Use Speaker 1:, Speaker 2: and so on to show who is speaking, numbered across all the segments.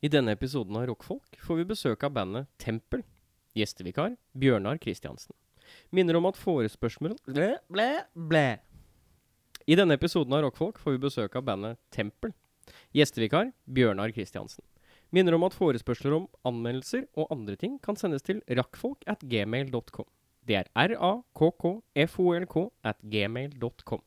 Speaker 1: I denne episoden av Rockfolk får vi besøk av bandet Tempel. Gjestevikar Bjørnar Kristiansen. Minner om at forespørsmål ble, ble, ble. I denne episoden av Rockfolk får vi besøk av bandet Tempel. Gjestevikar Bjørnar Kristiansen. Minner om at forespørsler om anmeldelser og andre ting kan sendes til rakkfolk at gmail.com. Det er r-a-k-k-f-o-l-k at gmail.com.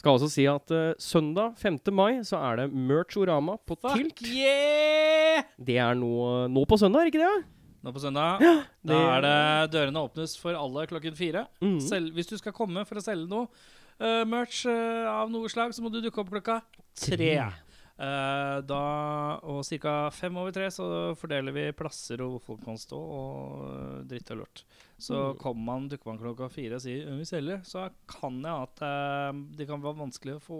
Speaker 1: Skal også si at eh, søndag 5. mai så er det Merchorama på Tilt.
Speaker 2: Fuck yeah!
Speaker 1: Det er nå, nå på søndag, er ikke det?
Speaker 2: Nå på søndag. Da er det dørene åpnes for alle klokken fire.
Speaker 1: Mhm.
Speaker 2: Selv, hvis du skal komme for å selge noe eh, merch eh, av noe slag, så må du dukke opp klokka tre. Eh, da, og ca. fem over tre så fordeler vi plasser og hvor folk kan stå, og eh, dritt og lort. Så
Speaker 1: Mhm.
Speaker 2: kommer man, dukker man klokka fire og sier «Øh, vi selger, så kan jeg at eh, det kan være vanskelig å få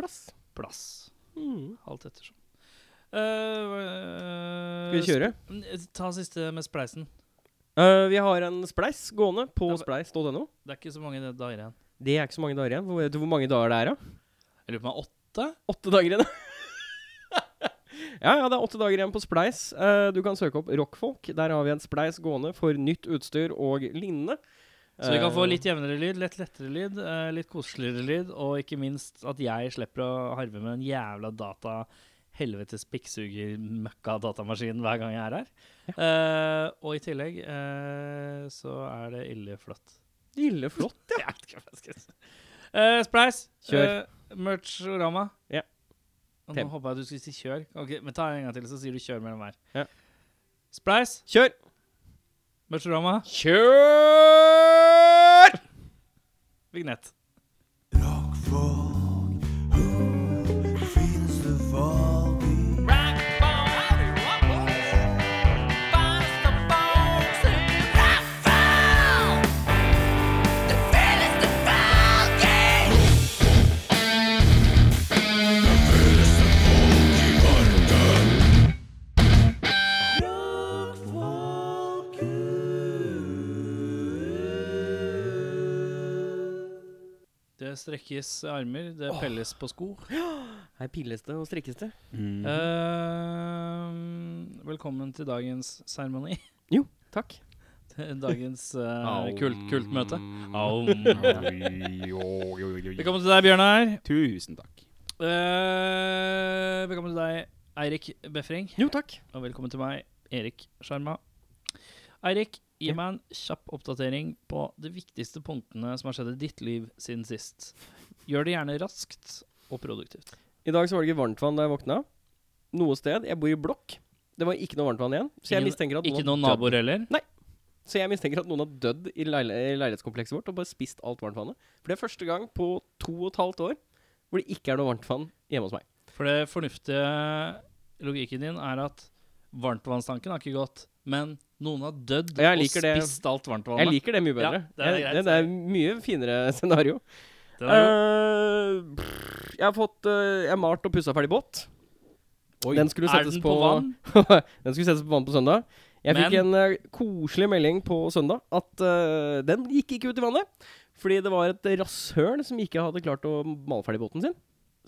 Speaker 1: Plass.
Speaker 2: plass.
Speaker 1: Mm.
Speaker 2: Alt ettersom. Eh,
Speaker 1: Skal vi kjøre?
Speaker 2: sp- Ta siste med spleisen.
Speaker 1: Eh, vi har en spleis gående på
Speaker 2: Ja, men-
Speaker 1: spleis.no.
Speaker 2: Det er ikke så mange dager igjen.
Speaker 1: Det er ikke så mange dager igjen. Hvor- Vet du hvor mange dager det er, da?
Speaker 2: Jeg lurer på om det er åtte?
Speaker 1: Åtte dager igjen. ja, ja, det er åtte dager igjen på Spleis. Eh, du kan søke opp Rockfolk. Der har vi en spleis gående for nytt utstyr og lignende.
Speaker 2: Så vi kan få
Speaker 1: Eh,
Speaker 2: litt jevnere lyd, litt lettere lyd, eh, litt koseligere lyd, og ikke minst at jeg slipper å harve med en jævla data helvetes pikksuger-møkka-datamaskin hver gang jeg er her. Eh, og i tillegg eh, så er det ille flott.
Speaker 1: Ille flott.
Speaker 2: Jeg vet ikke hva jeg skal si. Eh, Spleis.
Speaker 1: Kjør.
Speaker 2: Eh, Merchorama.
Speaker 1: Ja.
Speaker 2: Og
Speaker 1: Tem.
Speaker 2: nå håpa jeg du skulle si kjør. Ok, men ta en gang til, så sier du kjør mellom hver.
Speaker 1: Ja.
Speaker 2: Spleis.
Speaker 1: Kjør!
Speaker 2: Merchorama.
Speaker 1: Kjør!
Speaker 2: Vignett. Det strekkes armer, det pelles på sko.
Speaker 1: Her pilles det og strikkes det.
Speaker 2: Eh, velkommen til dagens seremoni.
Speaker 1: Jo, takk.
Speaker 2: dagens eh, kult, kultmøte.
Speaker 3: Velkommen.
Speaker 2: Velkommen til deg, Bjørnar.
Speaker 3: Tusen takk.
Speaker 2: Eh, velkommen til deg, Eirik Befring.
Speaker 1: Jo, takk.
Speaker 2: Og velkommen til meg, Erik Sjarma. Eirik, gi
Speaker 1: Ja.
Speaker 2: meg en kjapp oppdatering på de viktigste punktene som har skjedd i ditt liv siden sist. Gjør det gjerne raskt og produktivt.
Speaker 1: I dag så var det ikke varmtvann da jeg våkna. Noe sted. Jeg bor i blokk. Det var ikke noe varmtvann igjen. Så jeg
Speaker 2: Ingen-
Speaker 1: mistenker at
Speaker 2: Ikke
Speaker 1: noen,
Speaker 2: noen
Speaker 1: har dødd.
Speaker 2: naboer heller.
Speaker 1: Så jeg mistenker at noen har dødd i, leil i leilighetskomplekset vårt og bare spist alt varmtvannet. For det er første gang på to og et halvt år hvor det ikke er noe varmtvann hjemme hos meg.
Speaker 2: For det fornuftige logikken din er at varmtvannstanken har ikke gått, men noen har dødd
Speaker 1: Jeg
Speaker 2: og
Speaker 1: liker det.
Speaker 2: spist alt
Speaker 1: Jeg
Speaker 2: varmtvannet.
Speaker 1: liker det mye bedre.
Speaker 2: Ja, det er
Speaker 1: jeg,
Speaker 2: greit.
Speaker 1: det, det er mye finere scenario.
Speaker 2: Den er god.
Speaker 1: Eh, brr, jeg har fått eh, Jeg har malt og pussa ferdig båt.
Speaker 3: Oi.
Speaker 1: Den skulle
Speaker 2: er
Speaker 1: settes
Speaker 2: den
Speaker 1: på,
Speaker 2: på vann?
Speaker 1: den skulle settes på vann på søndag. Jeg fikk
Speaker 2: Men-
Speaker 1: en eh, koselig melding på søndag at eh, den gikk ikke ut i vannet. Fordi det var et rasshøl som ikke hadde klart å male ferdig båten sin.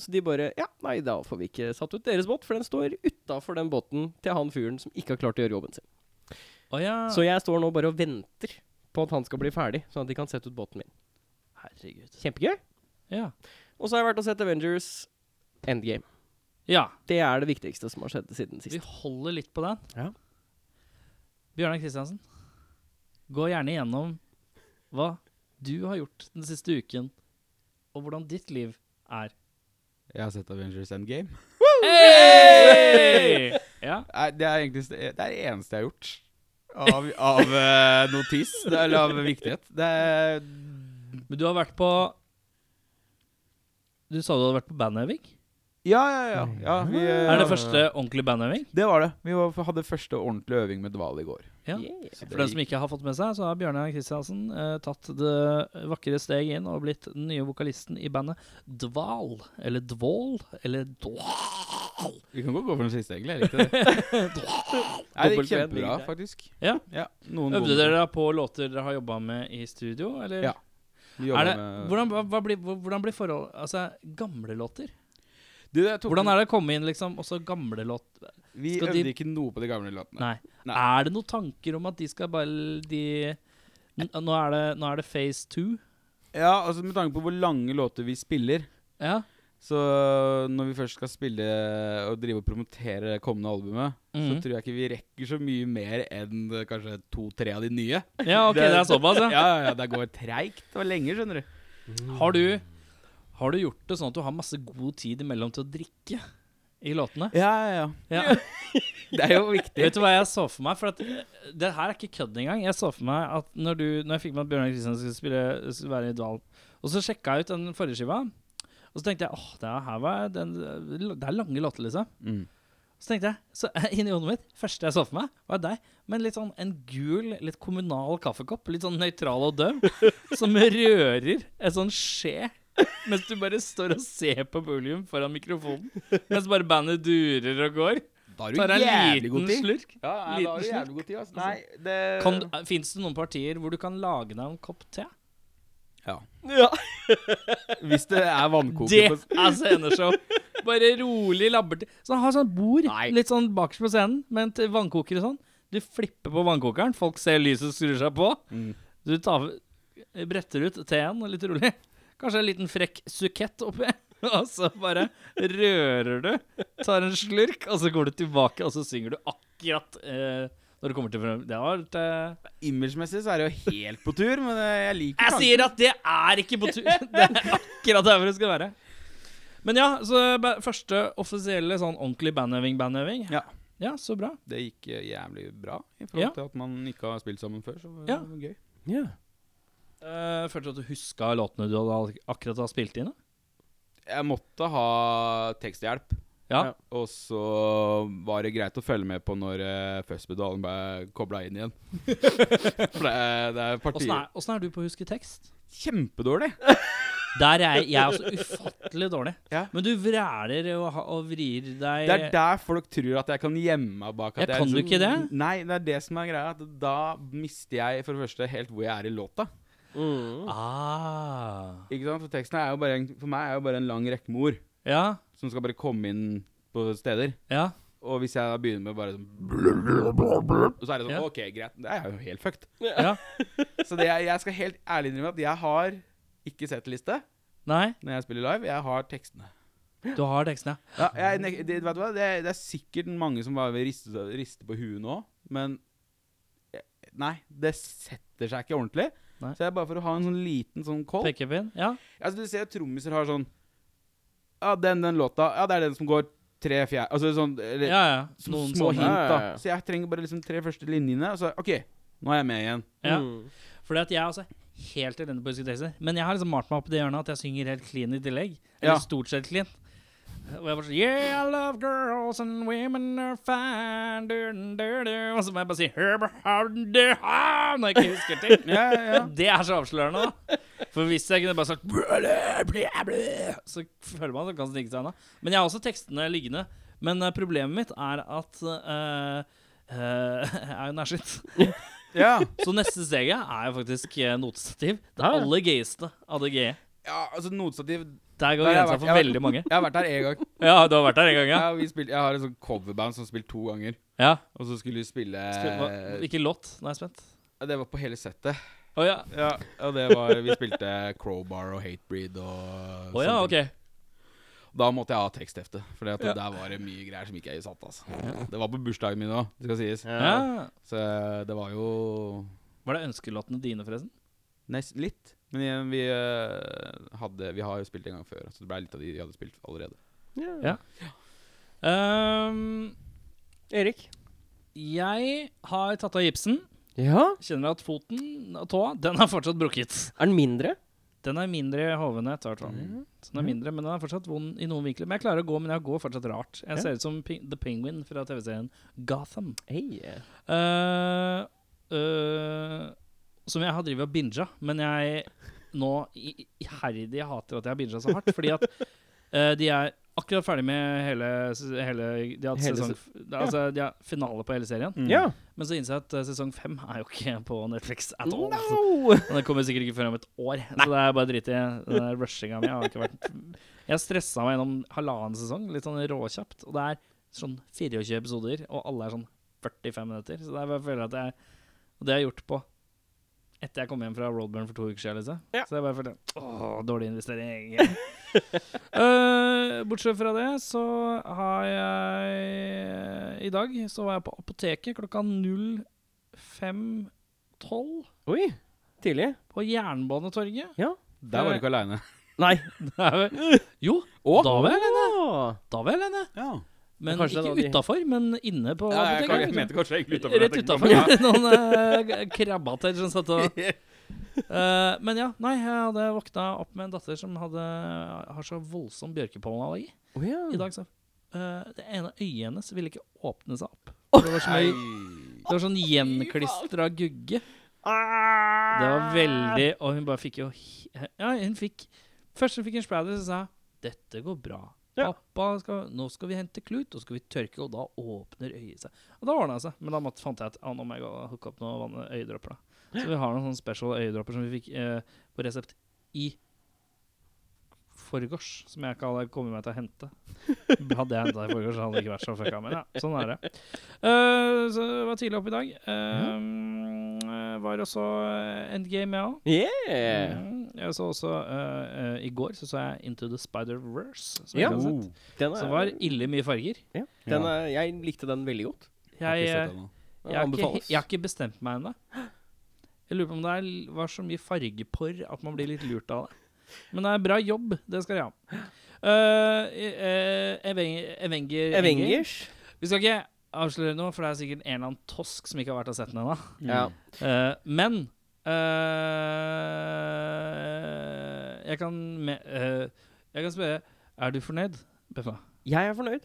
Speaker 1: Så de bare Ja, nei, da får vi ikke satt ut deres båt, for den står utafor den båten til han fyren som ikke har klart å gjøre jobben sin.
Speaker 2: Å ja.
Speaker 1: Så jeg står nå bare og venter på at han skal bli ferdig, sånn at de kan sette ut båten min.
Speaker 2: Herregud.
Speaker 1: Kjempegøy.
Speaker 2: Ja.
Speaker 1: Og så har jeg vært og sett Avengers Endgame.
Speaker 2: ja.
Speaker 1: Det er det viktigste som har skjedd siden sist.
Speaker 2: Vi holder litt på den.
Speaker 1: Ja.
Speaker 2: Bjørnar Kristiansen, gå gjerne gjennom hva du har gjort den siste uken, og hvordan ditt liv er.
Speaker 3: Jeg har sett Avengers Endgame.
Speaker 2: Hey! Ja.
Speaker 3: Nei, Det er egentlig det er det eneste jeg har gjort av, av eh, notis, det er- eller av viktighet. Det er
Speaker 2: Men du har vært på Du sa du hadde vært på bandøving?
Speaker 3: Ja, ja, ja. ja vi, eh,
Speaker 2: Er det første ordentlige bandøving?
Speaker 3: Det var det. Vi var, hadde første ordentlige øving med Dval i går.
Speaker 2: Ja.
Speaker 1: Yeah.
Speaker 3: Så det
Speaker 2: For den som
Speaker 3: gikk-
Speaker 2: ikke har fått med seg, så har Bjørnar Kristiansen eh, tatt det vakre steg inn og blitt den nye vokalisten i bandet Dval. Eller Dvål. Eller Dval.
Speaker 3: Vi kan godt gå for den siste, egentlig. Jeg likte det. Nei,
Speaker 1: Dobbelt
Speaker 3: det gikk
Speaker 1: V,
Speaker 3: kjempebra,
Speaker 1: det er
Speaker 3: faktisk.
Speaker 2: Ja.
Speaker 3: ja noen
Speaker 2: Øvde dere på låter dere har jobba med i studio, eller?
Speaker 3: Ja.
Speaker 2: Er
Speaker 3: Vi jobber
Speaker 2: det,
Speaker 3: med-
Speaker 2: hvordan, hva, hva blir, hvor- hvordan blir forhold Altså, gamle låter?
Speaker 3: Du, jeg tok
Speaker 2: Hvordan er det å komme inn liksom også gamle låt
Speaker 3: Vi
Speaker 2: Skal
Speaker 3: øvde
Speaker 2: de-
Speaker 3: ikke noe på de gamle låtene.
Speaker 2: Nei.
Speaker 3: Nei.
Speaker 2: Er det noen tanker om at de skal bare de N- Nå er det, nå er det phase two.
Speaker 3: Ja, altså Med tanke på hvor lange låter vi spiller
Speaker 2: Ja.
Speaker 3: Så når vi først skal spille og drive og promotere det kommende albumet, så
Speaker 2: Mhm.
Speaker 3: tror jeg ikke vi rekker så mye mer enn eh, kanskje to-tre av de nye.
Speaker 2: ja, OK, det er såpass,
Speaker 3: Ja,
Speaker 2: ja.
Speaker 3: ja, ja, Det går treigt og lenge, skjønner du.
Speaker 2: Har du, har du gjort det sånn at du har masse god tid imellom til å drikke i låtene?
Speaker 3: Ja, ja,
Speaker 2: Ja.
Speaker 3: ja. Det er jo viktig.
Speaker 2: Vet du hva jeg så for meg? For at eh, det her er ikke kødd engang. Jeg så for meg at når, du, når jeg fikk med at Bjørnar Kristiansen skulle spille, skulle være i Dal, og så sjekka jeg ut den forrige skiva, og så tenkte jeg åh, det, er- her var den, det er lange låter, liksom.
Speaker 3: Mm.
Speaker 2: Så tenkte jeg, så inni hodet mitt, første jeg så for meg, var deg. Men litt sånn en gul, litt kommunal kaffekopp, litt sånn nøytral og døv, som rører en sånn skje. Mens du bare står og ser på Bullium foran mikrofonen. Mens bare bandet durer og går.
Speaker 3: Da har
Speaker 2: Tar
Speaker 3: du
Speaker 2: en
Speaker 3: jævlig
Speaker 2: liten
Speaker 3: god tid.
Speaker 2: slurk.
Speaker 3: Ja, nei, da har du
Speaker 2: Liten
Speaker 3: jævlig god tid, altså. Nei, det
Speaker 2: Kan, finnes det noen partier hvor du kan lage deg en kopp te?
Speaker 3: ja.
Speaker 4: Ja.
Speaker 3: Hvis det er
Speaker 2: Det
Speaker 3: vannkoker på
Speaker 2: er sceneshow! Bare rolig labber Så ha sånn bord
Speaker 3: Nei.
Speaker 2: litt sånn bakerst på scenen med en t- vannkoker og sånn. Du flipper på vannkokeren, folk ser lyset skrur seg på.
Speaker 3: Mm.
Speaker 2: Du tar, bretter ut teen litt rolig. Kanskje en liten frekk sukett oppi. Og så bare rører du, tar en slurk, og så går du tilbake, og så synger du akkurat eh, når du kommer til frem. Det var eh,
Speaker 3: Imagemessig så er det jo helt på tur, men eh, jeg liker
Speaker 2: Jeg sier at det er ikke på tur. Det er akkurat der hvor det skal være. Men ja, så ba- første offisielle sånn ordentlig bandøving, bandøving.
Speaker 3: Ja.
Speaker 2: ja, så bra.
Speaker 3: Det gikk eh, jævlig bra, i forhold
Speaker 2: Ja.
Speaker 3: til at man ikke har spilt sammen før. Så det
Speaker 2: Ja.
Speaker 3: var gøy.
Speaker 4: Ja.
Speaker 2: Eh, følte du at du huska låtene du hadde al- akkurat har spilt inn? da?
Speaker 3: Jeg måtte ha teksthjelp.
Speaker 2: Ja.
Speaker 4: Ja.
Speaker 3: Og så var det greit å følge med på når uh, Fuzzpedalen ble kobla inn igjen. For det, er- det er
Speaker 2: Åssen
Speaker 3: partier
Speaker 2: er, åssen er du på å huske tekst?
Speaker 3: Kjempedårlig!
Speaker 2: Der er jeg, jeg er også ufattelig dårlig.
Speaker 3: Ja.
Speaker 2: Men du vræler og, ha- og vrir deg
Speaker 3: Det er der folk tror at jeg kan gjemme meg bak at
Speaker 2: Eh, Ja, kan du
Speaker 3: liksom-
Speaker 2: ikke det?
Speaker 3: Nei, det er det som er greia. At da mister jeg for det første helt hvor jeg er i låta.
Speaker 4: Mm.
Speaker 2: ah.
Speaker 3: Ikke sant? For teksten er jo bare en, for meg er jo bare en lang rekke med ord
Speaker 2: Ja.
Speaker 3: som skal bare komme inn på steder.
Speaker 2: Ja.
Speaker 3: Og hvis jeg da begynner med bare sånn Så er det sånn
Speaker 2: Ja.
Speaker 3: OK, greit. Det er jo helt fucked.
Speaker 2: ja.
Speaker 3: Så det, jeg, jeg skal helt ærlig innrømme at jeg har ikke settliste
Speaker 2: Nei,
Speaker 3: når jeg spiller live. Jeg har tekstene.
Speaker 2: du har tekstene.
Speaker 3: Ja, jeg, nek- det, vet du hva? Det, det er sikkert mange som bare vil riste, seg- riste på huet nå, men jeg- Nei, det setter seg ikke ordentlig.
Speaker 2: Nei.
Speaker 3: Så jeg bare for å ha en sånn liten sånn call
Speaker 2: Pekepinn. Ja.
Speaker 3: altså, Du ser jo trommiser har sånn Ja, den, den låta Ja, det er den som går tre fjerde Altså sånn eller,
Speaker 2: ja, ja.
Speaker 3: så-
Speaker 2: Noen
Speaker 3: små
Speaker 2: sånne.
Speaker 3: hint, da.
Speaker 4: Ja, ja, ja.
Speaker 3: Så jeg trenger bare liksom tre første linjene, og så OK, nå er jeg med igjen.
Speaker 2: Ja.
Speaker 4: Mm.
Speaker 2: Fordi at jeg er også helt elendig på å huske tekster. Men jeg har liksom malt meg opp i det hjørnet at jeg synger helt clean i tillegg. Eller
Speaker 3: Ja.
Speaker 2: stort sett clean. Og jeg bare sånn Yeah, I love girls and women are fine du, du, du. Og så må jeg bare si «Herber, harden, du, ha», Når jeg ikke husker ting.
Speaker 3: Ja, ja, ja.
Speaker 2: Det er så avslørende, da. For hvis jeg kunne bare sagt «Blæ, blæ, blæ», Så føler man at det kan snike seg unna. Men jeg har også tekstene liggende. Men eh, problemet mitt er at eh, eh, Jeg er jo nærsynt.
Speaker 3: ja.
Speaker 2: Så neste steget er jo faktisk eh, notestativ. Det
Speaker 4: Ja, ja.
Speaker 2: aller gøyeste av det gøye.
Speaker 3: ja altså notestativ
Speaker 2: E. Der går
Speaker 3: Der har jeg
Speaker 2: grensa
Speaker 3: vært- jeg
Speaker 2: for
Speaker 3: har vært-
Speaker 2: veldig mange.
Speaker 3: Jeg har vært der én gang.
Speaker 2: Ja, du har vært der en gang, ja?
Speaker 3: Ja, vi spilte, jeg har et sånt coverband som spilte to ganger.
Speaker 2: ja.
Speaker 3: Og så skulle vi
Speaker 2: Spil-
Speaker 3: spille Eh,
Speaker 2: hva- Ikke låt. Nå er jeg spent.
Speaker 3: Det var på hele settet.
Speaker 2: Å ja.
Speaker 3: Ja, og det var Vi spilte Crowbar og Hatebreed og
Speaker 2: Å ja,
Speaker 3: sånne
Speaker 2: OK.
Speaker 3: ting. Da måtte jeg ha teksthefte, for
Speaker 2: Ja.
Speaker 3: der var det mye greier som ikke jeg satt. Altså. Det var på bursdagen min òg, det skal sies.
Speaker 2: Ja.
Speaker 3: Så eh, det var jo
Speaker 2: Var det ønskelåtene dine, forresten?
Speaker 3: nest litt. Men igjen, vi, eh, hadde, vi har jo spilt en gang før, så det ble litt av de vi hadde spilt allerede.
Speaker 4: ja.
Speaker 2: Ja. Ehm,
Speaker 4: Erik?
Speaker 2: jeg har tatt av gipsen.
Speaker 4: Ja?
Speaker 2: Kjenner at foten og tåa, den er fortsatt brukket.
Speaker 4: Er den mindre?
Speaker 2: Den er mindre hoven enn jeg tar, tror jeg.
Speaker 3: Mm.
Speaker 2: Så den er mindre, men den er fortsatt vond i noen vinkler. Men jeg klarer å gå, men jeg går fortsatt rart. Jeg
Speaker 4: Ja.
Speaker 2: ser ut som Ping- The Penguin fra TV-serien Gotham.
Speaker 4: Hei.
Speaker 2: Eh, eh, som jeg har drevet og binga, men jeg nå i- iherdig hater at jeg har binga så hardt. Fordi at eh, de er akkurat ferdig med hele, s- hele De har hatt
Speaker 4: Hele Mm.
Speaker 2: sesong, altså, de har finale på hele serien.
Speaker 1: Mm.
Speaker 4: Ja.
Speaker 2: Men så innså jeg at eh, sesong fem er jo ikke på Netflix at all. Og
Speaker 4: No!
Speaker 2: den sånn- kommer sikkert ikke før om et år. Så det er bare drit i den der rushinga mi. Jeg har ikke vært Jeg stressa meg gjennom halvannen sesong, litt sånn råkjapt. Og det er sånn 24 episoder, og alle er sånn 45 minutter. Så det er bare føler jeg at jeg Og det har jeg gjort på etter jeg kom hjem fra Roadburn for to uker siden. Liksom.
Speaker 4: Ja.
Speaker 2: Så jeg bare føler Åh, dårlig investering. Eh, bortsett fra det, så har jeg I dag så var jeg på apoteket klokka 05.12
Speaker 4: Oi! Tidlig.
Speaker 2: på Jernbanetorget.
Speaker 3: Der var du ikke aleine.
Speaker 2: Nei. jo,
Speaker 3: Å?
Speaker 2: da var jeg alene.
Speaker 4: Åh.
Speaker 2: Da var jeg alene.
Speaker 3: Ja.
Speaker 2: Men
Speaker 4: Kanskje det er da
Speaker 2: ikke
Speaker 4: de-
Speaker 2: utafor, men inne på
Speaker 3: Ja, jeg, jeg,
Speaker 2: apoteket.
Speaker 3: mente kanskje egentlig utenfor
Speaker 2: Rett
Speaker 3: jeg tenkte på,
Speaker 2: utafor. Noen uh, krabbater som satt og Eh, Men ja, nei, jeg hadde våkna opp med en datter som hadde, har så voldsom bjørkepollenallergi.
Speaker 4: Å ja.
Speaker 2: I dag så eh, Det ene øyet hennes ville ikke åpne seg opp. For Det var
Speaker 3: men ja.
Speaker 2: sånn, det var sånn gjenklistra gugge. Det var veldig Og hun bare fikk jo he- Ja, hun fikk Først hun fikk en splæder, så sa hun, 'Dette går bra'.
Speaker 4: Ja.
Speaker 2: Pappa skal, 'Nå skal vi hente klut, og skal vi tørke', og da åpner øyet seg. Og da ordna det seg. Men da måtte, fant jeg at ah, nå må jeg gå og hooke opp noen vann- øyedråper. da. Så vi har noen sånne special øyedråper som vi fikk eh, på resept i forgårs, som jeg ikke hadde kommet meg til å hente. Hadde jeg henta i forgårs, så hadde det ikke vært så fucka. Men ja, sånn er det. Eh, så jeg var tidlig oppe i dag.
Speaker 4: Mhm.
Speaker 2: Eh, eh, var også eh, endgame, jeg òg.
Speaker 4: Yeah!
Speaker 2: Mm, jeg så også eh, eh, I går så, så jeg Into the Spider-Verse. Som,
Speaker 4: Ja.
Speaker 2: jeg ikke
Speaker 4: Oh,
Speaker 2: har sett,
Speaker 4: Den
Speaker 2: som var ille mye farger.
Speaker 4: ja. den er, Jeg likte den veldig godt.
Speaker 2: Jeg, eh,
Speaker 4: Den
Speaker 2: jeg, har ikke,
Speaker 4: anbefales.
Speaker 2: jeg har ikke bestemt meg ennå. Jeg lurer på om det er, var så mye fargeporr at man blir litt lurt av det. Men det er bra jobb. Det skal de ha. Eh, eh, Avenger, Avenger,
Speaker 4: Avengers.
Speaker 2: Vi skal ikke avsløre noe, for det er sikkert en eller annen tosk som ikke har vært og sett den ennå.
Speaker 4: Ja.
Speaker 2: Eh, men eh, Jeg kan me eh, Jeg kan spørre Er du fornøyd, Beffa?
Speaker 4: Jeg er fornøyd.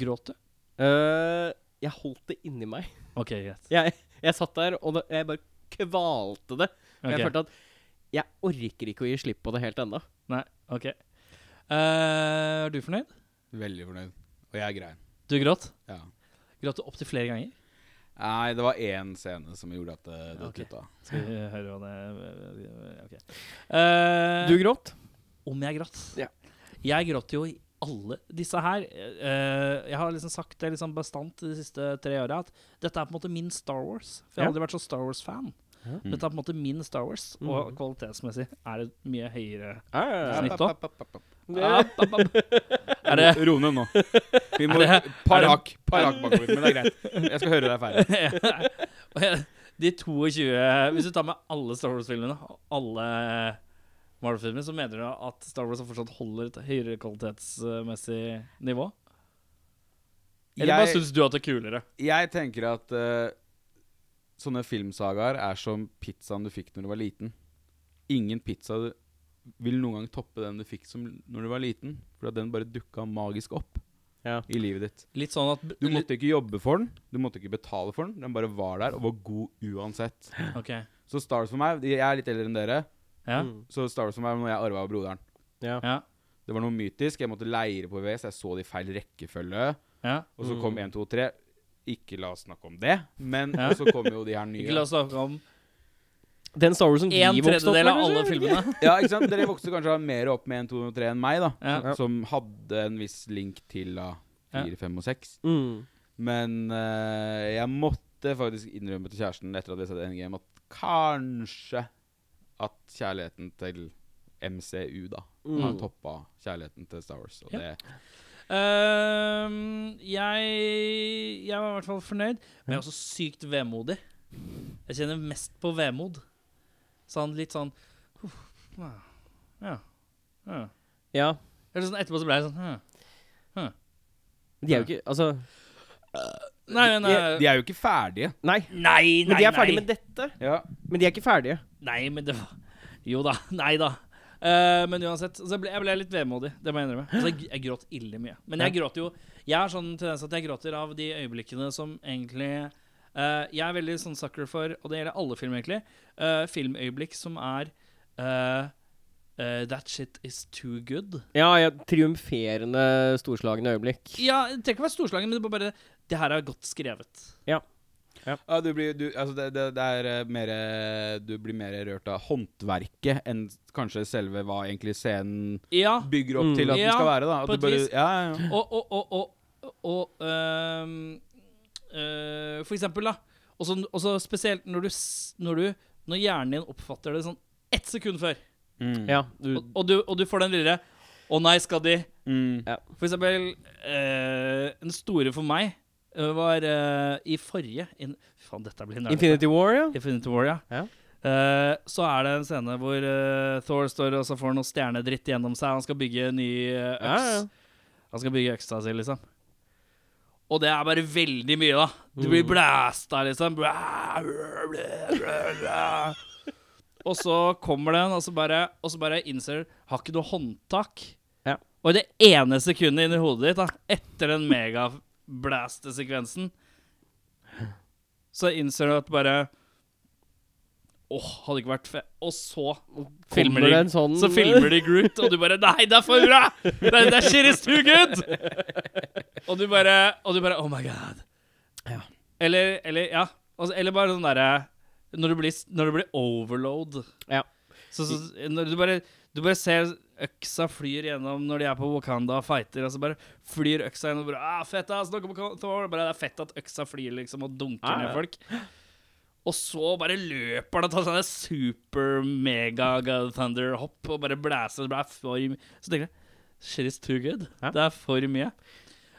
Speaker 2: Gråt du?
Speaker 4: Eh, jeg holdt det inni meg.
Speaker 2: OK, greit.
Speaker 4: Jeg, jeg satt der, og det, jeg bare kvalte det. Og
Speaker 2: Ok,
Speaker 4: Jeg følte at jeg orker ikke å gi slipp på det helt ennå.
Speaker 2: Nei, ok Eh, Er du fornøyd?
Speaker 3: Veldig fornøyd. Og jeg er grein.
Speaker 2: Du gråt?
Speaker 3: Ja.
Speaker 2: Gråt du opptil flere ganger?
Speaker 3: Nei, det var én scene som gjorde at eh, det, det
Speaker 2: Ok.
Speaker 3: kutta.
Speaker 2: Skal vi høre hva det Ok. Eh,
Speaker 4: Du gråt?
Speaker 2: Om jeg gråt?
Speaker 4: Ja.
Speaker 2: Jeg gråt jo i alle disse her. Eh, jeg har liksom sagt det liksom bastant de siste tre åra at dette er på en måte min Star Wars. For jeg har
Speaker 4: Ja.
Speaker 2: aldri vært så Star Wars-fan.
Speaker 4: Ja.
Speaker 2: Dette er på en måte min Star Wars, og
Speaker 4: Mhm.
Speaker 2: kvalitetsmessig er det mye høyere.
Speaker 4: Ah, Ja,
Speaker 2: Snitt opp.
Speaker 3: App, app, app, app.
Speaker 2: App, app, app. Er det
Speaker 3: Ro ned nå. Vi
Speaker 2: Er
Speaker 3: må
Speaker 2: det- er
Speaker 3: Par
Speaker 2: det-
Speaker 3: hakk par hakk bakover, men det er greit. Jeg skal høre deg ferdig.
Speaker 2: Og jeg- De 22 Hvis du tar med alle Star Wars-filmene og alle Marvel-filmer, så mener du at Star Wars fortsatt holder et høyere kvalitetsmessig nivå? Eller bare
Speaker 3: Jeg,
Speaker 2: syns du at det er kulere?
Speaker 3: jeg tenker at eh, sånne filmsagaer er som pizzaen du fikk når du var liten. Ingen pizza du- vil noen gang toppe den du fikk som når du var liten, for at den bare dukka magisk opp
Speaker 4: Ja.
Speaker 3: i livet ditt.
Speaker 2: Litt sånn at
Speaker 3: Du måtte ikke jobbe for den, du måtte ikke betale for den. Den bare var der og var god uansett.
Speaker 2: Ok.
Speaker 3: Så Star Wars for meg Jeg er litt eldre enn dere.
Speaker 2: Ja.
Speaker 4: Mm.
Speaker 3: Så Star Wars for meg var noe jeg arva av broderen.
Speaker 4: ja.
Speaker 2: Ja.
Speaker 3: Det var noe mytisk. Jeg måtte leire på VS. Jeg så det i feil rekkefølge.
Speaker 2: ja.
Speaker 3: Og så
Speaker 4: Mm.
Speaker 3: kom 1, 2, 3. Ikke la oss snakke om det. Men
Speaker 2: Ja.
Speaker 3: og så kom jo de her nye.
Speaker 2: Ikke la oss snakke om
Speaker 4: Den Star Warsen vi
Speaker 2: en
Speaker 4: vokste opp
Speaker 2: tredjedel av
Speaker 4: kanskje?
Speaker 2: alle filmene.
Speaker 3: Ja, ikke sant? Dere vokste kanskje mer opp med 1, 2 og 3 enn meg, da.
Speaker 2: Ja.
Speaker 3: Som hadde en viss link til da 4, 5 og 6.
Speaker 4: Mm.
Speaker 3: Men eh, jeg måtte faktisk innrømme til kjæresten etter at vi hadde sett Endgame, at kanskje at kjærligheten til MCU, da, har
Speaker 4: Mm.
Speaker 3: toppa kjærligheten til Star Wars. Og
Speaker 2: Ja.
Speaker 3: det
Speaker 2: Ehm, jeg, jeg var i hvert fall fornøyd, men jeg er også sykt vemodig. Jeg kjenner mest på vemod. Sånn litt sånn uff, Ja. ja.
Speaker 4: Ja.
Speaker 2: Eller sånn etterpå så ble jeg sånn «Hm».
Speaker 4: De er jo ikke Altså,
Speaker 2: Nei, men
Speaker 3: de,
Speaker 2: eh,
Speaker 3: de er jo ikke ferdige.
Speaker 4: nei.
Speaker 2: Nei, nei,
Speaker 4: Men de er
Speaker 2: nei.
Speaker 4: ferdige med dette.
Speaker 3: Ja.
Speaker 4: Men de er ikke ferdige.
Speaker 2: Nei, men det var Jo da. Nei da. Eh, men uansett, så jeg ble, jeg ble litt vemodig. Det må jeg innrømme. Altså, jeg, jeg gråt ille mye. Men jeg gråter jo Jeg har sånn tendens at jeg gråter av de øyeblikkene som egentlig eh, Jeg er veldig sånn sucker for, og det gjelder alle film, egentlig, eh, filmøyeblikk som er eh, eh, That shit is too good.
Speaker 4: Ja, ja, triumferende, storslagne øyeblikk.
Speaker 2: Ja, det trenger ikke å være storslagen, men det er bare Det her er godt skrevet.
Speaker 3: Ja, du blir, du, altså det, det, det er eh, mer eh, Du blir mer rørt av håndverket enn kanskje selve hva egentlig scenen
Speaker 2: Ja.
Speaker 3: bygger opp
Speaker 4: Mm.
Speaker 3: til at den
Speaker 2: Ja,
Speaker 3: skal være. da
Speaker 2: på
Speaker 3: at du
Speaker 2: et
Speaker 3: bare,
Speaker 2: vis.
Speaker 3: ja, ja, ja.
Speaker 2: Og, og, og, og Og øhm, øh, For eksempel, da. Og så- og så spesielt når du, s- når du Når hjernen din oppfatter det sånn ett sekund før,
Speaker 3: Mm.
Speaker 1: Ja, du,
Speaker 2: og, og, du, og du får den lille Å nei, skal de
Speaker 3: Mm.
Speaker 1: Ja.
Speaker 2: For eksempel øh, Den store for meg øh, var øh, i forrige in, Fy faen, dette blir nerdete.
Speaker 1: Infinity War, ja.
Speaker 2: Infinity War, ja.
Speaker 1: Ja.
Speaker 2: Eh, så er det en scene hvor eh, Thor står og så får noe stjernedritt gjennom seg. Han skal bygge en ny eh,
Speaker 1: Ja,
Speaker 2: øks.
Speaker 1: ja.
Speaker 2: Han skal bygge øksa si, liksom. Og det er bare veldig mye, da. Du blir
Speaker 1: Mm.
Speaker 2: blæsta, liksom. Blæ, blæ, blæ, blæ, blæ. Og så kommer den, og så bare, og så bare innser du Har ikke noe håndtak.
Speaker 1: Ja.
Speaker 2: Og i det ene sekundet inni hodet ditt, da, etter den megablaste-sekvensen, så innser du at bare Åh, hadde ikke vært fe... Og så
Speaker 1: Kommer
Speaker 2: filmer de
Speaker 1: det en sånn
Speaker 2: så filmer de Groot, og du bare Nei, det er for bra! Det, det shit is too good! Og du bare, og du bare Oh my god.
Speaker 1: Ja.
Speaker 2: Eller, eller ja. Altså, eller bare sånn derre når, du blir- når det blir overload.
Speaker 1: Ja.
Speaker 2: Så, så, når du bare Du bare ser øksa flyr gjennom når de er på Wakanda og fighter, og så bare flyr øksa gjennom og bare ah, fett, ass, nå kommer Thor. Og Bare, det er fett at øksa flyr liksom og dunker
Speaker 1: Ja, ja.
Speaker 2: ned folk. Og så bare løper han og tar sånne super-mega-thunder-hopp og bare blæser. og Det er for mye. Så tenker jeg Shit is too good.
Speaker 1: Ja.
Speaker 2: Det er for mye.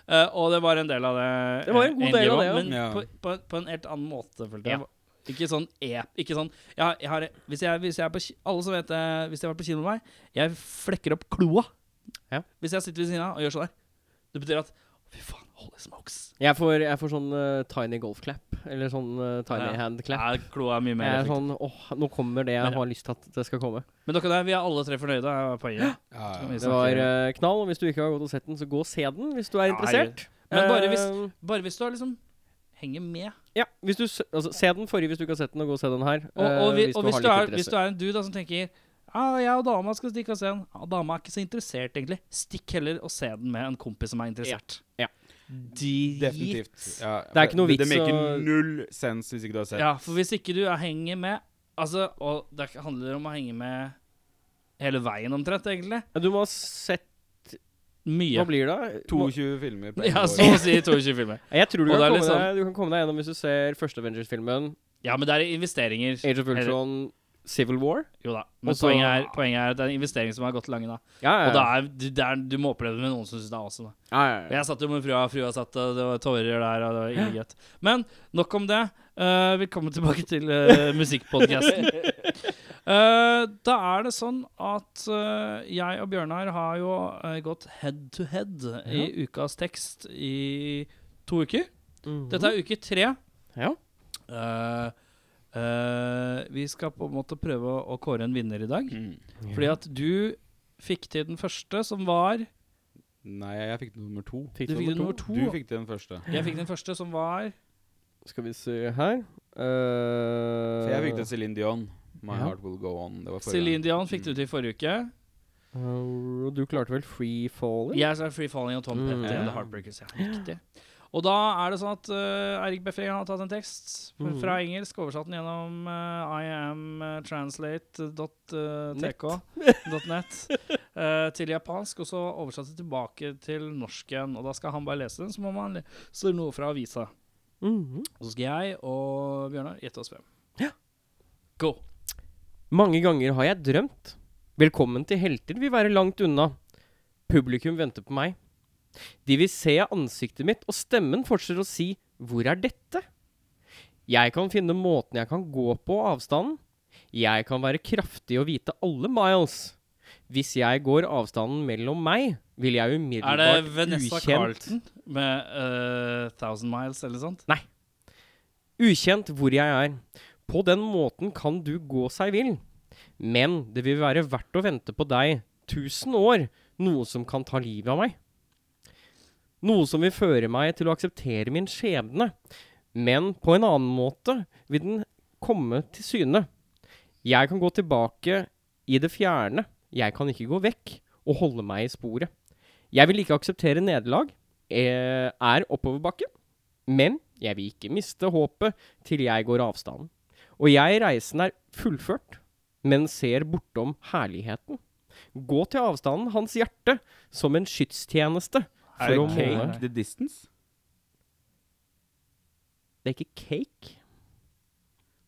Speaker 2: Eh, og det var en del av det.
Speaker 1: Det var en god
Speaker 2: eh,
Speaker 1: del av det, ja.
Speaker 2: egentlig også, Men
Speaker 3: Ja.
Speaker 2: på, på, på en helt annen måte, følte jeg.
Speaker 1: Ja.
Speaker 2: Ikke sånn ep... Ikke sånn jeg, har- jeg har, hvis, jeg, hvis jeg er på ki- Alle som vet det, hvis jeg har vært på kino med meg, jeg flekker opp kloa
Speaker 1: Ja.
Speaker 2: hvis jeg sitter ved siden av og gjør sånn her. Det betyr at Fy faen, holy smokes.
Speaker 1: Jeg får, jeg får sånn eh, tiny golf clap, eller sånn eh, tiny
Speaker 2: Ja.
Speaker 1: hand clap.
Speaker 2: Ja, kloa er mye mer
Speaker 1: Jeg er
Speaker 2: effektiv.
Speaker 1: sånn åh, nå kommer det
Speaker 2: Men-
Speaker 1: jeg har lyst til at det skal komme.
Speaker 2: Men dere der, vi er alle tre fornøyde. er sånn poenget.
Speaker 3: Ja,
Speaker 2: Skal
Speaker 3: ja.
Speaker 2: vi
Speaker 1: Det var
Speaker 2: snakke-
Speaker 1: eh, knall. og Hvis du ikke har gått og sett den, så gå og se den hvis du er
Speaker 2: Ja,
Speaker 1: interessert.
Speaker 2: Men bare hvis-
Speaker 1: Eh,
Speaker 2: Bare hvis du har liksom henger med.
Speaker 1: Ja, hvis du s- altså, Se den forrige hvis du ikke har sett den, og gå og se den her.
Speaker 2: Og,
Speaker 1: eh,
Speaker 2: og, vi, og hvis,
Speaker 1: har litt
Speaker 2: du er, hvis
Speaker 1: interesse.
Speaker 2: du er en dude da, som tenker ja, jeg og dama skal stikke og se den. Ja, dama er ikke så interessert, egentlig. Stikk heller og se den med en kompis som er interessert.
Speaker 1: Ja.
Speaker 2: Drit.
Speaker 3: Definitivt. Ja,
Speaker 1: Det er ikke noe
Speaker 3: Det
Speaker 1: vits
Speaker 3: maker
Speaker 1: å-
Speaker 3: null sense hvis ikke du har sett.
Speaker 2: Ja, for hvis ikke du er- henger med Altså, og det er- handler om å henge med hele veien omtrent, egentlig.
Speaker 1: Ja, Du må ha sett
Speaker 2: Mye.
Speaker 1: Hva blir det?
Speaker 3: 22 filmer på
Speaker 2: Ja,
Speaker 3: ett
Speaker 2: så å si 22 filmer.
Speaker 1: Må- Jeg tror du kan,
Speaker 2: Og det er
Speaker 1: komme
Speaker 2: litt sånn-
Speaker 1: deg, du kan komme deg gjennom hvis du ser første Avengers-filmen,
Speaker 2: Ja, men det er investeringer.
Speaker 1: Age of Ultron, Civil War.
Speaker 2: Jo da. Men
Speaker 1: Og så-
Speaker 2: poenget, er, poenget er at det er en investering som har gått lange, da.
Speaker 1: Ja, ja,
Speaker 2: Og da
Speaker 1: ja.
Speaker 2: er, du, det er, du må oppleve det med noen som syns det er awesome. da.
Speaker 1: ja, ja,
Speaker 2: Og
Speaker 1: ja.
Speaker 2: Jeg satt jo med frua, frua satt, og det var tårer der, og det var ille greit. Men nok om det. Eh, velkommen tilbake til uh, musikkpodkasten. da er det sånn at eh, jeg og Bjørnar har jo eh, gått head to head i ukas tekst i to uker.
Speaker 1: Mhm.
Speaker 2: Dette er uke tre.
Speaker 1: Ja.
Speaker 2: Eh, eh, vi skal på en måte prøve å, å kåre en vinner i dag.
Speaker 3: år. Mm.
Speaker 2: Fordi at du fikk til den første, som var
Speaker 3: Nei, jeg fikk nummer to.
Speaker 1: Fikk du
Speaker 2: Du fikk
Speaker 1: nummer
Speaker 2: nummer
Speaker 1: to?
Speaker 2: to.
Speaker 3: Du fikk den første.
Speaker 2: Jeg fikk den første, som var
Speaker 1: Skal vi se her
Speaker 3: Så
Speaker 1: uh,
Speaker 3: jeg fikk den Céline Dion. My
Speaker 1: Ja.
Speaker 3: Heart Will Go On. Det var forrige.
Speaker 2: Celine Dion fikk du til i forrige uke.
Speaker 1: Eh, Og du klarte vel Free Falling?
Speaker 2: Jeg sa Free Falling og Tom
Speaker 1: Mm.
Speaker 2: Petty and The Heartbreakers. Ja, riktig. Og da er det sånn at uh, Eirik Befring har tatt en tekst fra-
Speaker 1: Mhm.
Speaker 2: fra engelsk, oversatt den gjennom uh, iamtranslate.tk eh, til japansk, og så oversatt det tilbake til norsk igjen. Og da skal han bare lese den, så må man lese noe fra avisa.
Speaker 1: Mhm.
Speaker 2: Og så skal jeg og Bjørnar gjette oss frem.
Speaker 1: Ja.
Speaker 2: Go.
Speaker 1: Mange ganger har jeg drømt. Velkommen til helter vil være langt unna. Publikum venter på meg. De vil se ansiktet mitt, og stemmen fortsetter å si 'Hvor er dette?' Jeg kan finne måten jeg kan gå på og avstanden. Jeg kan være kraftig og vite alle miles. Hvis jeg går avstanden mellom meg, vil jeg
Speaker 2: Er det
Speaker 1: umiddelbart
Speaker 2: Vanessa
Speaker 1: ukjent
Speaker 2: Carlton med uh, 1000 Miles eller sånt?
Speaker 1: Ukjent hvor jeg er. På den måten kan du gå seg vill. Men det vil være verdt å vente på deg tusen år, noe som kan ta livet av meg. Noe som vil føre meg til å akseptere min skjebne. Men på en annen måte vil den komme til syne. Jeg kan gå tilbake i det fjerne. Jeg kan ikke gå vekk og holde meg i sporet. Jeg vil ikke akseptere nederlag. eh, Er oppoverbakke. Men jeg vil ikke miste håpet til jeg går avstanden. Og jeg reisen er fullført, men ser bortom herligheten. Gå til avstanden hans hjerte som en skytstjeneste For
Speaker 3: Er det
Speaker 1: å måle.
Speaker 3: Cake the Distance?
Speaker 1: Det er ikke cake.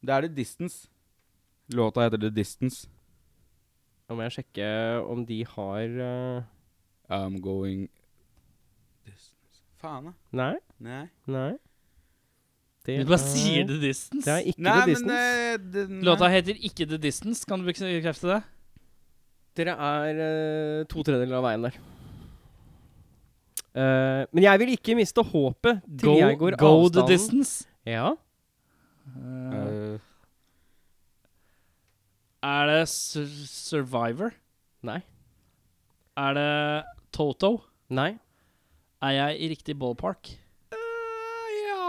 Speaker 3: Det er The Distance. Låta heter The Distance.
Speaker 1: Nå må jeg sjekke om de har eh,
Speaker 3: I'm going Distance. Faen, da.
Speaker 1: Nei.
Speaker 3: Nei.
Speaker 1: Nei. Det
Speaker 2: Du bare sier The Distance.
Speaker 1: Det er ikke
Speaker 3: Nei,
Speaker 1: The Distance.
Speaker 3: men eh, det- nei.
Speaker 2: Låta heter ikke The Distance. Kan du bekrefte det?
Speaker 1: Dere er eh, to tredjedeler av veien der. Eh, men jeg vil ikke miste håpet til
Speaker 2: Go,
Speaker 1: jeg går
Speaker 2: go the
Speaker 1: avstanden.
Speaker 2: distance.
Speaker 1: Ja.
Speaker 2: Eh,
Speaker 3: Eh,
Speaker 2: er det Sur Survivor?
Speaker 1: Nei.
Speaker 2: Er det Toto?
Speaker 1: Nei.
Speaker 2: Er jeg i riktig ballpark?
Speaker 1: Eh, ja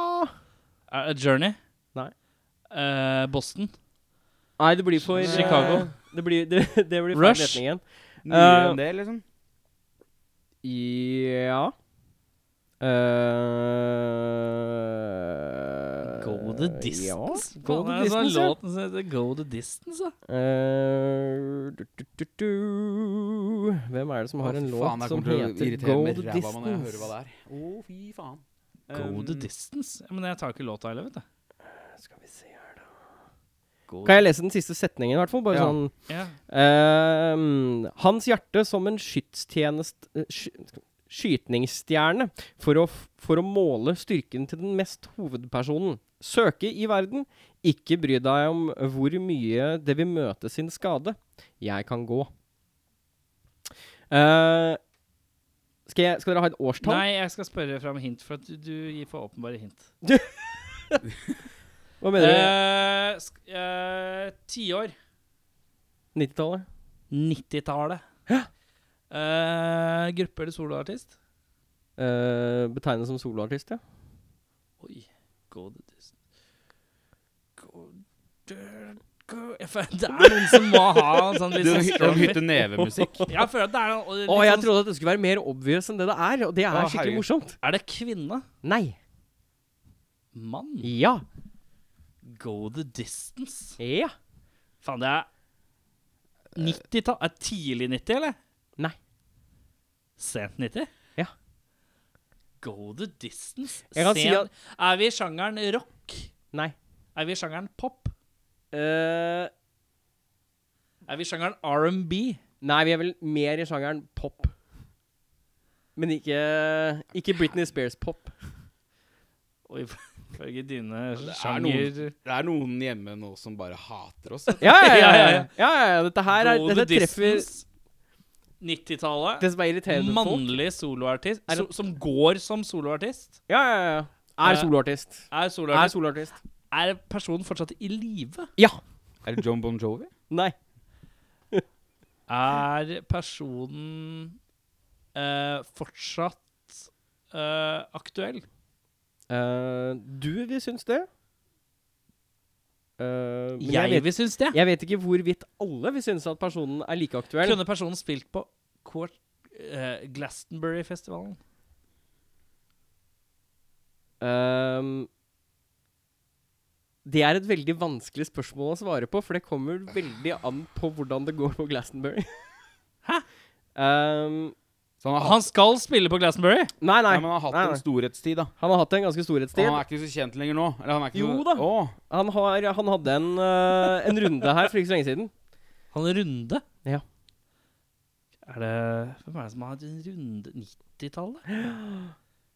Speaker 2: Er det Journey?
Speaker 1: Nei.
Speaker 2: Eh, Boston?
Speaker 1: Nei, det blir for eh,
Speaker 2: Chicago.
Speaker 1: det blir, det, det blir feil
Speaker 2: Rush.
Speaker 1: retning igjen.
Speaker 3: Nyere
Speaker 1: Eh,
Speaker 3: enn det, liksom?
Speaker 1: Ja Eh,
Speaker 2: Go the
Speaker 1: Ja.
Speaker 2: distance?
Speaker 1: Go
Speaker 2: Faen,
Speaker 1: the
Speaker 2: er det sånn
Speaker 1: distance, ja.
Speaker 2: Låten som heter Go the distance, da.
Speaker 1: Eh, du, du, du, du. Hvem er det som har en låt som heter Go the Distance?
Speaker 3: det er. Å, fy faen.
Speaker 1: Eh,
Speaker 3: Um,
Speaker 2: Go the distance? Ja, Men jeg tar ikke låta heller, vet du.
Speaker 1: Skal vi se her, da. Kan jeg lese den siste setningen, i hvert fall? Bare
Speaker 3: Ja.
Speaker 1: sånn
Speaker 2: Ja.
Speaker 1: Ehm, hans hjerte som en skytstjenest... eh, sky, skytningsstjerne for å, f- for å måle styrken til den mest hovedpersonen. Søke i verden. Ikke bry deg om hvor mye det vil møte sin skade. Jeg kan gå. Eh, skal, jeg, skal dere ha et årstall?
Speaker 2: Nei, jeg skal spørre fram hint, for at du, du gir for åpenbare hint.
Speaker 1: Hva mener du?
Speaker 2: Eh, sk- eh, Tiår.
Speaker 1: 90-tallet?
Speaker 2: 90-tallet. Eh, gruppe eller soloartist?
Speaker 1: Eh, betegnet som soloartist, ja.
Speaker 2: Oi. Go the distance. Go the- go- Jeg føler- Det er noen som må ha en sånn litt
Speaker 3: Du,
Speaker 2: sånn
Speaker 3: de
Speaker 2: strong
Speaker 3: hytter nevemusikk.
Speaker 2: Jeg føler at det er noe litt
Speaker 1: Å, jeg
Speaker 2: sånn-
Speaker 1: trodde at det skulle være mer obvious enn det det er. Og det er
Speaker 3: Å,
Speaker 1: skikkelig
Speaker 3: herregud.
Speaker 1: morsomt.
Speaker 2: Er det kvinne?
Speaker 1: Nei.
Speaker 2: Mann?
Speaker 1: Ja.
Speaker 2: Go the distance?
Speaker 1: Ja.
Speaker 2: Faen, det er 90-tall Er det tidlig 90, eller?
Speaker 1: Nei.
Speaker 2: Sent 90?
Speaker 1: Ja.
Speaker 2: Go the distance?
Speaker 1: Jeg kan si
Speaker 2: Sen- Er vi i sjangeren rock?
Speaker 1: Nei.
Speaker 2: Er vi i sjangeren pop?
Speaker 1: Eh,
Speaker 2: Er vi i sjangeren R&B?
Speaker 1: nei, vi er vel mer i sjangeren pop. Men ikke, ikke Britney Spears-pop.
Speaker 2: Og ifølge dine
Speaker 3: det er
Speaker 2: sjanger
Speaker 3: Det er noen hjemme nå som bare hater oss.
Speaker 1: Ja, ja, ja. ja,
Speaker 2: ja.
Speaker 1: ja, ja. Dette her er,
Speaker 2: Go the
Speaker 1: dette treffer
Speaker 2: distance 90-tallet.
Speaker 1: det som er irriterende for folk.
Speaker 2: Mannlig soloartist
Speaker 1: Er det-
Speaker 2: so, som går som soloartist.
Speaker 1: Ja, ja, ja. Er
Speaker 2: Eh,
Speaker 1: soloartist.
Speaker 2: Er
Speaker 1: Er
Speaker 2: soloartist
Speaker 1: soloartist.
Speaker 2: Er personen fortsatt i live?
Speaker 1: Ja.
Speaker 3: Er det John Bon Jovi?
Speaker 1: Nei.
Speaker 2: Er personen eh, fortsatt eh, aktuell?
Speaker 1: Eh, du vil synes det. Eh, men
Speaker 2: Jeg,
Speaker 1: jeg, vet,
Speaker 2: vil synes det.
Speaker 1: jeg vet ikke hvorvidt alle vil synes at personen er like aktuell.
Speaker 2: Kunne personen spilt på Quart eh, Glastonbury-festivalen?
Speaker 1: Ehm, det er et veldig vanskelig spørsmål å svare på, for det kommer veldig an på hvordan det går på Glastonbury.
Speaker 2: Hæ?
Speaker 1: Ehm,
Speaker 3: Så han har hatt,
Speaker 2: Han skal spille på Glastonbury!
Speaker 1: nei,
Speaker 3: nei,
Speaker 1: nei.
Speaker 3: men han har hatt
Speaker 1: nei,
Speaker 3: en
Speaker 1: nei.
Speaker 3: storhetstid, da.
Speaker 1: Han har hatt en ganske storhetstid.
Speaker 3: Han er ikke så kjent lenger nå. Eller han er ikke
Speaker 1: Jo
Speaker 3: noe-
Speaker 1: da.
Speaker 3: Å,
Speaker 1: Han, har, han hadde en, eh, en runde her for ikke så lenge siden.
Speaker 2: Han er runde.
Speaker 1: Ja.
Speaker 2: Er det Hvem er det som har hatt en runde 90-tallet?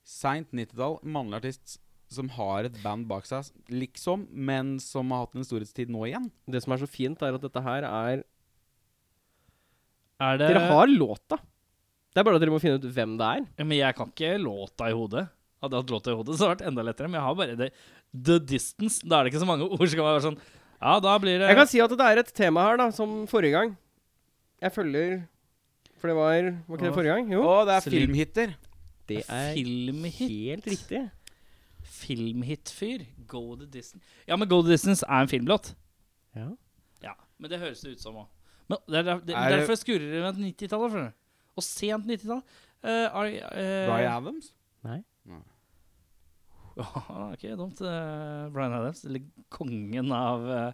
Speaker 3: Seint 90-tall, mannlig artist som har et band bak seg, liksom, men som har hatt en storhetstid nå igjen.
Speaker 1: Det som er så fint, er at dette her er
Speaker 2: Er
Speaker 3: Eh.
Speaker 2: det
Speaker 1: Dere har låta. Det er bare at dere må finne ut hvem det er.
Speaker 2: Ja, Men jeg kan ikke låta i hodet. Hadde jeg hatt låta i hodet, så hadde det vært enda lettere. Men jeg har bare det, The Distance. Da er det ikke så mange ord som kan være sånn Ja, da blir det
Speaker 1: Jeg
Speaker 3: Eh.
Speaker 1: kan si at det er et tema her, da, som forrige gang. Jeg følger For det var Var ikke det forrige gang? Jo.
Speaker 3: Å, det er
Speaker 2: Slim.
Speaker 3: filmhitter.
Speaker 1: Det er
Speaker 2: filmhit.
Speaker 1: helt riktig.
Speaker 2: Filmhitfyr. Go the Distance. Ja, men Go the Distance er en filmlåt.
Speaker 1: Ja.
Speaker 2: Ja, Men det høres det ut som òg. Men det er, der, det,
Speaker 3: Er det-
Speaker 2: derfor skurrer det med 90-tallet. skjønner du. Og sent 90-tall. Eh, er- eh,
Speaker 3: Bryan Adams.
Speaker 2: Ja, ok, dumt. eh, Bryan Adams, eller kongen av eh,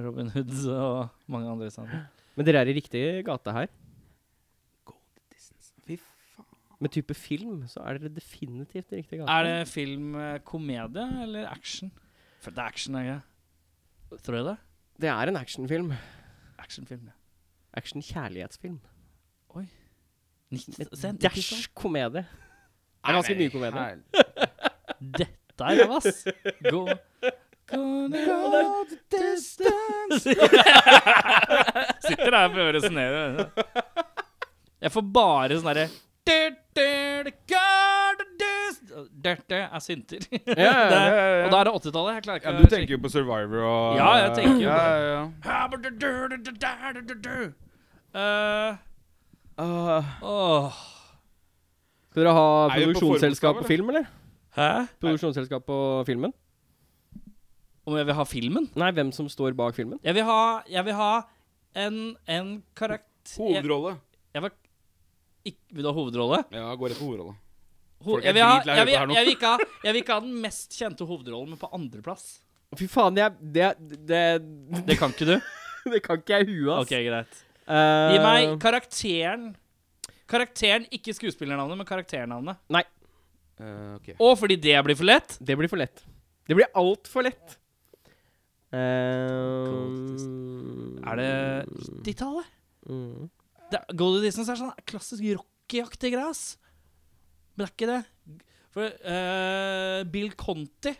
Speaker 2: Robin Hood og mange andre sammen.
Speaker 1: Men dere er i riktig gate her.
Speaker 3: Fy faen.
Speaker 1: Med type film så er dere definitivt i riktig gate.
Speaker 2: Er det film eh, komedie eller action? For det er action, er det ikke? Tror jeg det?
Speaker 1: Det er en actionfilm.
Speaker 2: Actionfilm, ja.
Speaker 1: Action-kjærlighetsfilm.
Speaker 2: Nitt- se,
Speaker 1: Med
Speaker 2: nittitall.
Speaker 1: dæsj komedie. Det er ganske mye komedie.
Speaker 3: Her-
Speaker 2: Dette er ræva, ass. Gå Gonna go the distance Sitter her og prøver å resonnere. Jeg får bare sånn derre du, du, du, go the distance. Dette er synter.
Speaker 3: ja, ja, ja, ja.
Speaker 2: Og da er det 80-tallet. Jeg klarer
Speaker 3: Ja,
Speaker 2: ikke
Speaker 3: du tenker jo på Survivor og
Speaker 2: Eh, Ja, jeg tenker jo
Speaker 3: ja,
Speaker 2: på
Speaker 3: ja, ja.
Speaker 2: jo uh,
Speaker 3: Ah,
Speaker 2: åh.
Speaker 1: Skal dere ha
Speaker 3: Er vi på
Speaker 1: produksjonsselskap
Speaker 3: forhåndsgave,
Speaker 1: på film, eller?
Speaker 2: Hæ?
Speaker 1: Produksjonsselskap på filmen?
Speaker 2: Om jeg vil ha filmen?
Speaker 1: Nei, hvem som står bak filmen?
Speaker 2: Jeg vil ha, jeg vil ha en, en karakter jeg,
Speaker 3: Hovedrolle.
Speaker 2: jeg vil, ikke, vil du ha hovedrolle?
Speaker 3: Ja, går rett på hovedrolle.
Speaker 2: Ho
Speaker 3: Folk er
Speaker 2: jeg, vil ha,
Speaker 3: dritlei av å
Speaker 2: jeg, vil,
Speaker 3: høre på her nå.
Speaker 2: jeg, vil ikke ha, jeg vil ikke ha den mest kjente hovedrollen, men på andreplass.
Speaker 1: Fy faen, jeg Det, det, det,
Speaker 2: Det kan ikke du?
Speaker 1: det kan ikke jeg huet, ass.
Speaker 2: Ok, greit.
Speaker 1: Eh,
Speaker 2: Gi meg karakteren Karakteren, ikke skuespillernavnet, men karakternavnet.
Speaker 3: Eh, ok.
Speaker 2: Og fordi det blir for lett
Speaker 1: Det blir for lett. Det blir altfor lett. Eh,
Speaker 2: Er det 90-tallet?
Speaker 1: mm.
Speaker 2: Det er- Go to Distance er sånn klassisk rockyaktig greie, ass. Men det er ikke det. For eh, Bill Conti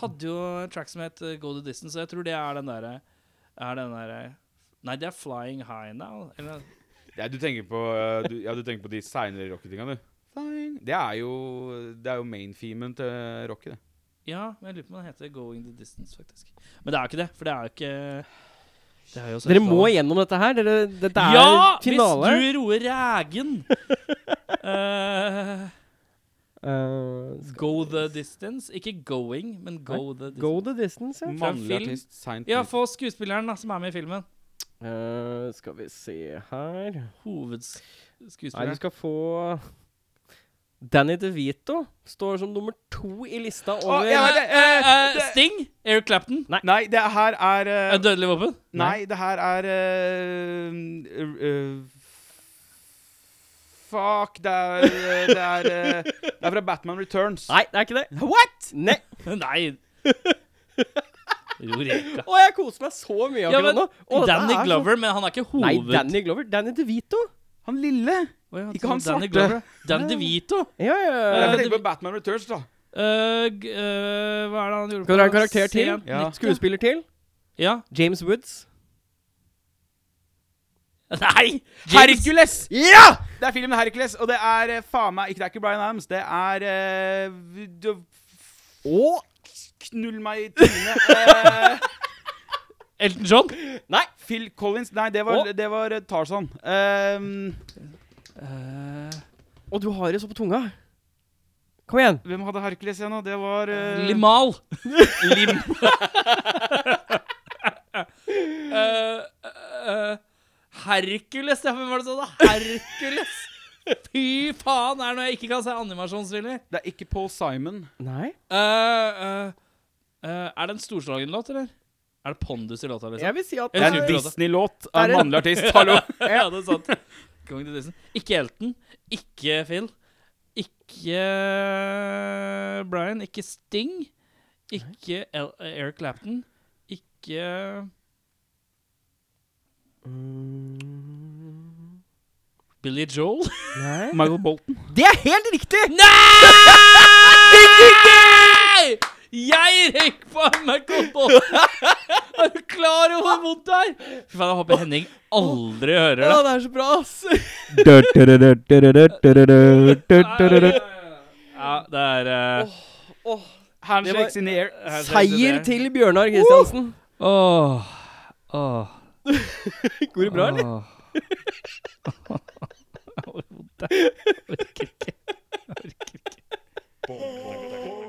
Speaker 2: hadde jo en track som het eh, Go to Distance, og jeg tror det er den derre Er den derre Nei, det er Flying High Now. Eller
Speaker 3: Ja, du tenker på, eh, du, ja, du tenker på de seinere rocketinga, du. Flying. Det er jo, det er jo main-femen til Rocky, det.
Speaker 2: Ja, men jeg lurer på om den heter Going the Distance, faktisk. Men det er jo ikke det, for det er jo ikke det er jo
Speaker 1: Dere må gjennom dette her. Dere, dette er
Speaker 2: Ja!
Speaker 1: finale.
Speaker 2: Hvis du roer rægen! Eh,
Speaker 1: Eh, skal-
Speaker 2: go the distance. Ikke going, men go the distance.
Speaker 1: go the distance,
Speaker 2: Mm.
Speaker 1: ja.
Speaker 3: Mannlig
Speaker 2: film.
Speaker 3: artist seint
Speaker 2: Ja, få skuespilleren da, som er med i filmen.
Speaker 1: Eh, skal vi se her Nei, du
Speaker 2: Hovedskuespilleren.
Speaker 1: skal få Danny DeVito står som nummer to i lista over
Speaker 3: jeg vet det, eh,
Speaker 2: Eh,
Speaker 3: det-
Speaker 2: Sting? Eric Clapton?
Speaker 3: Nei, det her er eh,
Speaker 2: Eh, Dødelig våpen?
Speaker 3: Nei, det her er eh, eh, eh, Fuck, det er eh, Det er, eh, det er fra Batman Returns.
Speaker 1: Nei, det er ikke det. What?! Nei.
Speaker 2: Nei. Roreka.
Speaker 1: Å, jeg koser meg så mye
Speaker 2: Ja,
Speaker 1: akkurat
Speaker 2: men
Speaker 1: nå. Å, dette
Speaker 2: Danny
Speaker 1: er så-
Speaker 2: Glover, men han er ikke hoved...
Speaker 1: Nei, Danny Glover. Danny DeVito.
Speaker 3: Han lille!
Speaker 2: Å ja,
Speaker 3: Ikke han
Speaker 2: Danny
Speaker 3: svarte.
Speaker 2: Glover. Danny DeVito.
Speaker 1: Ja, ja,
Speaker 3: Det er
Speaker 1: ja.
Speaker 3: derfor jeg
Speaker 2: Eh, det-
Speaker 3: tenker på Batman Returns, da.
Speaker 2: Øh, g- øh, hva er det han gjorde
Speaker 1: Skal dere ha en karakter til?
Speaker 2: Sent
Speaker 3: Ja.
Speaker 2: nytt skuespill?
Speaker 1: Skuespiller til.
Speaker 2: Ja.
Speaker 1: James Woods.
Speaker 2: Nei! Herregud!
Speaker 3: Hercules!
Speaker 1: Ja!
Speaker 3: Det er filmen Hercules, og det er eh, faen meg ikke, Det er ikke Bryan Adams, det er eh, v- du-
Speaker 1: Og
Speaker 3: Knull meg i trynet. eh,
Speaker 2: Elton John?
Speaker 1: Nei.
Speaker 3: Phil Collins Nei, det var,
Speaker 1: Å.
Speaker 3: det var eh, Tarzan. Ehm,
Speaker 2: Øh,
Speaker 1: Og du har det så på tunga. Kom igjen.
Speaker 3: hvem hadde Hercules igjen, da? Det var eh,
Speaker 2: Limal. Lim. Øh, øh, Hercules, ja. Hvem var det som sa det? Hercules! Fy faen, det er noe jeg ikke kan se animasjonsfilmer.
Speaker 3: Det er ikke Paul Simon.
Speaker 1: Nei.
Speaker 2: Øh, øh, øh, er det en storslagen låt, eller? Er det pondus i låta? liksom?
Speaker 1: Jeg vil si at
Speaker 2: Det er en dis-
Speaker 3: Disney-låt
Speaker 1: av en mannlig
Speaker 3: artist. Hallo!
Speaker 2: ja, det er sant. Going to Disney. Ikke Elton, ikke Phil, ikke Brian, ikke Sting, ikke El eh, Eric Clapton, ikke Billy Joel.
Speaker 1: Nei.
Speaker 3: Michael Bolton.
Speaker 1: Mm. Det er helt riktig!
Speaker 2: Nei! Jeg røyk på Michael Bolton! Er du klar over hvor vondt det er? Fy faen, jeg håper Henning aldri hører
Speaker 1: Å,
Speaker 2: det.
Speaker 1: det er så bra, ass.
Speaker 2: Ja, det er eh,
Speaker 1: Åh,
Speaker 3: Handshakes in the air.
Speaker 2: her ser det
Speaker 1: Seier
Speaker 2: ut
Speaker 1: til Bjørnar Kristiansen.
Speaker 2: Åh, åh,
Speaker 1: Går det bra, eller?
Speaker 2: åh. Hvor vondt det er. Jeg orker ikke. Jeg orker ikke.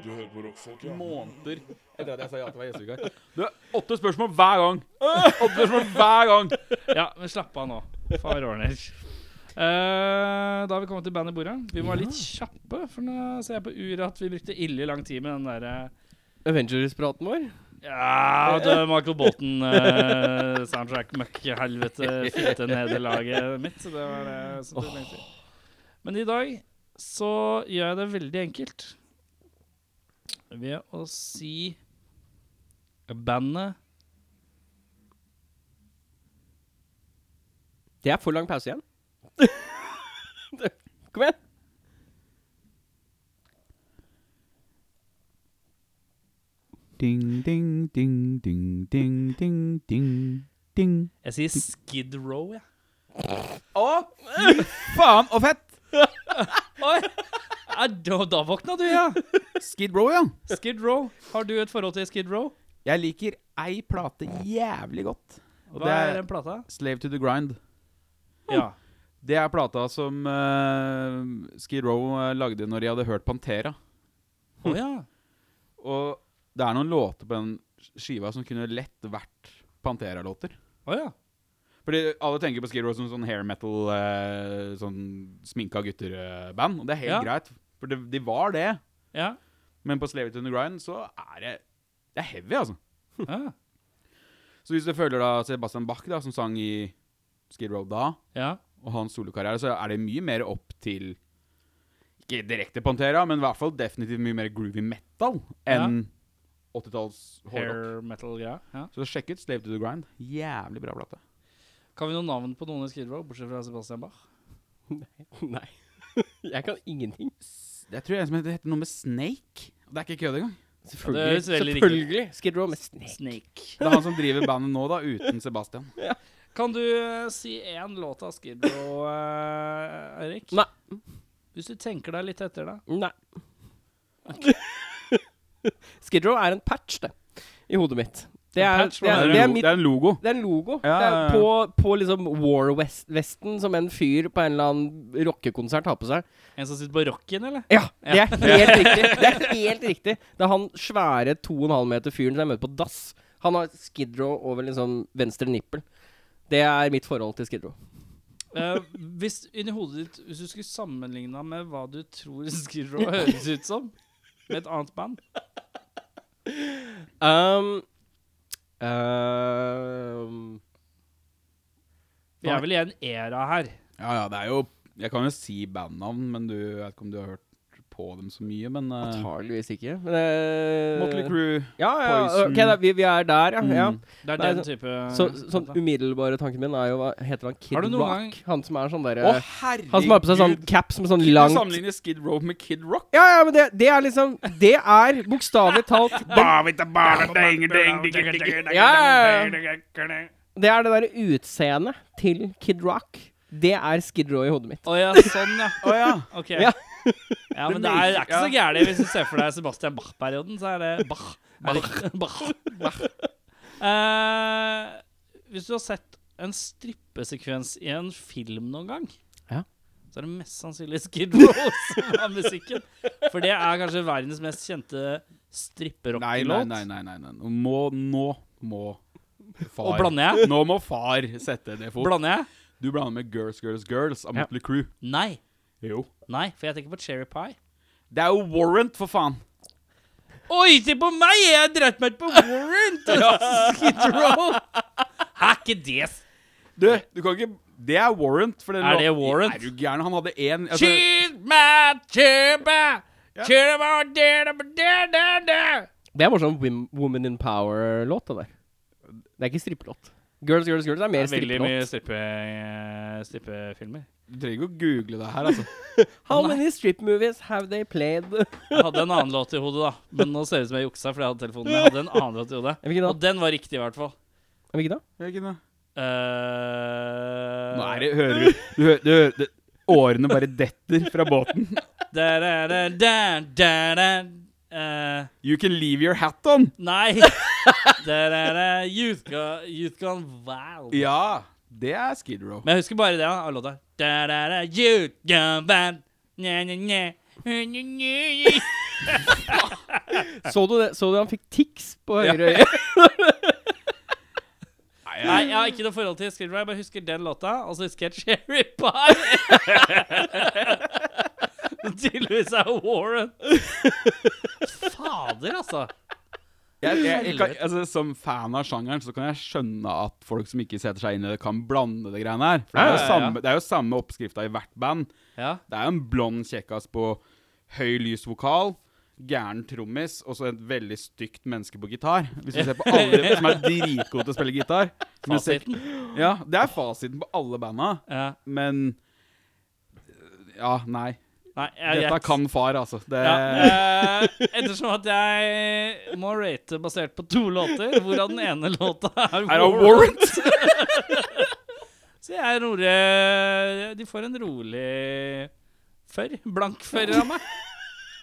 Speaker 5: Du hører på rockfolk, ja.
Speaker 3: Måneder etter at jeg sa ja til å være gjestevikar. Du, åtte spørsmål hver gang. Åtte spørsmål hver gang.
Speaker 2: Ja, men slapp av nå. Far ordner. Eh, da har vi kommet til bandet i bordet. Vi må være litt kjappe, for nå ser jeg på uret at vi brukte ille lang tid med den derre
Speaker 1: Avengers-praten vår.
Speaker 2: Ja, det er Michael Bolton-soundtrack. Møkk-helvete, fitte-nederlaget mitt. så Det var det som du tenkte. Men i dag så gjør jeg det veldig enkelt ved å si bandet
Speaker 1: Det er for lang pause igjen. Det- Kom igjen!
Speaker 6: Ding, ding, ding, ding, ding, ding, ding, ding.
Speaker 2: Jeg sier Skid Row, jeg.
Speaker 3: Faen og fett!
Speaker 2: Ja. Da, da våkna du, ja.
Speaker 3: Skid Row, ja.
Speaker 2: Skid Row. Har du et forhold til Skid Row?
Speaker 3: Jeg liker ei plate jævlig godt. Og
Speaker 2: Hva
Speaker 3: det
Speaker 2: er
Speaker 3: er
Speaker 2: den plata?
Speaker 3: Slave to the Grind.
Speaker 2: Ja.
Speaker 3: Det er plata som eh, Skid Row eh, lagde når de hadde hørt Pantera.
Speaker 2: Å ja.
Speaker 3: Og det er noen låter på den skiva som kunne lett vært Pantera-låter.
Speaker 2: Å ja.
Speaker 3: Fordi alle tenker på Skid Row som sånn hair metal, eh, sånn sminka gutter-band. Og det er helt
Speaker 2: Ja.
Speaker 3: greit, for det, de var det.
Speaker 2: Ja.
Speaker 3: Men på Slave to the Grind så er det Det er heavy, altså.
Speaker 2: Ja.
Speaker 3: Så hvis du følger da Sebastian Bach, da, som sang i Skid Row da,
Speaker 2: ja.
Speaker 3: og hans solokarriere, så er det mye mer opp til Ikke direkte Pantera, men i hvert fall definitivt mye mer groovy metal enn 80-talls hårdrock.
Speaker 2: Hair metal-greia. Ja.
Speaker 3: Så sjekk ut Slave to the Grind. Jævlig bra plate.
Speaker 2: Kan vi noen navn på noen i Skid Row, bortsett fra Sebastian Bach?
Speaker 1: Nei. Jeg kan ingenting.
Speaker 3: Jeg tror en som heter, heter noe med Snake. Det er ikke kødd engang.
Speaker 2: Ja,
Speaker 1: Selvfølgelig.
Speaker 2: det høres veldig riktig ut.
Speaker 1: Selvfølgelig. Skid Row med Snake.
Speaker 2: Snake.
Speaker 3: Det er han som driver bandet nå, da, uten Sebastian.
Speaker 2: Kan du eh, si én låt av Skid Row, eh, Eirik?
Speaker 1: Nei.
Speaker 2: Hvis du tenker deg litt etter, da.
Speaker 1: Nei. Skid Row er en patch, det. I hodet mitt. Det
Speaker 2: En
Speaker 1: er,
Speaker 2: patch,
Speaker 1: det
Speaker 2: hva
Speaker 1: er,
Speaker 2: er
Speaker 1: det er,
Speaker 3: lo-
Speaker 1: mitt,
Speaker 3: det er en logo.
Speaker 1: det er en logo.
Speaker 3: Ja,
Speaker 1: det
Speaker 3: ja,
Speaker 1: er
Speaker 3: ja.
Speaker 1: på, på liksom War-vesten som en fyr på en eller annen rockekonsert har på seg.
Speaker 2: En som sitter på rocken, eller?
Speaker 1: Ja, det er helt riktig. Det er helt riktig. Det er han svære 2,5 meter fyren som jeg møter på dass. Han har Skid Row over liksom venstre nippel. Det er mitt forhold til Skid Row.
Speaker 2: Eh, hvis, inni hodet ditt, hvis du skulle sammenligna med hva du tror Skid Row høres ut som, med et annet band
Speaker 1: Um, um,
Speaker 2: Vi er vel i en era her.
Speaker 3: Ja, ja, det er jo Jeg kan jo si bandnavn, men du jeg vet ikke om du har hørt på dem så mye, men eh,
Speaker 1: antageligvis ikke. Men, eh,
Speaker 3: Motley Crew
Speaker 1: Ja, ja, ja.
Speaker 3: Poison.
Speaker 1: ok, da, vi, vi er der, ja. ja.
Speaker 3: Mm.
Speaker 2: Det er
Speaker 1: Nei,
Speaker 2: den
Speaker 1: så-
Speaker 2: type
Speaker 1: Så, sånn umiddelbare tanken min er jo Hva heter han? Kid
Speaker 2: Har du noen
Speaker 1: Rock?
Speaker 2: gang-
Speaker 1: Han som er sånn derre
Speaker 3: Å, herregud!
Speaker 1: Han som har på seg sånn caps med sånn
Speaker 3: Du
Speaker 1: langt
Speaker 3: sammenligner Skid Row med Kid Rock.
Speaker 1: Ja, ja, men det, det er liksom Det er bokstavelig talt den, Det er det derre utseendet til Kid Rock. Det er Skid Row i hodet mitt.
Speaker 2: Å ja, sånn, ja.
Speaker 3: Å ja.
Speaker 2: Ok.
Speaker 1: Ja.
Speaker 2: Ja, men det er, er ikke så gærent hvis du ser for deg Sebastian Bach-perioden, så er det Bach. Er det- Bach. Bach. Eh, hvis du har sett en strippesekvens i en film noen gang,
Speaker 1: Ja.
Speaker 2: så er det mest sannsynlig Skid Row som er musikken. For det er kanskje verdens mest kjente
Speaker 3: Nei, nei,
Speaker 2: stripperockelåt.
Speaker 3: nei, nei, nei, nei. Nå Må, nå må far
Speaker 2: Og blander jeg?
Speaker 3: Nå må far sette det fort.
Speaker 2: Blander jeg?
Speaker 3: Du blander med Girls Girls Girls av
Speaker 1: Ja.
Speaker 3: Motley Crew.
Speaker 2: Nei.
Speaker 3: Jo.
Speaker 2: Nei, for jeg tenker på Cherry Pie.
Speaker 3: Det er jo Warrant, for faen!
Speaker 2: Oi, se på meg! Jeg har dratt meg ut på Warrant og Skid Row! Er ikke det s-
Speaker 3: Du, du kan ikke Det er Warrant. For den
Speaker 2: Er det
Speaker 3: låten-
Speaker 2: Warrant?
Speaker 3: Er du gæren? Han hadde én altså,
Speaker 2: She's my chipper! Chipper, da, da, da, da.
Speaker 1: Det er bare sånn Wim, Woman in Power-låt, det der. Det er ikke strippelåt. Girls, Girls, Girls er mer
Speaker 2: Veldig mye
Speaker 1: strippelåt.
Speaker 2: strippe, eh, strippefilmer.
Speaker 3: Du trenger ikke å google det her, altså.
Speaker 1: How many strip movies have they played?
Speaker 2: Jeg hadde en annen låt i hodet, da. Men nå ser det ut som jeg juksa, fordi jeg hadde telefonen. Jeg hadde en annen låt i hodet.
Speaker 1: Hvilken da?
Speaker 2: Og den var riktig, i hvert fall.
Speaker 1: Hvilken da?
Speaker 3: Jeg vet ikke, nå.
Speaker 2: Eh,
Speaker 3: Nå er det Hører du Du hører, du hører det, Årene bare detter fra båten.
Speaker 2: da, da, da, da, da, da. Eh,
Speaker 3: You can leave your hat on!
Speaker 2: Nei! Der er det Youth Gone, youth gone Wild.
Speaker 3: Ja, det er Skid Row.
Speaker 2: Men jeg husker bare det da, av låta. Der er det Youth Gone Wild. Nye, nye, nye. Nye, nye, nye.
Speaker 1: Så du, det, så du han fikk tics på høyre øye?
Speaker 2: Nei, jeg har ikke noe forhold til Skid Row. Jeg bare husker den låta, og så husker jeg Cherry Pie. Som Tydeligvis er Warren. Fader, altså.
Speaker 3: Jeg, jeg, kan, altså, som fan av sjangeren så kan jeg skjønne at folk som ikke setter seg inn i det, kan blande det greiene her. For det er
Speaker 2: Ja,
Speaker 3: jo
Speaker 2: ja, ja.
Speaker 3: samme, det er jo samme oppskrifta i hvert band.
Speaker 2: Ja.
Speaker 3: Det er jo en blond kjekkas på høy lys vokal, gæren trommis og så et veldig stygt menneske på gitar. Hvis du ser på alle som er dritgode til å spille gitar. Som du ser-
Speaker 2: Fasiten.
Speaker 3: Ja, det er fasiten på alle banda,
Speaker 2: Ja.
Speaker 3: men Ja, nei.
Speaker 2: Nei, jeg,
Speaker 3: Dette
Speaker 2: jeg,
Speaker 3: kan far, altså. Det,
Speaker 2: Ja, eh, ettersom at jeg må rate basert på to låter, hvorav den ene låta er
Speaker 3: Er det warrant?
Speaker 2: Så jeg roer De får en rolig førr. Blank førr av meg.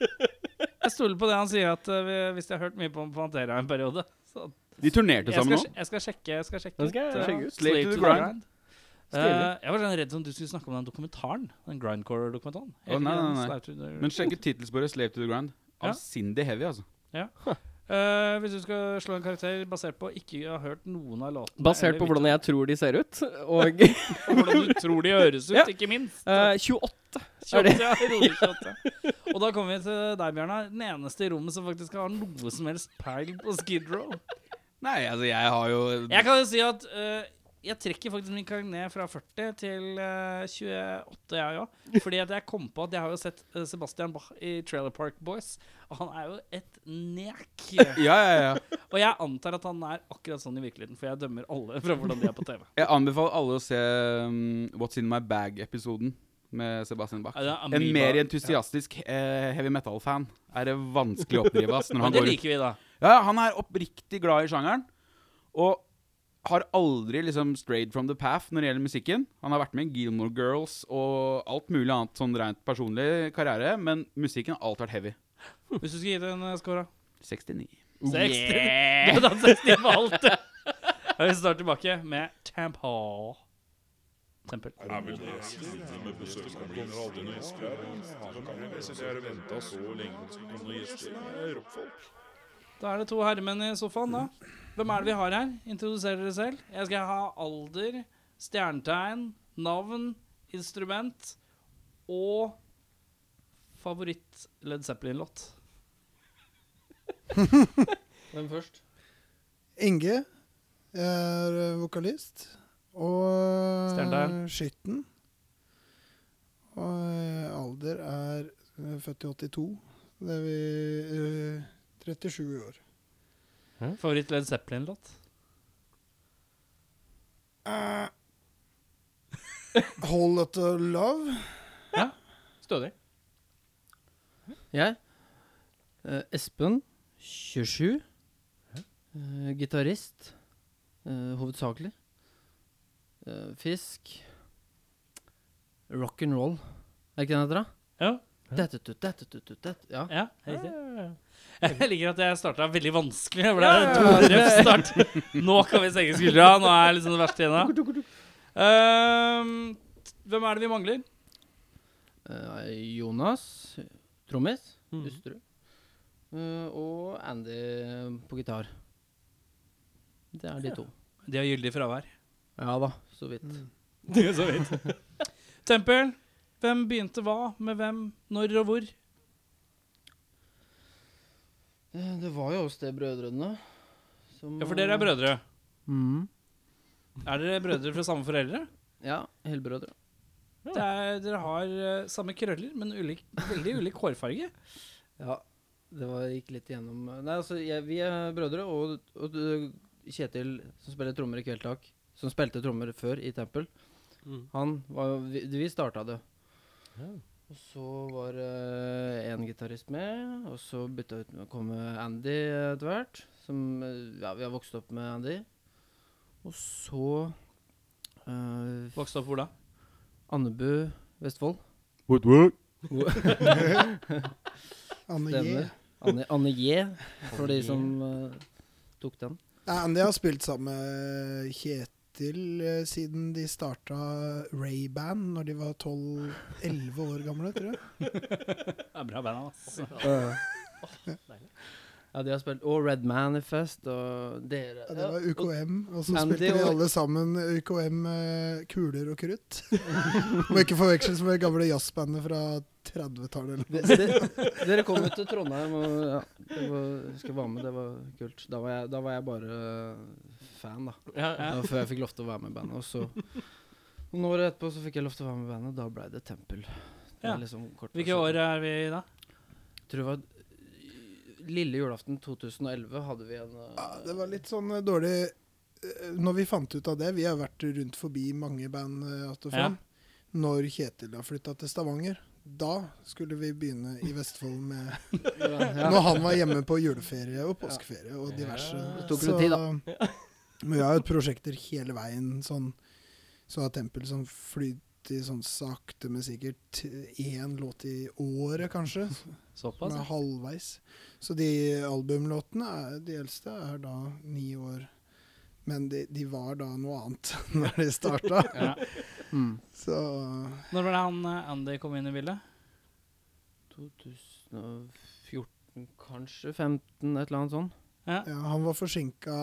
Speaker 2: Jeg stoler på det han sier, at eh, vi- hvis jeg har hørt mye på Pantera en periode så
Speaker 3: De turnerte
Speaker 2: jeg, skal,
Speaker 3: sammen nå.
Speaker 2: sj- jeg skal sjekke. Jeg skal sjekke
Speaker 4: Den skal
Speaker 2: ut,
Speaker 4: jeg
Speaker 2: eh,
Speaker 4: sjekke ut.
Speaker 2: Slave
Speaker 3: Slave
Speaker 2: to
Speaker 3: to
Speaker 2: the
Speaker 3: the
Speaker 2: Grind. Eh, jeg var sånn redd som du skulle snakke om den dokumentaren. Den Grindcore-dokumentaren.
Speaker 3: Å, nei, nei, nei.
Speaker 2: Slave to the-
Speaker 3: Men sjekk ut tittelsporet 'Slave to the Ground'
Speaker 2: Ja.
Speaker 3: av Cindy Heavy, altså.
Speaker 2: Eh, hvis du skal slå en karakter basert på ikke å ha hørt noen av låtene
Speaker 4: Basert
Speaker 2: eller
Speaker 4: på
Speaker 2: hvilke-
Speaker 4: hvordan jeg tror de ser ut. Og eh,
Speaker 2: og hvordan du tror de høres ut,
Speaker 4: Ja.
Speaker 2: ikke minst.
Speaker 1: Eh,
Speaker 4: 28.
Speaker 2: 28,
Speaker 4: er det-
Speaker 2: ja, rolig 28. Og da kommer vi til deg, Bjørnar. Den eneste i rommet som faktisk har noe som helst peil på Skid Row.
Speaker 3: Nei, altså, jeg har jo
Speaker 2: Jeg kan jo si at eh, jeg trekker faktisk min karakter ned fra 40 til eh, 28, jeg òg. Fordi at jeg kom på at jeg har jo sett eh, Sebastian Bach i Trailer Park Boys, og han er jo et nek.
Speaker 3: Ja, ja, ja.
Speaker 2: Og jeg antar at han er akkurat sånn i virkeligheten, for jeg dømmer alle fra hvordan de er på TV.
Speaker 3: Jeg anbefaler alle å se um, What's In My Bag-episoden med Sebastian Bach.
Speaker 2: Ja, det er
Speaker 3: En
Speaker 2: Amoeba.
Speaker 3: mer entusiastisk eh, heavy metal-fan er det vanskelig å oppdrive. ass, når
Speaker 2: Men
Speaker 3: han,
Speaker 2: det
Speaker 3: går ut.
Speaker 2: liker vi, da.
Speaker 3: Ja, ja, han er oppriktig glad i sjangeren, og har aldri liksom strayed from the path når det gjelder musikken. Han har vært med i Gilmore Girls og alt mulig annet sånn rent personlig karriere, men musikken har alltid vært heavy.
Speaker 2: Hvis du skal gi det en eh, score, da.
Speaker 3: 69.
Speaker 2: 60. Du kan danse stiv på alt. Ja, Vi starter tilbake med Tempo. Tempel.
Speaker 7: Er vel det siste med besøkende gjester? Her kan vi sitte vente så lenge på noen gjester. Det er Rockfolk.
Speaker 2: Da er det to herremenn i sofaen, da. Hvem er det vi har her? Introduser dere selv. Jeg skal ha alder, stjernetegn, navn, instrument og favoritt Led Zeppelin-låt. Hvem først?
Speaker 8: Inge er eh, vokalist. Og eh,
Speaker 2: Stjernetegn.
Speaker 8: Skytten. Og eh, alder er eh, født i 82. Det er vi eh, 37 år.
Speaker 2: Favoritt Led Zeppelin-låt?
Speaker 8: Eh, Whole Lot of Love.
Speaker 2: Stødig.
Speaker 1: Jeg. eh, Espen, 27. eh, Gitarist, eh, hovedsakelig. Eh, fisk. Rock and roll. Er ikke den det heter, da?
Speaker 2: Ja.
Speaker 1: Dette, tut, dette, tut, tut, dette. Ja.
Speaker 2: Ja, riktig. Jeg liker at jeg starta veldig vanskelig. Jeg ble en to røff start. Nå kan vi senke skuldra. Nå er liksom det verste igjen. da. Ehm, hvem er det vi mangler?
Speaker 1: Eh, Jonas, trommis,
Speaker 2: Mm.
Speaker 4: Mhm.
Speaker 1: hustru. Eh, og Andy på gitar. Det er de to.
Speaker 2: De har gyldig fravær.
Speaker 1: Ja da, så vidt.
Speaker 2: Det er så vidt. Tempel. Hvem begynte hva, med hvem, når og hvor?
Speaker 1: Eh, det var jo hos de brødrene. som,
Speaker 2: Ja, for dere er brødre.
Speaker 1: Mhm.
Speaker 2: Er dere brødre fra samme foreldre?
Speaker 1: Ja, helbrødre.
Speaker 2: Det er, dere har eh, samme krøller, men ulik, veldig ulik hårfarge.
Speaker 1: Ja, det var, gikk litt igjennom Nei, altså, jeg, vi er brødre, og, og du- Kjetil, som spiller trommer i Kveldtak, som spilte trommer før i Tempel,
Speaker 4: Mm.
Speaker 1: han var jo Vi, vi starta det. Og så var det en gitarist med, og så bytta ut med, kom Andy etter hvert. Som eh, Ja, vi har vokst opp med Andy. Og så eh,
Speaker 2: Vokste opp hvor da?
Speaker 1: Andebu Vestfold.
Speaker 8: Anne J.
Speaker 1: Stemmer. Anne, Anne J, for de som eh, tok den.
Speaker 8: Nei, Andy har spilt sammen med Kjetil eh, siden de starta Ray-band når de var 12-11 år gamle, tror jeg.
Speaker 2: Det er bra band, ass.
Speaker 1: Ja, de har spilt Og Red Manifest og dere.
Speaker 8: Ja, det var UKM, og så
Speaker 1: Andy
Speaker 8: spilte de
Speaker 1: og-
Speaker 8: alle sammen UKM eh, Kuler og krutt. Må ikke forveksles med det gamle jazzbandet fra 30-tallet eller
Speaker 1: Det, det, dere kom jo til Trondheim, og ja, det var, jeg husker jeg var med. Det var kult. Da var jeg, da var jeg bare eh, fan, da.
Speaker 4: Ja,
Speaker 1: Det var før jeg fikk lov til å være med i bandet. Og så noen år etterpå så fikk jeg lov til å være med i bandet. Da ble det Tempel. Det
Speaker 2: Ja.
Speaker 1: er liksom kort
Speaker 2: Hvilke
Speaker 1: versjon.
Speaker 2: år er vi i da?
Speaker 1: Jeg tror det var lille julaften 2011 hadde vi en eh,
Speaker 8: Ja, det var litt sånn eh, dårlig eh, Når vi fant ut av det Vi har vært rundt forbi mange band eh, att og
Speaker 2: Ja.
Speaker 8: fram. Når Kjetil har flytta til Stavanger, da skulle vi begynne i Vestfold med
Speaker 1: ja.
Speaker 8: Når han var hjemme på juleferie og påskeferie og diverse.
Speaker 1: Det tok litt tid, da.
Speaker 8: Men vi har jo prosjekter hele veien. Sånn, så har Tempel sånn flyter sånn sakte, men sikkert én låt i året, kanskje. Som
Speaker 2: Såpass?
Speaker 8: er
Speaker 2: ja.
Speaker 8: halvveis. Så de albumlåtene, er, de eldste, er da ni år. Men de, de var da noe annet når de starta.
Speaker 2: Ja.
Speaker 1: Mm.
Speaker 8: Så
Speaker 2: Når var det han eh, Andy kom inn i bildet?
Speaker 1: 2014, kanskje? 15, et eller annet sånt.
Speaker 8: ja, han var forsinka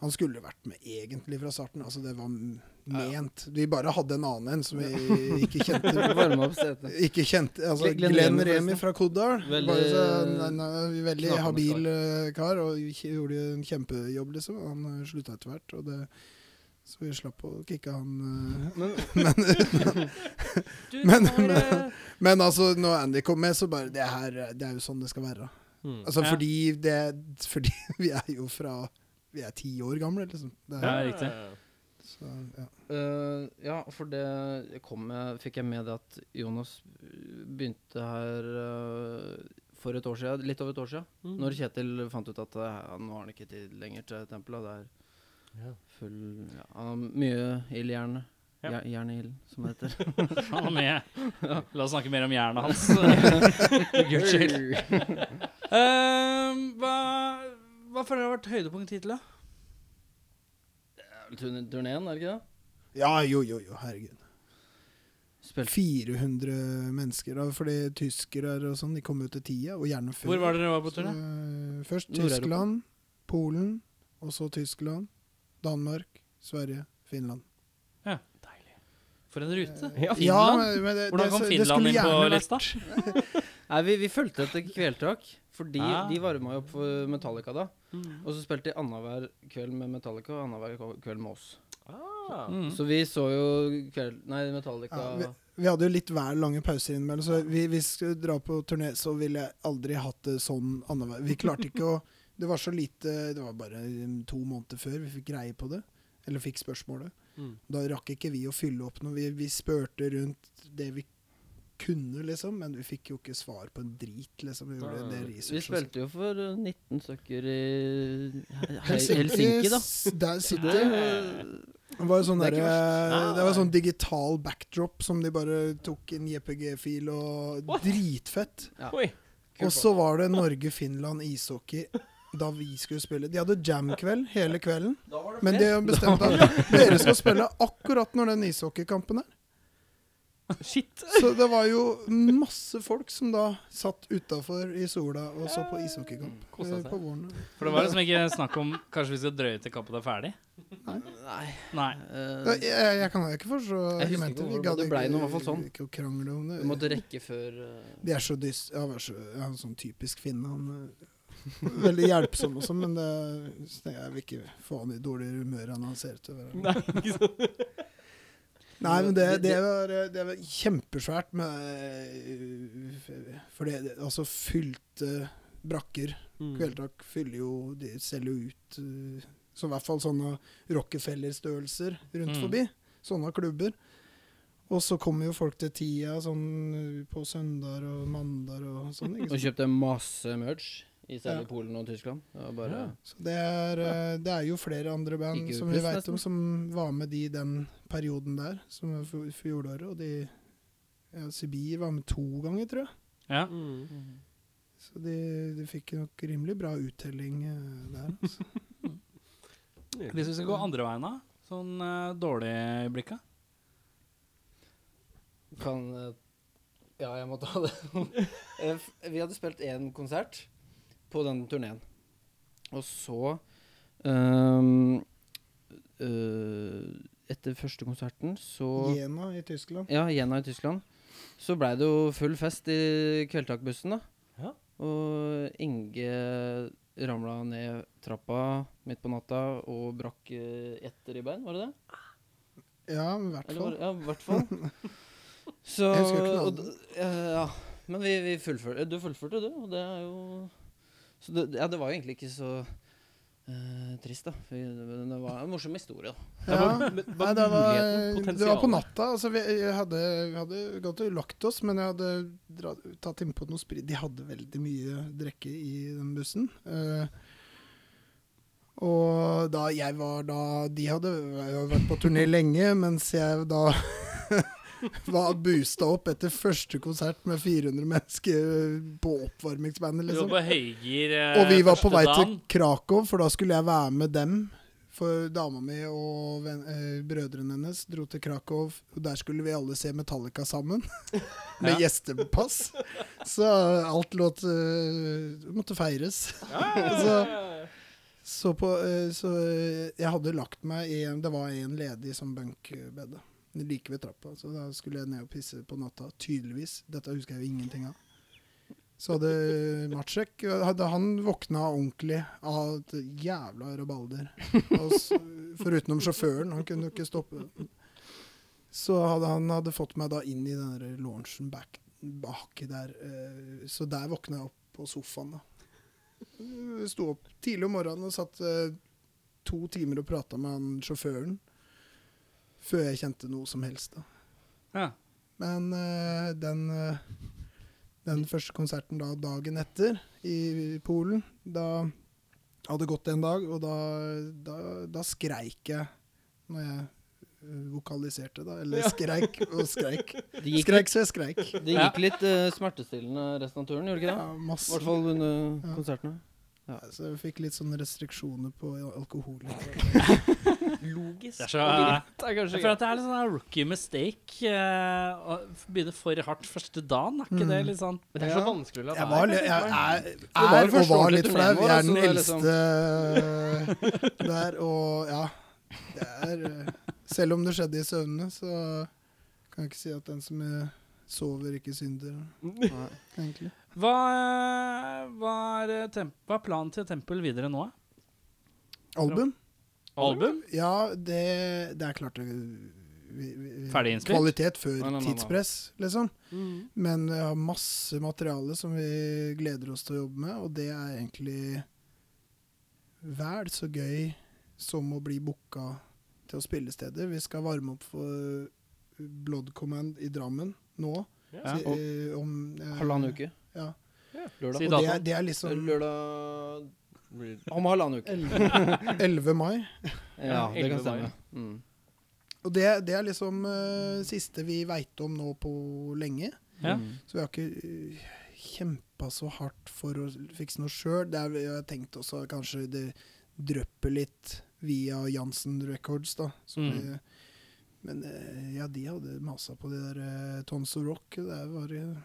Speaker 8: Han skulle vært med egentlig fra starten. Altså, det var m- ment. Vi bare hadde en annen en som vi ikke kjente.
Speaker 1: Varme opp setet.
Speaker 8: Ikke kjente, altså
Speaker 1: Glenn
Speaker 8: Glenn,
Speaker 1: Remi,
Speaker 8: Remi
Speaker 1: forresten.
Speaker 8: fra Kodal.
Speaker 1: Veldig-
Speaker 8: Veldig, veldig
Speaker 1: knakende
Speaker 8: habil eh, kar, og kj- gjorde en kjempejobb, liksom. Han eh, slutta etter hvert, og det, så vi slapp å kicke han. eh.
Speaker 1: Men
Speaker 2: Du,
Speaker 8: Men-
Speaker 2: det var, eh,
Speaker 8: Men altså, når Andy kom med, så bare Det her, eh, det er jo sånn det skal være.
Speaker 1: Hmm.
Speaker 4: Mm.
Speaker 8: Altså,
Speaker 2: Ja.
Speaker 8: fordi, det, fordi vi er jo fra Vi er ti år gamle, liksom. Det
Speaker 2: Ja,
Speaker 8: er,
Speaker 2: riktig.
Speaker 8: så, ja.
Speaker 1: Eh, ja, for det kom jeg, fikk jeg med det at Jonas begynte her eh, for et år siden, litt over et år siden.
Speaker 4: Mm.
Speaker 1: Når Kjetil fant ut at eh, nå har han ikke tid lenger til tempelet. Det er
Speaker 4: Ja.
Speaker 1: full ja, han har Mye ild i jernet.
Speaker 4: Ja.
Speaker 1: Ja. Jern i ilden, som det heter.
Speaker 2: Han var med. La oss snakke mer om hjernen hans. Unnskyld. Ehm, hva, hva føler dere har vært høydepunkt hittil, da?
Speaker 1: Turneen, er det ikke det?
Speaker 8: ja, jo, jo, jo, herregud.
Speaker 1: Spilte
Speaker 8: 400 mennesker, da, fordi tyskere og sånn, de kom ut til tida, og gjerne før.
Speaker 2: Hvor var dere var på turné?
Speaker 8: Så, eh, Først
Speaker 1: Nord-Europa.
Speaker 8: Tyskland, Polen, og så Tyskland, Danmark, Sverige, Finland.
Speaker 2: For en rute.
Speaker 4: Ja,
Speaker 8: Ja,
Speaker 2: Finland?
Speaker 8: men- men det-
Speaker 2: Hvordan
Speaker 8: det-
Speaker 2: kom
Speaker 8: det
Speaker 2: Finland
Speaker 8: skulle
Speaker 2: inn på
Speaker 8: gjerne vært-
Speaker 2: lista?
Speaker 1: Nei, vi, vi fulgte etter Kvelertak, fordi
Speaker 2: Ah.
Speaker 1: de varma jo opp for Metallica da.
Speaker 2: Mm.
Speaker 1: Og så spilte de annenhver kveld med Metallica og annenhver ko- kveld med oss.
Speaker 4: Ah.
Speaker 2: Mm.
Speaker 1: Så vi så jo kveld, nei, Metallica
Speaker 8: Ja, Vi hadde jo litt hver lange pauser innimellom, så vi, vi skulle dra på turné, så ville jeg aldri hatt det sånn annenhver. Vi klarte ikke å Det var så lite Det var bare um, to måneder før vi fikk greie på det, eller fikk spørsmålet.
Speaker 4: Mm.
Speaker 8: Da rakk ikke vi å fylle opp noe. Vi, vi spurte rundt det vi kunne, liksom, men vi fikk jo ikke svar på en drit, liksom. Vi gjorde det
Speaker 1: Vi
Speaker 8: research. og sånt.
Speaker 1: spilte jo for eh, 19 stykker i He- He- Helsinki, da.
Speaker 8: s- Der
Speaker 1: Så
Speaker 8: sitter
Speaker 1: det
Speaker 8: Det var jo sånn
Speaker 1: Det er ikke
Speaker 8: derre Det var sånn digital backdrop som de bare tok en JPG-fil og Dritfett.
Speaker 4: Oi.
Speaker 8: Og så var det Norge-Finland ishockey da vi skulle spille. De hadde jam-kveld hele kvelden. Men de har bestemt at dere skal spille akkurat når den ishockeykampen er.
Speaker 4: Shit.
Speaker 8: Så det var jo masse folk som da satt utafor i sola og så på ishockeykamp
Speaker 4: kosa
Speaker 8: eh,
Speaker 4: seg.
Speaker 8: på våren.
Speaker 2: For det var liksom ikke snakk om Kanskje vi skal drøye til kampen er ferdig?
Speaker 1: Nei.
Speaker 2: Nei.
Speaker 8: Da,
Speaker 1: eh,
Speaker 8: Jeg, jeg kan ikke forstå
Speaker 1: Jeg husker ikke
Speaker 8: argumentet.
Speaker 1: hvordan det ble, noe i hvert fall sånn.
Speaker 8: ikke å krangle om det.
Speaker 1: Vi måtte rekke før eh,
Speaker 8: De er så dyst... Ja, vær så, ja, en sånn typisk finne. Han er veldig hjelpsom og sånn, men det, så tenker jeg jeg vil ikke få han i dårligere humør enn han ser ut til å være.
Speaker 4: Nei, ikke sant.
Speaker 8: Nei, men det, det, var, eh, det var kjempesvært med For det, det altså fylte brakker.
Speaker 1: Mm.
Speaker 4: Mm.
Speaker 8: Kveldtak fyller jo De selger jo ut eh, så i hvert fall sånne Rockefeller-størrelser rundt
Speaker 2: Mm.
Speaker 8: forbi. Sånne klubber. Og så kommer jo folk til tida sånn eh, på søndager og mandager og sånn. ikke
Speaker 1: Og
Speaker 8: sant?
Speaker 1: kjøpte masse merch, i
Speaker 8: Ja.
Speaker 1: særlig Polen og Tyskland. Det var bare
Speaker 8: Så det er, eh, det er jo flere andre band
Speaker 1: Ikke
Speaker 8: som vi
Speaker 1: upress,
Speaker 8: veit
Speaker 1: nesten.
Speaker 8: om, som var med de i den perioden der, som var for, fjoråret. Og de ja, Sibir var med to ganger, tror jeg.
Speaker 2: Ja.
Speaker 4: Mm.
Speaker 8: Så de, de fikk nok rimelig bra uttelling eh, der. Altså.
Speaker 2: Hvis vi skal gå andre veien, da? Sånn eh, dårlig i blikka?
Speaker 1: Kan eh, Ja, jeg må ta det. Eh, f- vi hadde spilt én konsert på den turneen. Og så ehm, eh, Etter første konserten så
Speaker 8: Jena i Tyskland.
Speaker 1: Ja, Jena i Tyskland. Så blei det jo full fest i kveldtakbussen, da.
Speaker 4: Ja.
Speaker 1: Og Inge ramla ned trappa midt på natta og brakk eh, ett ribbein, var det det?
Speaker 8: Ja, i hvert
Speaker 1: Eller var,
Speaker 8: fall.
Speaker 1: ja, i hvert fall. Så
Speaker 8: Jeg husker ikke noe
Speaker 1: og d- eh, Ja. Men vi, vi fullførte Du fullførte, du. Og det er jo Så det, ja, det var jo egentlig ikke så eh, trist, da. For det det var en morsom historie, da.
Speaker 8: Ja. Nei, det var,
Speaker 4: muligheten,
Speaker 8: det var på
Speaker 4: potensialet.
Speaker 8: natta. Altså, vi jeg hadde, vi hadde gått og lagt oss, men jeg hadde dra, tatt innpå noe sprit. De hadde veldig mye drikke i den bussen. Eh, og da jeg var da De hadde jeg hadde vært på turné lenge, mens jeg da var boosta opp etter første konsert med 400 mennesker på oppvarmingsbandet,
Speaker 2: Du var
Speaker 8: liksom.
Speaker 2: på høygir eh,
Speaker 8: Og vi var på
Speaker 2: første
Speaker 8: vei til
Speaker 2: dagen.
Speaker 8: Krakow, for da skulle jeg være med dem. For dama mi og ven, eh, brødrene hennes dro til Krakow, og der skulle vi alle se Metallica sammen. med gjestepass. Så alt låt eh, måtte feires. så, så på eh, Så eh, jeg hadde lagt meg i en- Det var en ledig som bunkbedet. Like ved trappa. Så da skulle jeg ned og pisse på natta. Tydeligvis. Dette husker jeg jo ingenting av. Så hadde Matsjek hadde Han våkna ordentlig av et jævla rabalder. Og s- Forutenom sjåføren, han kunne jo ikke stoppe. Så hadde han hadde fått meg da inn i den der launchen back, baki der. eh, Så der våkna jeg opp på sofaen, da. Eh, Sto opp tidlig om morgenen og satt eh, to timer og prata med han sjåføren. Før jeg kjente noe som helst, da.
Speaker 2: Ja.
Speaker 8: Men eh, den, eh, den første konserten da dagen etter i Polen, da hadde det gått en dag, og da, da, da skreik jeg når jeg eh, vokaliserte, da. Eller skreik og skreik.
Speaker 1: Det gikk,
Speaker 8: Skreik så jeg skreik.
Speaker 1: litt- det gikk litt eh, smertestillende resten av turen, gjorde det ikke
Speaker 8: Ja,
Speaker 1: det? I
Speaker 8: masse.
Speaker 1: hvert fall under
Speaker 8: Ja.
Speaker 1: konsertene.
Speaker 8: Ja, så jeg fikk litt sånne restriksjoner på alkohol.
Speaker 4: Logisk.
Speaker 2: Det er så,
Speaker 4: Det er kanskje
Speaker 2: jeg føler at det er litt sånn her rookie mistake. eh, Å begynne for hardt første dagen, er ikke
Speaker 8: Mm.
Speaker 2: det litt sånn
Speaker 4: Men det er så vanskelig å la
Speaker 8: Jeg, var,
Speaker 4: være.
Speaker 8: li- jeg er,
Speaker 1: var jo
Speaker 8: er og
Speaker 1: første
Speaker 8: var
Speaker 1: ordentlige
Speaker 8: litt
Speaker 1: turneen
Speaker 8: flau.
Speaker 1: vår,
Speaker 8: Jeg er den
Speaker 1: altså,
Speaker 8: eldste der, og ja. Det er eh, Selv om det skjedde i søvne, så kan jeg ikke si at den som eh, sover, ikke synder.
Speaker 1: Nei.
Speaker 8: egentlig.
Speaker 2: Hva, eh, hva, er, eh, temp hva er planen til Tempel videre nå? eh?
Speaker 8: Album?
Speaker 2: Album?
Speaker 8: Ja, det, det er klart det vi, vi, vi-
Speaker 2: Ferdig innspilt?
Speaker 8: Kvalitet før
Speaker 1: Nei, nei, nei, nei.
Speaker 8: tidspress, liksom.
Speaker 4: Mm.
Speaker 8: Men vi har masse materiale som vi gleder oss til å jobbe med, og det er egentlig vel så gøy som å bli booka til å spille steder. Vi skal varme opp for Blood Command i Drammen nå.
Speaker 2: Ja.
Speaker 8: si- eh, om, eh,
Speaker 1: Halvannen uke.
Speaker 8: Ja.
Speaker 1: Lørdag.
Speaker 2: Si
Speaker 8: Og det er, det er liksom
Speaker 1: Lørdag Om halvannen uke.
Speaker 8: 11. mai.
Speaker 1: Ja, det kan
Speaker 2: elleve
Speaker 1: stemme.
Speaker 2: dager.
Speaker 1: Mm.
Speaker 8: Og det, det er liksom eh, siste vi veit om nå på lenge.
Speaker 2: Ja.
Speaker 1: Mm.
Speaker 8: Så vi har ikke uh, kjempa så hardt for å fikse noe sjøl. Jeg har tenkt også at kanskje det drypper litt via Jansen Records, da. Som
Speaker 2: Mm.
Speaker 8: vi- men eh, ja, de hadde masa på de der eh, Tons of Rock. Det var eh,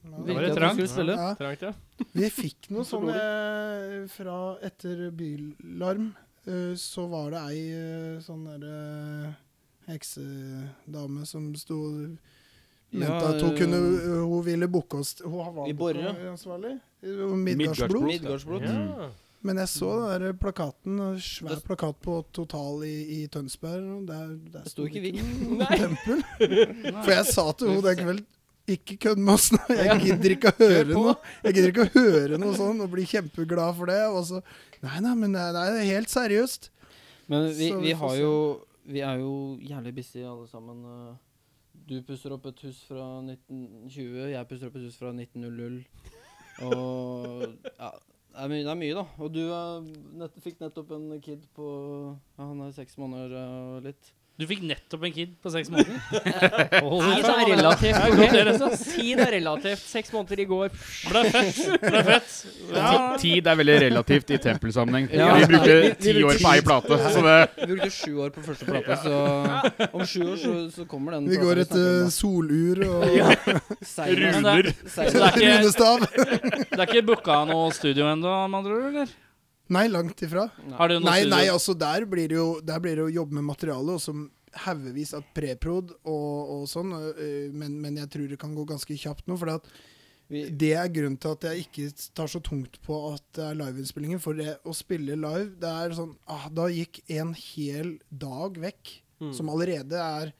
Speaker 8: ja,
Speaker 2: var
Speaker 1: Virkelig at
Speaker 2: trangt.
Speaker 1: du skulle spille.
Speaker 8: ja,
Speaker 4: Trangt, ja.
Speaker 8: vi fikk noe sånn eh, fra etter bylarm. eh, så var det ei eh, sånn derre heksedame som sto Mente
Speaker 1: Ja,
Speaker 8: at hun
Speaker 1: eh,
Speaker 8: kunne Hun ville booke oss Hun var
Speaker 1: I Borre.
Speaker 8: bookansvarlig. Midgardsblod.
Speaker 1: Midgardsblod.
Speaker 4: ja.
Speaker 8: Men jeg så den der plakaten. en Svær
Speaker 1: Det-
Speaker 8: plakat på Total i, i Tønsberg. Og der, der
Speaker 1: Det sto ikke vi.
Speaker 8: Tempel. For jeg sa til henne den kvelden ikke kødd med oss nå, jeg gidder ikke å høre noe Jeg gidder ikke å høre noe sånn og bli kjempeglad for det. Og så Nei, nei, men nei, nei, det er helt seriøst.
Speaker 1: Men vi,
Speaker 8: Så vi
Speaker 1: vi
Speaker 8: får
Speaker 1: har
Speaker 8: se.
Speaker 1: jo Vi er jo jævlig busy alle sammen. eh. Du pusser opp et hus fra 1920, jeg pusser opp et hus fra 1900. Og ja, det er mye, det er mye da. Og du eh, nett, fikk nettopp en kid på ja, Han er seks måneder eh, og litt.
Speaker 2: Du fikk nettopp en kid på seks måneder. Oh,
Speaker 4: Tid er relativt. Tid er relativt. Seks måneder i går.
Speaker 2: Ble født. Ble født. Ja.
Speaker 6: Tid er veldig relativt i tempelsammenheng.
Speaker 1: Ja.
Speaker 6: Vi brukte
Speaker 1: Vi- vi
Speaker 6: ti år
Speaker 1: brukte
Speaker 6: på ei
Speaker 1: tid.
Speaker 6: plate, så det
Speaker 1: Vi brukte sju år på første plate, så om sju år så, så kommer
Speaker 2: Mm,
Speaker 1: den.
Speaker 8: Vi
Speaker 1: plata
Speaker 8: går eh, etter
Speaker 1: snakker om,
Speaker 8: solur og
Speaker 1: da. Seina-
Speaker 2: Runer.
Speaker 1: Seina-
Speaker 2: Så det er ikke-
Speaker 8: runestav.
Speaker 2: Det er ikke booka noe studio ennå, med andre ord? eller?
Speaker 8: Nei, langt ifra.
Speaker 2: Har du noe
Speaker 8: Nei,
Speaker 2: studio?
Speaker 8: nei, altså der blir det jo Der blir det jo å jobbe med materialet, og så haugevis av preprod og, og sånn, øh, men, men jeg tror det kan gå ganske kjapt nå. For at
Speaker 1: Vi-
Speaker 8: det er grunnen til at jeg ikke tar så tungt på at det er liveinnspillinger. For det å spille live, det er sånn ah, Da gikk en hel dag vekk, som allerede er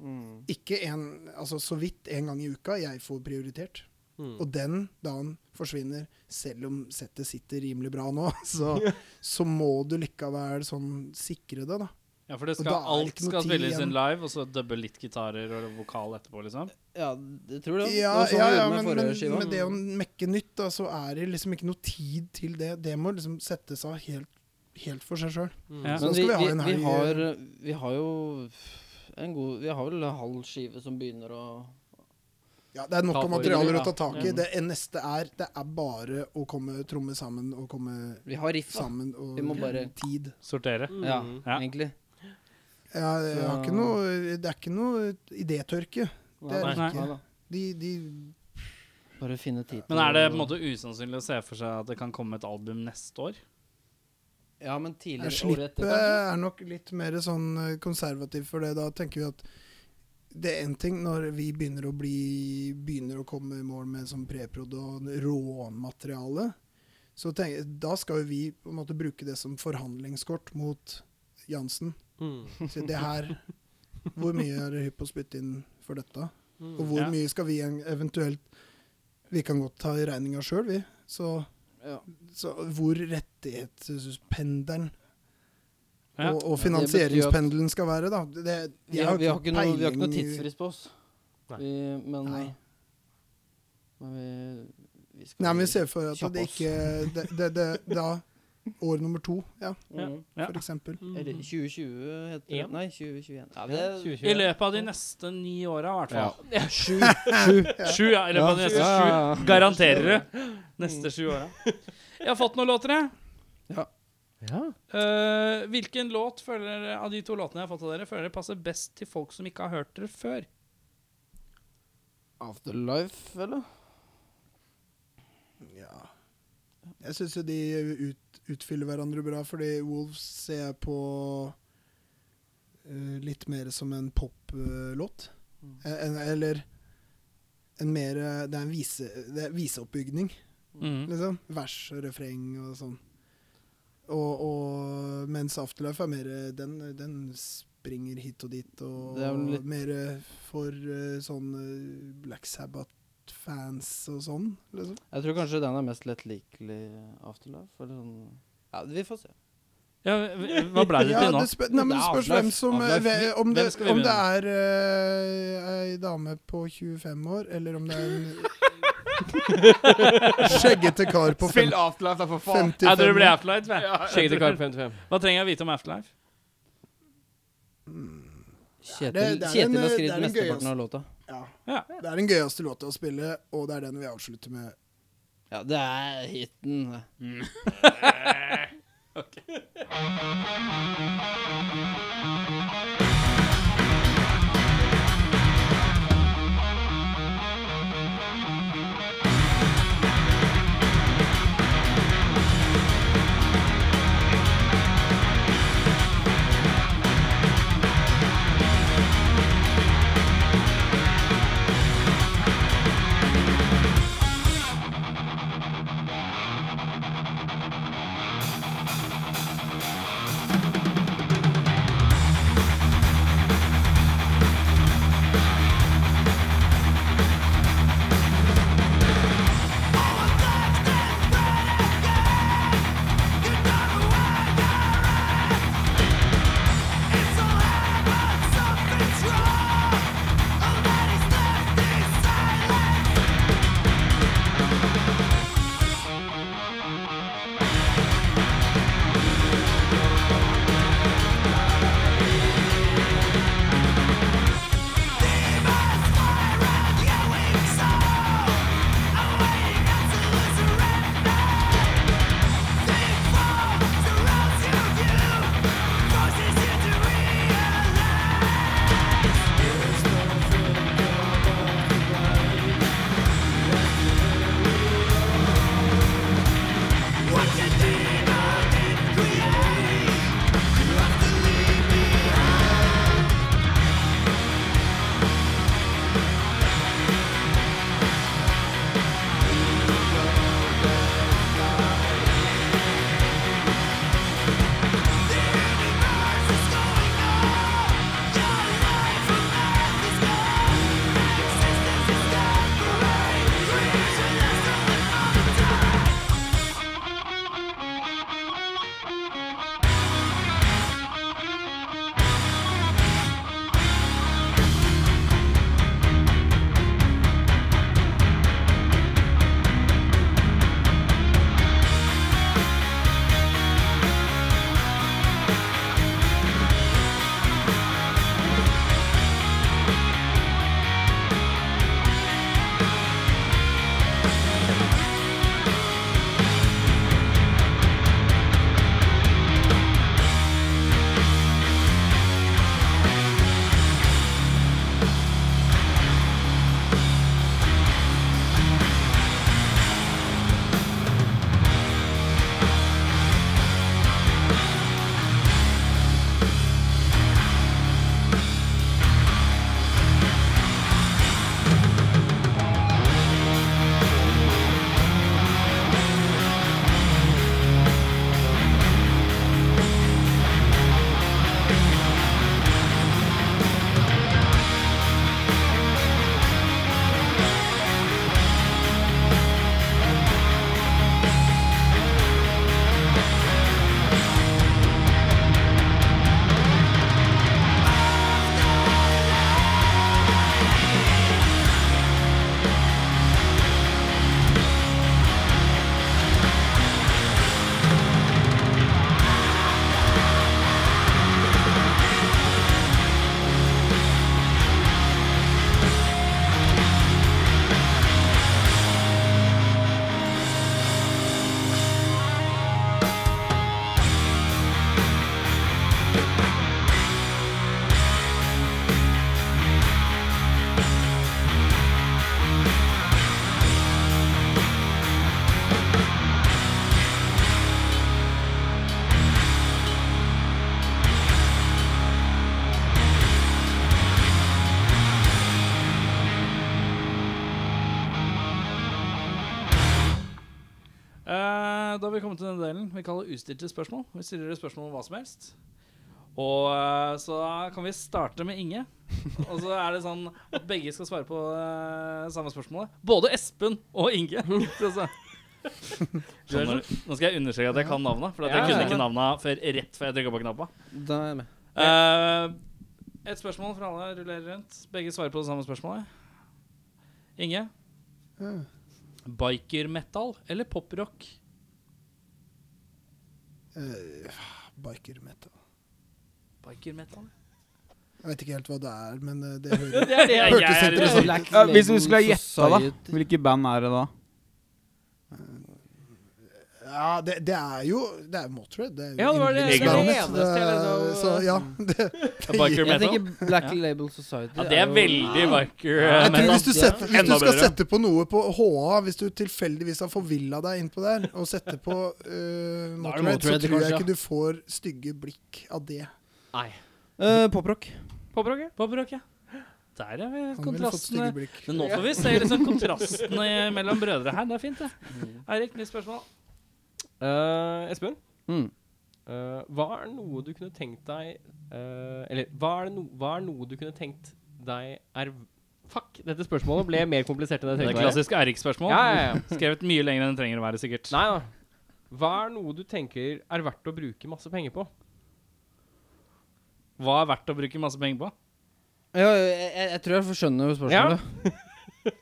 Speaker 1: Mm.
Speaker 8: ikke en Altså så vidt en gang i uka jeg får prioritert. Og den dagen forsvinner, selv om settet sitter rimelig bra nå. Så, så må du likevel sånn sikre det, da.
Speaker 2: Ja, for det
Speaker 8: Og
Speaker 2: skal,
Speaker 8: da er det
Speaker 2: alt
Speaker 8: ikke noe
Speaker 2: skal
Speaker 8: tid
Speaker 2: spilles
Speaker 8: igjen.
Speaker 2: inn live, og så dubbe litt gitarer og vokal etterpå, liksom.
Speaker 1: Ja, jeg tror det.
Speaker 8: Ja,
Speaker 1: det var sånn
Speaker 8: ja,
Speaker 1: vi
Speaker 8: ja
Speaker 1: gjorde med
Speaker 8: men,
Speaker 1: forrige
Speaker 8: men
Speaker 1: skiva.
Speaker 8: med det å mekke nytt, da, så er det liksom ikke noe tid til det. Det må liksom settes av helt, helt for seg sjøl.
Speaker 2: Ja.
Speaker 8: Så
Speaker 1: Men
Speaker 8: skal
Speaker 1: vi,
Speaker 8: vi ha
Speaker 1: vi,
Speaker 8: en
Speaker 1: vi,
Speaker 8: helg,
Speaker 1: har, vi har jo en god Vi har vel en halv skive som begynner å
Speaker 8: Ja, det er nok
Speaker 2: Ta
Speaker 8: av
Speaker 2: for-
Speaker 8: materialer å ta
Speaker 1: Ja.
Speaker 8: tak i.
Speaker 1: Mm.
Speaker 8: Det neste er Det er bare å komme tromme sammen og komme
Speaker 1: Vi har riff, da.
Speaker 8: sammen og
Speaker 1: Vi må bare-
Speaker 8: tid.
Speaker 2: Sortere.
Speaker 8: Mm.
Speaker 1: Ja,
Speaker 2: Ja.
Speaker 1: egentlig.
Speaker 8: Ja, jeg har ikke noe, det er ikke noe idétørke. Det er
Speaker 2: Nei.
Speaker 8: det ikke.
Speaker 1: da.
Speaker 8: De, de
Speaker 1: Bare finne tid til
Speaker 2: Men er det på en
Speaker 1: å-
Speaker 2: måte usannsynlig å se for seg at det kan komme et album neste år?
Speaker 1: Ja, men tidligere året
Speaker 8: Slippet
Speaker 1: etter, kanskje?
Speaker 8: er nok litt mer sånn eh, konservativ for det. Da tenker vi at det er én ting når vi begynner å bli Begynner å komme i mål med sånn preprod og råmateriale. Så tenk, da skal jo vi på en måte bruke det som forhandlingskort mot Jansen.
Speaker 1: Mm.
Speaker 8: Si det her Hvor mye er det hypp på å spytte inn for dette?
Speaker 1: Mm.
Speaker 8: Og hvor
Speaker 2: Ja.
Speaker 8: mye skal vi en- eventuelt Vi kan godt ta regninga sjøl, vi. Så,
Speaker 1: Ja.
Speaker 8: så hvor rettighetspendelen
Speaker 2: Ja.
Speaker 8: og, og
Speaker 1: Ja, det betyr at-
Speaker 8: finansieringspendelen skal være, da. Det, det-
Speaker 1: Vi har, vi, har ikke noe, vi har ikke noe
Speaker 8: peiling i-
Speaker 1: tidsfrist på oss.
Speaker 4: Nei.
Speaker 1: Vi, men
Speaker 8: Nei.
Speaker 1: men vi, vi skal
Speaker 8: Nei, men vi ser for at
Speaker 1: Kjapp
Speaker 8: det
Speaker 1: oss.
Speaker 8: ikke det, det, det, Da år nummer to, ja,
Speaker 1: Mm.
Speaker 2: Ja.
Speaker 8: for eksempel.
Speaker 1: Eller 2020 heter det.
Speaker 4: En.
Speaker 1: Nei, 2021. Ja, det,
Speaker 2: I løpet av de neste ni åra, i hvert fall.
Speaker 1: sju.
Speaker 2: Sju, ja. I løpet av de neste
Speaker 1: Ja,
Speaker 2: sju.
Speaker 1: ja, ja.
Speaker 2: Garanterer du. Neste sju åra. Jeg har fått noen låter, jeg.
Speaker 4: Ja.
Speaker 2: Eh, hvilken låt føler dere, av de to låtene jeg har fått av dere, føler dere passer best til folk som ikke har hørt dere før?
Speaker 1: Afterlife, eller?
Speaker 8: Ja. Jeg syns jo de ut, utfyller hverandre bra, fordi Wolves ser jeg på eh, litt mer som en poplåt.
Speaker 1: Mm.
Speaker 8: Uh, eller en mer eh, Det er en vise, det er viseoppbygning. Liksom. Vers og refreng og sånn. Og, og mens Afterlife er mer eh, Den, den springer hit og dit, og
Speaker 1: Det er vel litt-
Speaker 8: mer eh, for eh, sånn eh, Black Sabbath-fans og sånn, liksom.
Speaker 1: Jeg tror kanskje den er mest lettlikelig afterlife. Eller sånn. Ja, vi får se.
Speaker 2: Ja, hva ble det
Speaker 8: Ja,
Speaker 2: til nå?
Speaker 8: det spør, nei, men
Speaker 1: Det
Speaker 8: det
Speaker 1: er
Speaker 8: spørs
Speaker 1: Afterlife.
Speaker 8: hvem som eh,
Speaker 1: Afterlife.
Speaker 8: ve- Om det,
Speaker 2: Hvem skal vi
Speaker 8: om det er eh, ei dame på 25 år, eller om det er en skjeggete kar på fem,
Speaker 6: Spill Afterlife, da, for faen!
Speaker 8: 55
Speaker 2: Ja,
Speaker 8: år.
Speaker 2: dere ble Afterlife, vel?
Speaker 4: Skjeggete kar 55.
Speaker 2: Hva trenger jeg vite om Afterlife?
Speaker 1: Kjetil,
Speaker 8: det- det er
Speaker 1: Kjetil
Speaker 8: en,
Speaker 1: har
Speaker 8: eh, det
Speaker 1: skrevet
Speaker 8: er en gøy,
Speaker 1: mesteparten av låta.
Speaker 8: Ja.
Speaker 2: Ja.
Speaker 8: Det er den gøyeste låta å spille, og det er den vi avslutter med.
Speaker 1: Ja, det er hiten.
Speaker 9: Thank
Speaker 2: Eh, da har vi kommet til den delen vi kaller ustilte spørsmål. Vi stiller dere spørsmål om hva som helst. Og eh, Så da kan vi starte med Inge. Og så er det sånn at begge skal svare på eh, samme spørsmålet. Både Espen og Inge. Så- så- Skjønner du? Nå skal jeg understreke at jeg kan navnet, for at jeg
Speaker 1: Ja, ja.
Speaker 2: kunne ikke navnet før, rett før jeg trykka på knappa.
Speaker 1: Da er jeg med.
Speaker 2: Eh, et spørsmål fra alle rullerer rundt. Begge svarer på det samme spørsmålet. Inge,
Speaker 8: Ja.
Speaker 2: biker-metal eller poprock?
Speaker 8: Eh, Biker-metal.
Speaker 2: Biker-metal?
Speaker 8: Jeg vet ikke helt hva det er, men eh, det hører
Speaker 2: Det er det jeg,
Speaker 8: Hørtes
Speaker 2: jeg,
Speaker 8: interessant.
Speaker 1: Black
Speaker 3: Ja, hvis vi skulle ha
Speaker 1: Label
Speaker 3: gjetta, da?
Speaker 1: Society.
Speaker 3: Hvilke band er det da?
Speaker 8: Ja, det, det er jo Det er jo Motörhead. Det er jo
Speaker 2: Ja, det var det-
Speaker 8: yndlingsbandet
Speaker 1: det var det
Speaker 8: mitt,
Speaker 1: eneste jeg liksom-
Speaker 8: Så ja,
Speaker 2: eh,
Speaker 8: det,
Speaker 2: Biker
Speaker 1: Jeg
Speaker 2: metal?
Speaker 1: tenker Black
Speaker 2: Ja.
Speaker 1: Label Society.
Speaker 2: Ja, det er
Speaker 1: jo-
Speaker 2: veldig biker eh,
Speaker 8: jeg tror
Speaker 2: metal.
Speaker 8: hvis du, setter, hvis du
Speaker 2: Enda
Speaker 8: skal
Speaker 2: bedre.
Speaker 8: sette på noe på HA, hvis du tilfeldigvis har forvilla deg innpå der, og setter på uh, Motörhead, så
Speaker 1: Motörhead, kanskje,
Speaker 8: tror jeg
Speaker 1: ja.
Speaker 8: ikke du får stygge blikk av det.
Speaker 1: Eh, Poprock.
Speaker 4: Poprock, ja.
Speaker 2: Poprock, ja. Der er vi
Speaker 8: Han ville fått
Speaker 2: kontrastene.
Speaker 8: stygge blikk.
Speaker 2: Men nå får vi se liksom kontrastene i- mellom brødre her. Det er fint, det. Eirik, nytt spørsmål.
Speaker 4: Eh, Espen,
Speaker 1: Mm.
Speaker 4: eh, hva er noe du kunne tenkt deg eh, Eller hva er, det no, hva er noe du kunne tenkt deg er Fuck, dette spørsmålet ble mer komplisert enn jeg
Speaker 2: Det er
Speaker 4: tenkte. meg.
Speaker 2: klassisk Eirik-spørsmål.
Speaker 4: Ja, ja, ja.
Speaker 2: Skrevet mye lenger enn det trenger å være, sikkert.
Speaker 4: Nei da. Hva er noe du tenker er verdt å bruke masse penger på?
Speaker 2: Hva er verdt å bruke masse penger på?
Speaker 1: Ja, jeg, jeg, jeg tror jeg skjønner spørsmålet.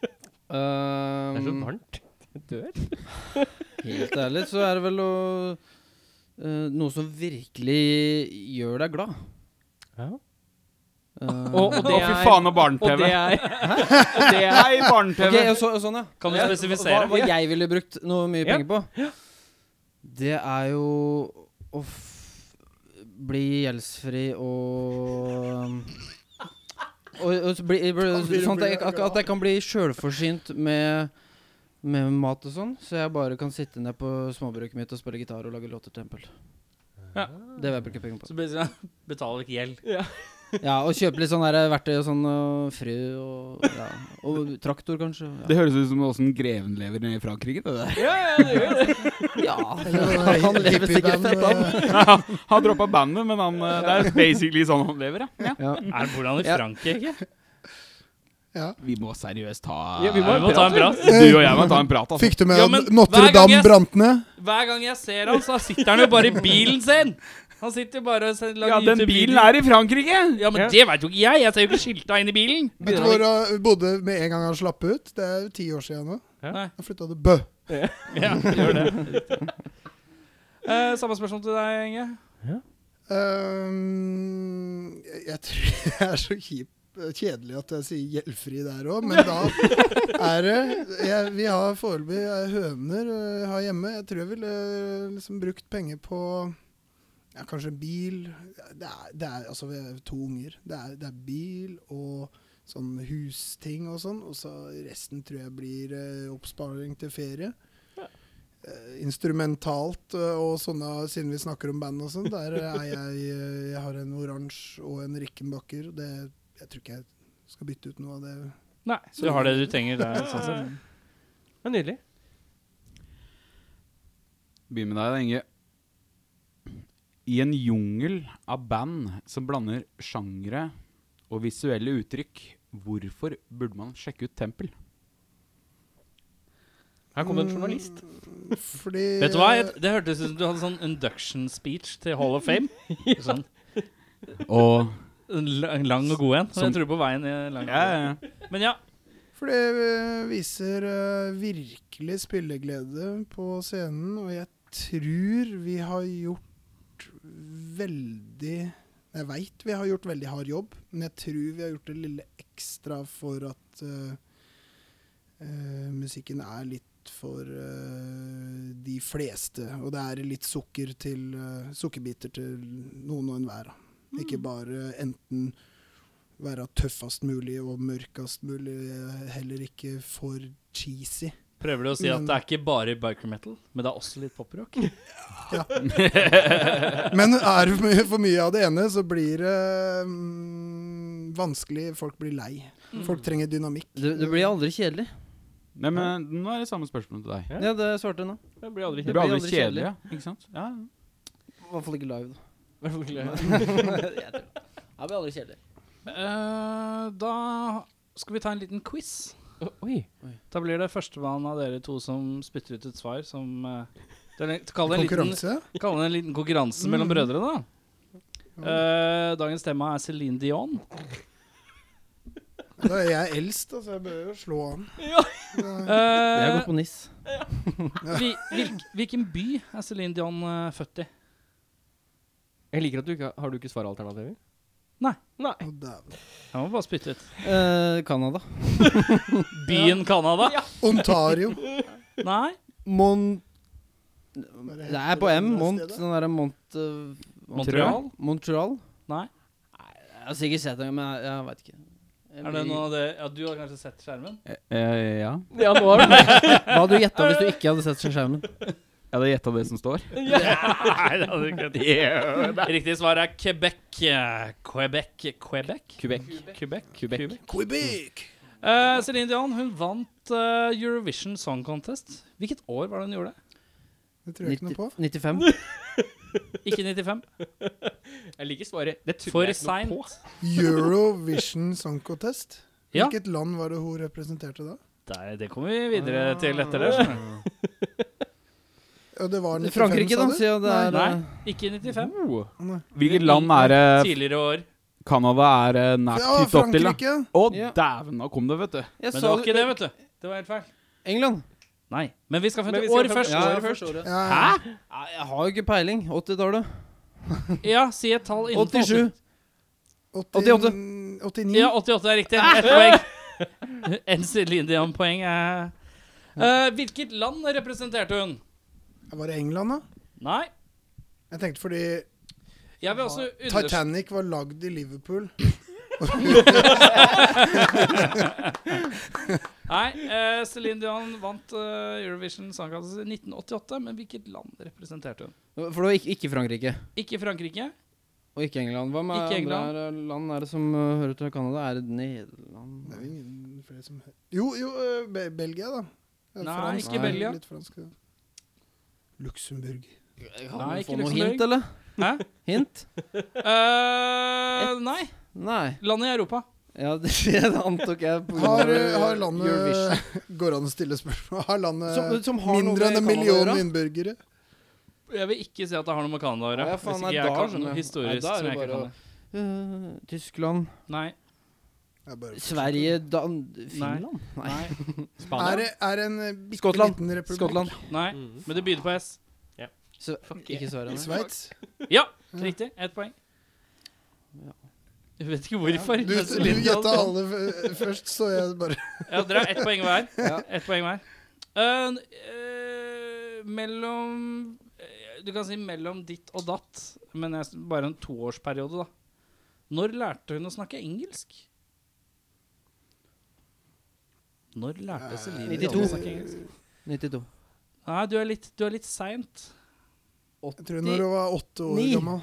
Speaker 4: Det er så
Speaker 1: Ehm,
Speaker 4: varmt. Jeg dør.
Speaker 1: helt ærlig så er det vel å eh, Noe som virkelig gjør deg glad.
Speaker 4: Ja.
Speaker 1: Eh,
Speaker 4: Og, og
Speaker 3: Å,
Speaker 4: det
Speaker 3: fy
Speaker 4: er
Speaker 3: faen, og
Speaker 4: Og det
Speaker 3: barne-TV!
Speaker 4: er, og det er
Speaker 3: Nei, barne-TV!
Speaker 1: ok, og så, og sånn, ja.
Speaker 2: Kan du
Speaker 1: Ja,
Speaker 2: spesifisere?
Speaker 1: Hva, hva jeg ville brukt noe mye
Speaker 4: Ja.
Speaker 1: penger på? Det er jo å f bli gjeldsfri og og, og så bli, bli, sånn at, jeg, at at jeg kan bli sjølforsynt med, med mat og sånn, så jeg bare kan sitte ned på småbruket mitt og spille gitar og lage låter til Tempel.
Speaker 2: Ja.
Speaker 1: Det vil jeg bruke penger på.
Speaker 2: Så blir det sånn, betaler ikke gjeld.
Speaker 1: Ja, Og kjøpe litt sånn der verktøy og sånn, og frø og, ja. og traktor, kanskje. Ja.
Speaker 3: Det høres ut som åssen greven lever nede i Frankrike. Det der.
Speaker 1: ja.
Speaker 8: Eller
Speaker 1: Han lever sikkert
Speaker 8: hippieband,
Speaker 1: fett av.
Speaker 8: eh,
Speaker 3: Han droppa bandet, men han, eh, det er basically sånn han lever, ja.
Speaker 1: Ja.
Speaker 2: Er det hvordan i
Speaker 1: Ja.
Speaker 2: Frankrike?
Speaker 3: Vi må seriøst ta
Speaker 4: Ja, vi må
Speaker 2: Vi må ta en prat.
Speaker 3: Du og jeg må ta en prat, altså.
Speaker 8: Fikk du med
Speaker 2: Ja, men
Speaker 8: at
Speaker 2: hver gang
Speaker 8: Notre-Dame
Speaker 2: jeg-
Speaker 8: brant ned?
Speaker 2: Hver gang jeg ser han, så sitter han jo bare i bilen sin! Han sitter bare og ser-
Speaker 3: Ja,
Speaker 2: lager
Speaker 3: den bilen er i Frankrike!
Speaker 2: Ja, men det veit jo ikke jeg! Jeg ser jo ikke skilta inn i bilen.
Speaker 8: Vet du hvor han bodde med en gang han slapp ut? Det er jo ti år siden nå.
Speaker 4: Ja.
Speaker 2: Nei.
Speaker 8: Han flytta til Bø.
Speaker 2: Ja, gjør det. Eh, samme spørsmål til deg, Inge.
Speaker 8: Ehm, jeg, jeg tror jeg er så kjip, kjedelig at jeg sier gjeldfri der òg, men da er det jeg, Vi har foreløpig eh, høner eh, her hjemme. Jeg tror jeg ville eh, liksom brukt penger på ja, kanskje en bil. Det er, det er, altså, vi er to unger. Det er, det er bil og sånn husting og sånn. Og så resten tror jeg blir eh, oppsparing til ferie. Eh, instrumentalt eh, og sånne, siden vi snakker om band og sånn, der er jeg eh, Jeg har en oransje og en Rickenbacker. Det, jeg tror ikke jeg skal bytte ut noe av det.
Speaker 2: Nei, så du har det du trenger der. Sånn sett.
Speaker 4: Det er nydelig.
Speaker 3: Begynn med deg, da, Inge. I en jungel av band som blander sjangre og visuelle uttrykk, hvorfor burde man sjekke ut Tempel?
Speaker 4: Her kommer en journalist.
Speaker 8: Mm, Fordi
Speaker 2: Vet du hva? Jeg- Det hørtes ut som du hadde sånn induction speech til Hall of Fame. Sånn
Speaker 3: Og
Speaker 2: en la- en lang og god en. Så
Speaker 3: Som-
Speaker 2: jeg tror på veien i lang og
Speaker 3: ja,
Speaker 2: god.
Speaker 3: ja, ja.
Speaker 2: Men ja,
Speaker 8: For det eh, viser eh, virkelig spilleglede på scenen, og jeg tror vi har gjort veldig Jeg veit vi har gjort veldig hard jobb, men jeg tror vi har gjort det lille ekstra for at eh, eh, musikken er litt for eh, de fleste. Og det er litt sukker til eh, sukkerbiter til noen og enhver. da. Ikke bare enten være tøffest mulig og mørkest mulig, eh, heller ikke for cheesy.
Speaker 2: prøver du å si at
Speaker 8: Men-
Speaker 2: det er ikke bare biker metal, men det er også litt poprock?
Speaker 8: Men er det for mye- for mye av det ene, så blir det mm, vanskelig. Folk blir lei. Folk trenger dynamikk.
Speaker 1: Det, det blir aldri kjedelig.
Speaker 3: Nei, men eh, nå er det samme spørsmål til deg.
Speaker 4: Ja.
Speaker 1: Ja, det svarte jeg nå.
Speaker 4: Det blir aldri
Speaker 3: Det blir
Speaker 4: kjedelig.
Speaker 3: aldri
Speaker 1: aldri
Speaker 3: kjedelig, ja. Ikke sant? Ja.
Speaker 1: I hvert fall ikke live, da. Jeg blir aldri kjedelig.
Speaker 2: Eh, da skal vi ta en liten quiz.
Speaker 4: Oi.
Speaker 2: Da blir det førstemann av dere to som spytter ut et svar som eh, det er en- Kall det en liten,
Speaker 8: Konkurranse?
Speaker 2: kall det en liten konkurranse mellom brødre, da. Eh, dagens tema er Céline Dion.
Speaker 8: Da er jeg eldst, altså. Jeg bør jo slå an.
Speaker 1: Jeg har
Speaker 2: Eh,
Speaker 1: gått på NIS.
Speaker 2: vi, hvilk, hvilken by er Céline Dion eh, født i?
Speaker 4: Jeg liker at du ikke har- har du ikke svaralternativer.
Speaker 8: Å, dæven.
Speaker 2: Jeg må bare spytte ut.
Speaker 1: Eh, Canada.
Speaker 2: Byen Canada?
Speaker 8: Ontario.
Speaker 2: Nei?
Speaker 1: Mont...
Speaker 8: Hva
Speaker 1: Det
Speaker 8: heter
Speaker 1: er på
Speaker 8: det
Speaker 1: M.
Speaker 8: der
Speaker 1: Mont,
Speaker 8: stedet?
Speaker 1: den derre Mont... eh,
Speaker 2: Montreal?
Speaker 1: Montreal?
Speaker 2: Nei.
Speaker 1: Jeg har sikkert sett den, men jeg, jeg veit ikke.
Speaker 2: Er det noe av det Ja, du har kanskje sett skjermen?
Speaker 3: Eh, ja.
Speaker 1: Ja, nå har du Hva hadde du gjetta hvis du ikke hadde sett skjermen?
Speaker 3: Jeg hadde gjetta det som står.
Speaker 2: Nei, det hadde ikke Riktig svar er Quebec. Quebec Quebec?
Speaker 4: Quebec.
Speaker 2: Quebec.
Speaker 4: Quebec.
Speaker 8: Quebec!
Speaker 2: Eh, Celine Dion hun vant eh, Eurovision Song Contest. Hvilket år var det hun gjorde det?
Speaker 8: Det tror jeg ikke noe på.
Speaker 1: 95?
Speaker 2: Ikke 95.
Speaker 4: Jeg liker svaret. Det tror
Speaker 2: For
Speaker 4: jeg ikke noe
Speaker 2: seint.
Speaker 8: Eurovision Song Contest.
Speaker 2: Ja.
Speaker 8: Hvilket land var det hun representerte da?
Speaker 2: Der, det kommer vi videre
Speaker 4: Ah.
Speaker 2: til etter det. skjønner du.
Speaker 8: Ja, det var 95,
Speaker 1: Frankrike, da,
Speaker 8: sa du?
Speaker 1: siden det er
Speaker 2: Nei,
Speaker 1: eh,
Speaker 2: ikke 95.
Speaker 4: på. Oh.
Speaker 3: Hvilket land er det
Speaker 2: Tidligere år.
Speaker 3: Canada er eh, nært
Speaker 8: Ja,
Speaker 3: knyttet opp til? da?
Speaker 8: Frankrike.
Speaker 3: Å,
Speaker 1: Ja.
Speaker 3: dæven, nå kom det, vet du.
Speaker 1: Jeg
Speaker 2: Men det
Speaker 1: sa
Speaker 2: var ikke det, vet du. Det var helt feil.
Speaker 1: England.
Speaker 2: Nei. Men vi skal
Speaker 4: Men
Speaker 2: finne
Speaker 4: vi
Speaker 2: ut
Speaker 4: skal
Speaker 2: året
Speaker 4: fram-
Speaker 2: først.
Speaker 4: Ja,
Speaker 2: Året
Speaker 4: året
Speaker 2: først.
Speaker 1: Året.
Speaker 8: Ja.
Speaker 1: Nei, Jeg har jo ikke peiling. 80-tallet.
Speaker 2: Ja, si et tall innenfor
Speaker 1: 87.
Speaker 8: 88.
Speaker 2: 80.
Speaker 8: 89.
Speaker 2: Ja, 88 er riktig. Ett poeng. En Celine Dion-poeng. eh. Eh, hvilket land representerte hun?
Speaker 8: Var det England, da?
Speaker 2: Nei.
Speaker 8: Jeg tenkte fordi
Speaker 2: Jeg vil også understreke
Speaker 8: Titanic var lagd i Liverpool.
Speaker 2: Nei, eh, Celine Dion vant eh, Eurovision Song Contest i 1988, men hvilket land representerte hun?
Speaker 1: For det var ikke, ikke Frankrike.
Speaker 2: Ikke Frankrike.
Speaker 1: Og ikke England. Hva med
Speaker 2: Ikke
Speaker 1: andre
Speaker 2: England.
Speaker 1: her, eh, land er det som eh, hører til Canada? Er det Nederland
Speaker 8: Det er jo ingen flere som Jo, jo, øh, Be Belgia, da. Ja,
Speaker 2: Nei,
Speaker 8: fransk,
Speaker 2: ikke
Speaker 8: er
Speaker 2: Belgia.
Speaker 8: Litt fransk, ja. Luxembourg.
Speaker 1: Kan
Speaker 2: Nei,
Speaker 1: vi
Speaker 2: ikke
Speaker 1: få noe
Speaker 2: Luxembourg.
Speaker 1: hint, eller?
Speaker 2: Hæ?
Speaker 1: Hint?
Speaker 2: Eh, nei.
Speaker 1: Nei.
Speaker 2: Land i Europa.
Speaker 1: Ja, det, det antok jeg. på grunn av,
Speaker 8: Har,
Speaker 1: eh,
Speaker 8: har
Speaker 1: Eurovision.
Speaker 8: landet Går det an å stille spørsmål? Har landet
Speaker 1: Som- som har noe
Speaker 8: mindre enn
Speaker 1: med
Speaker 8: en
Speaker 1: Canada å
Speaker 8: million
Speaker 1: gjøre?
Speaker 8: innbyggere?
Speaker 2: Jeg vil ikke si at det har noe med Canada å gjøre.
Speaker 1: Ja, ja, faen,
Speaker 2: hvis
Speaker 1: nei,
Speaker 2: ikke jeg
Speaker 1: da
Speaker 2: kan
Speaker 1: skjønner
Speaker 2: noe
Speaker 1: jeg. Nei,
Speaker 2: historisk
Speaker 1: da er
Speaker 2: som
Speaker 1: det
Speaker 2: jeg ikke
Speaker 1: bare
Speaker 2: kan. det.
Speaker 1: Eh, Tyskland,
Speaker 2: Nei.
Speaker 8: Jeg bare-
Speaker 1: Sverige, Dan... Finland? Nei.
Speaker 2: Nei.
Speaker 8: Er
Speaker 4: Spania.
Speaker 8: det er en eh, bitte
Speaker 1: Skottland.
Speaker 8: liten republikk?
Speaker 1: Skottland.
Speaker 2: nei.
Speaker 4: Mm.
Speaker 2: Men det begynner på S.
Speaker 1: Sve- ikke Sverige. nei.
Speaker 8: Sveits?
Speaker 2: Ja, riktig. Ett poeng. Jeg vet ikke hvorfor. men
Speaker 8: Du, du
Speaker 2: Celine Dion-
Speaker 8: gjetta alle f- først, så jeg bare
Speaker 2: Ja, dere har ett poeng hver.
Speaker 1: Ja.
Speaker 2: Ett poeng hver. Eh, n- eh, mellom eh, Du kan si mellom ditt og datt, men jeg, s- bare en toårsperiode, da. Når lærte hun å snakke engelsk? Når lærte Celine Dion å
Speaker 1: 92.
Speaker 2: snakke engelsk?
Speaker 1: 92.
Speaker 2: Nei, du er litt, du er litt seint.
Speaker 8: Jeg tror når du var åtte år
Speaker 1: Ni.
Speaker 8: gammel.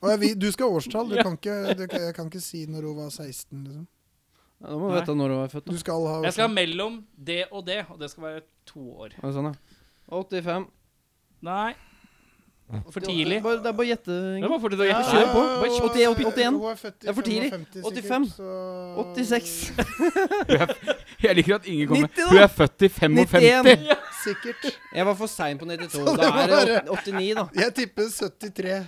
Speaker 8: Å, jeg, vil- du skal ha årstall. Du kan ikke, du, kan- jeg kan ikke si når hun var 16. Liksom.
Speaker 1: Ja, Da må du vite når du var født.
Speaker 8: Du skal ha
Speaker 2: Jeg skal
Speaker 8: årstall.
Speaker 2: ha mellom det og det, og det skal være to år.
Speaker 1: Ja, sånn, ja. 85.
Speaker 2: Nei. For tidlig.
Speaker 1: Bare, det er bare å gjette.
Speaker 4: Det
Speaker 1: Inge.
Speaker 4: var fortid å gjette.
Speaker 1: Kjør på.
Speaker 8: Ja, hun var
Speaker 1: 81,
Speaker 8: født-
Speaker 1: 81.
Speaker 8: hun var født i
Speaker 1: Det er for tidlig.
Speaker 8: 55 sikkert,
Speaker 1: 85.
Speaker 8: så-
Speaker 1: 86.
Speaker 3: Jeg liker at ingen kommer.
Speaker 1: 90 da.
Speaker 3: Hun er født i 55.
Speaker 1: 91.
Speaker 8: Sikkert.
Speaker 1: Jeg var for sein på 92.
Speaker 8: Så det
Speaker 1: Da er det
Speaker 8: var-
Speaker 1: åt- 89, da.
Speaker 8: Jeg tipper 73.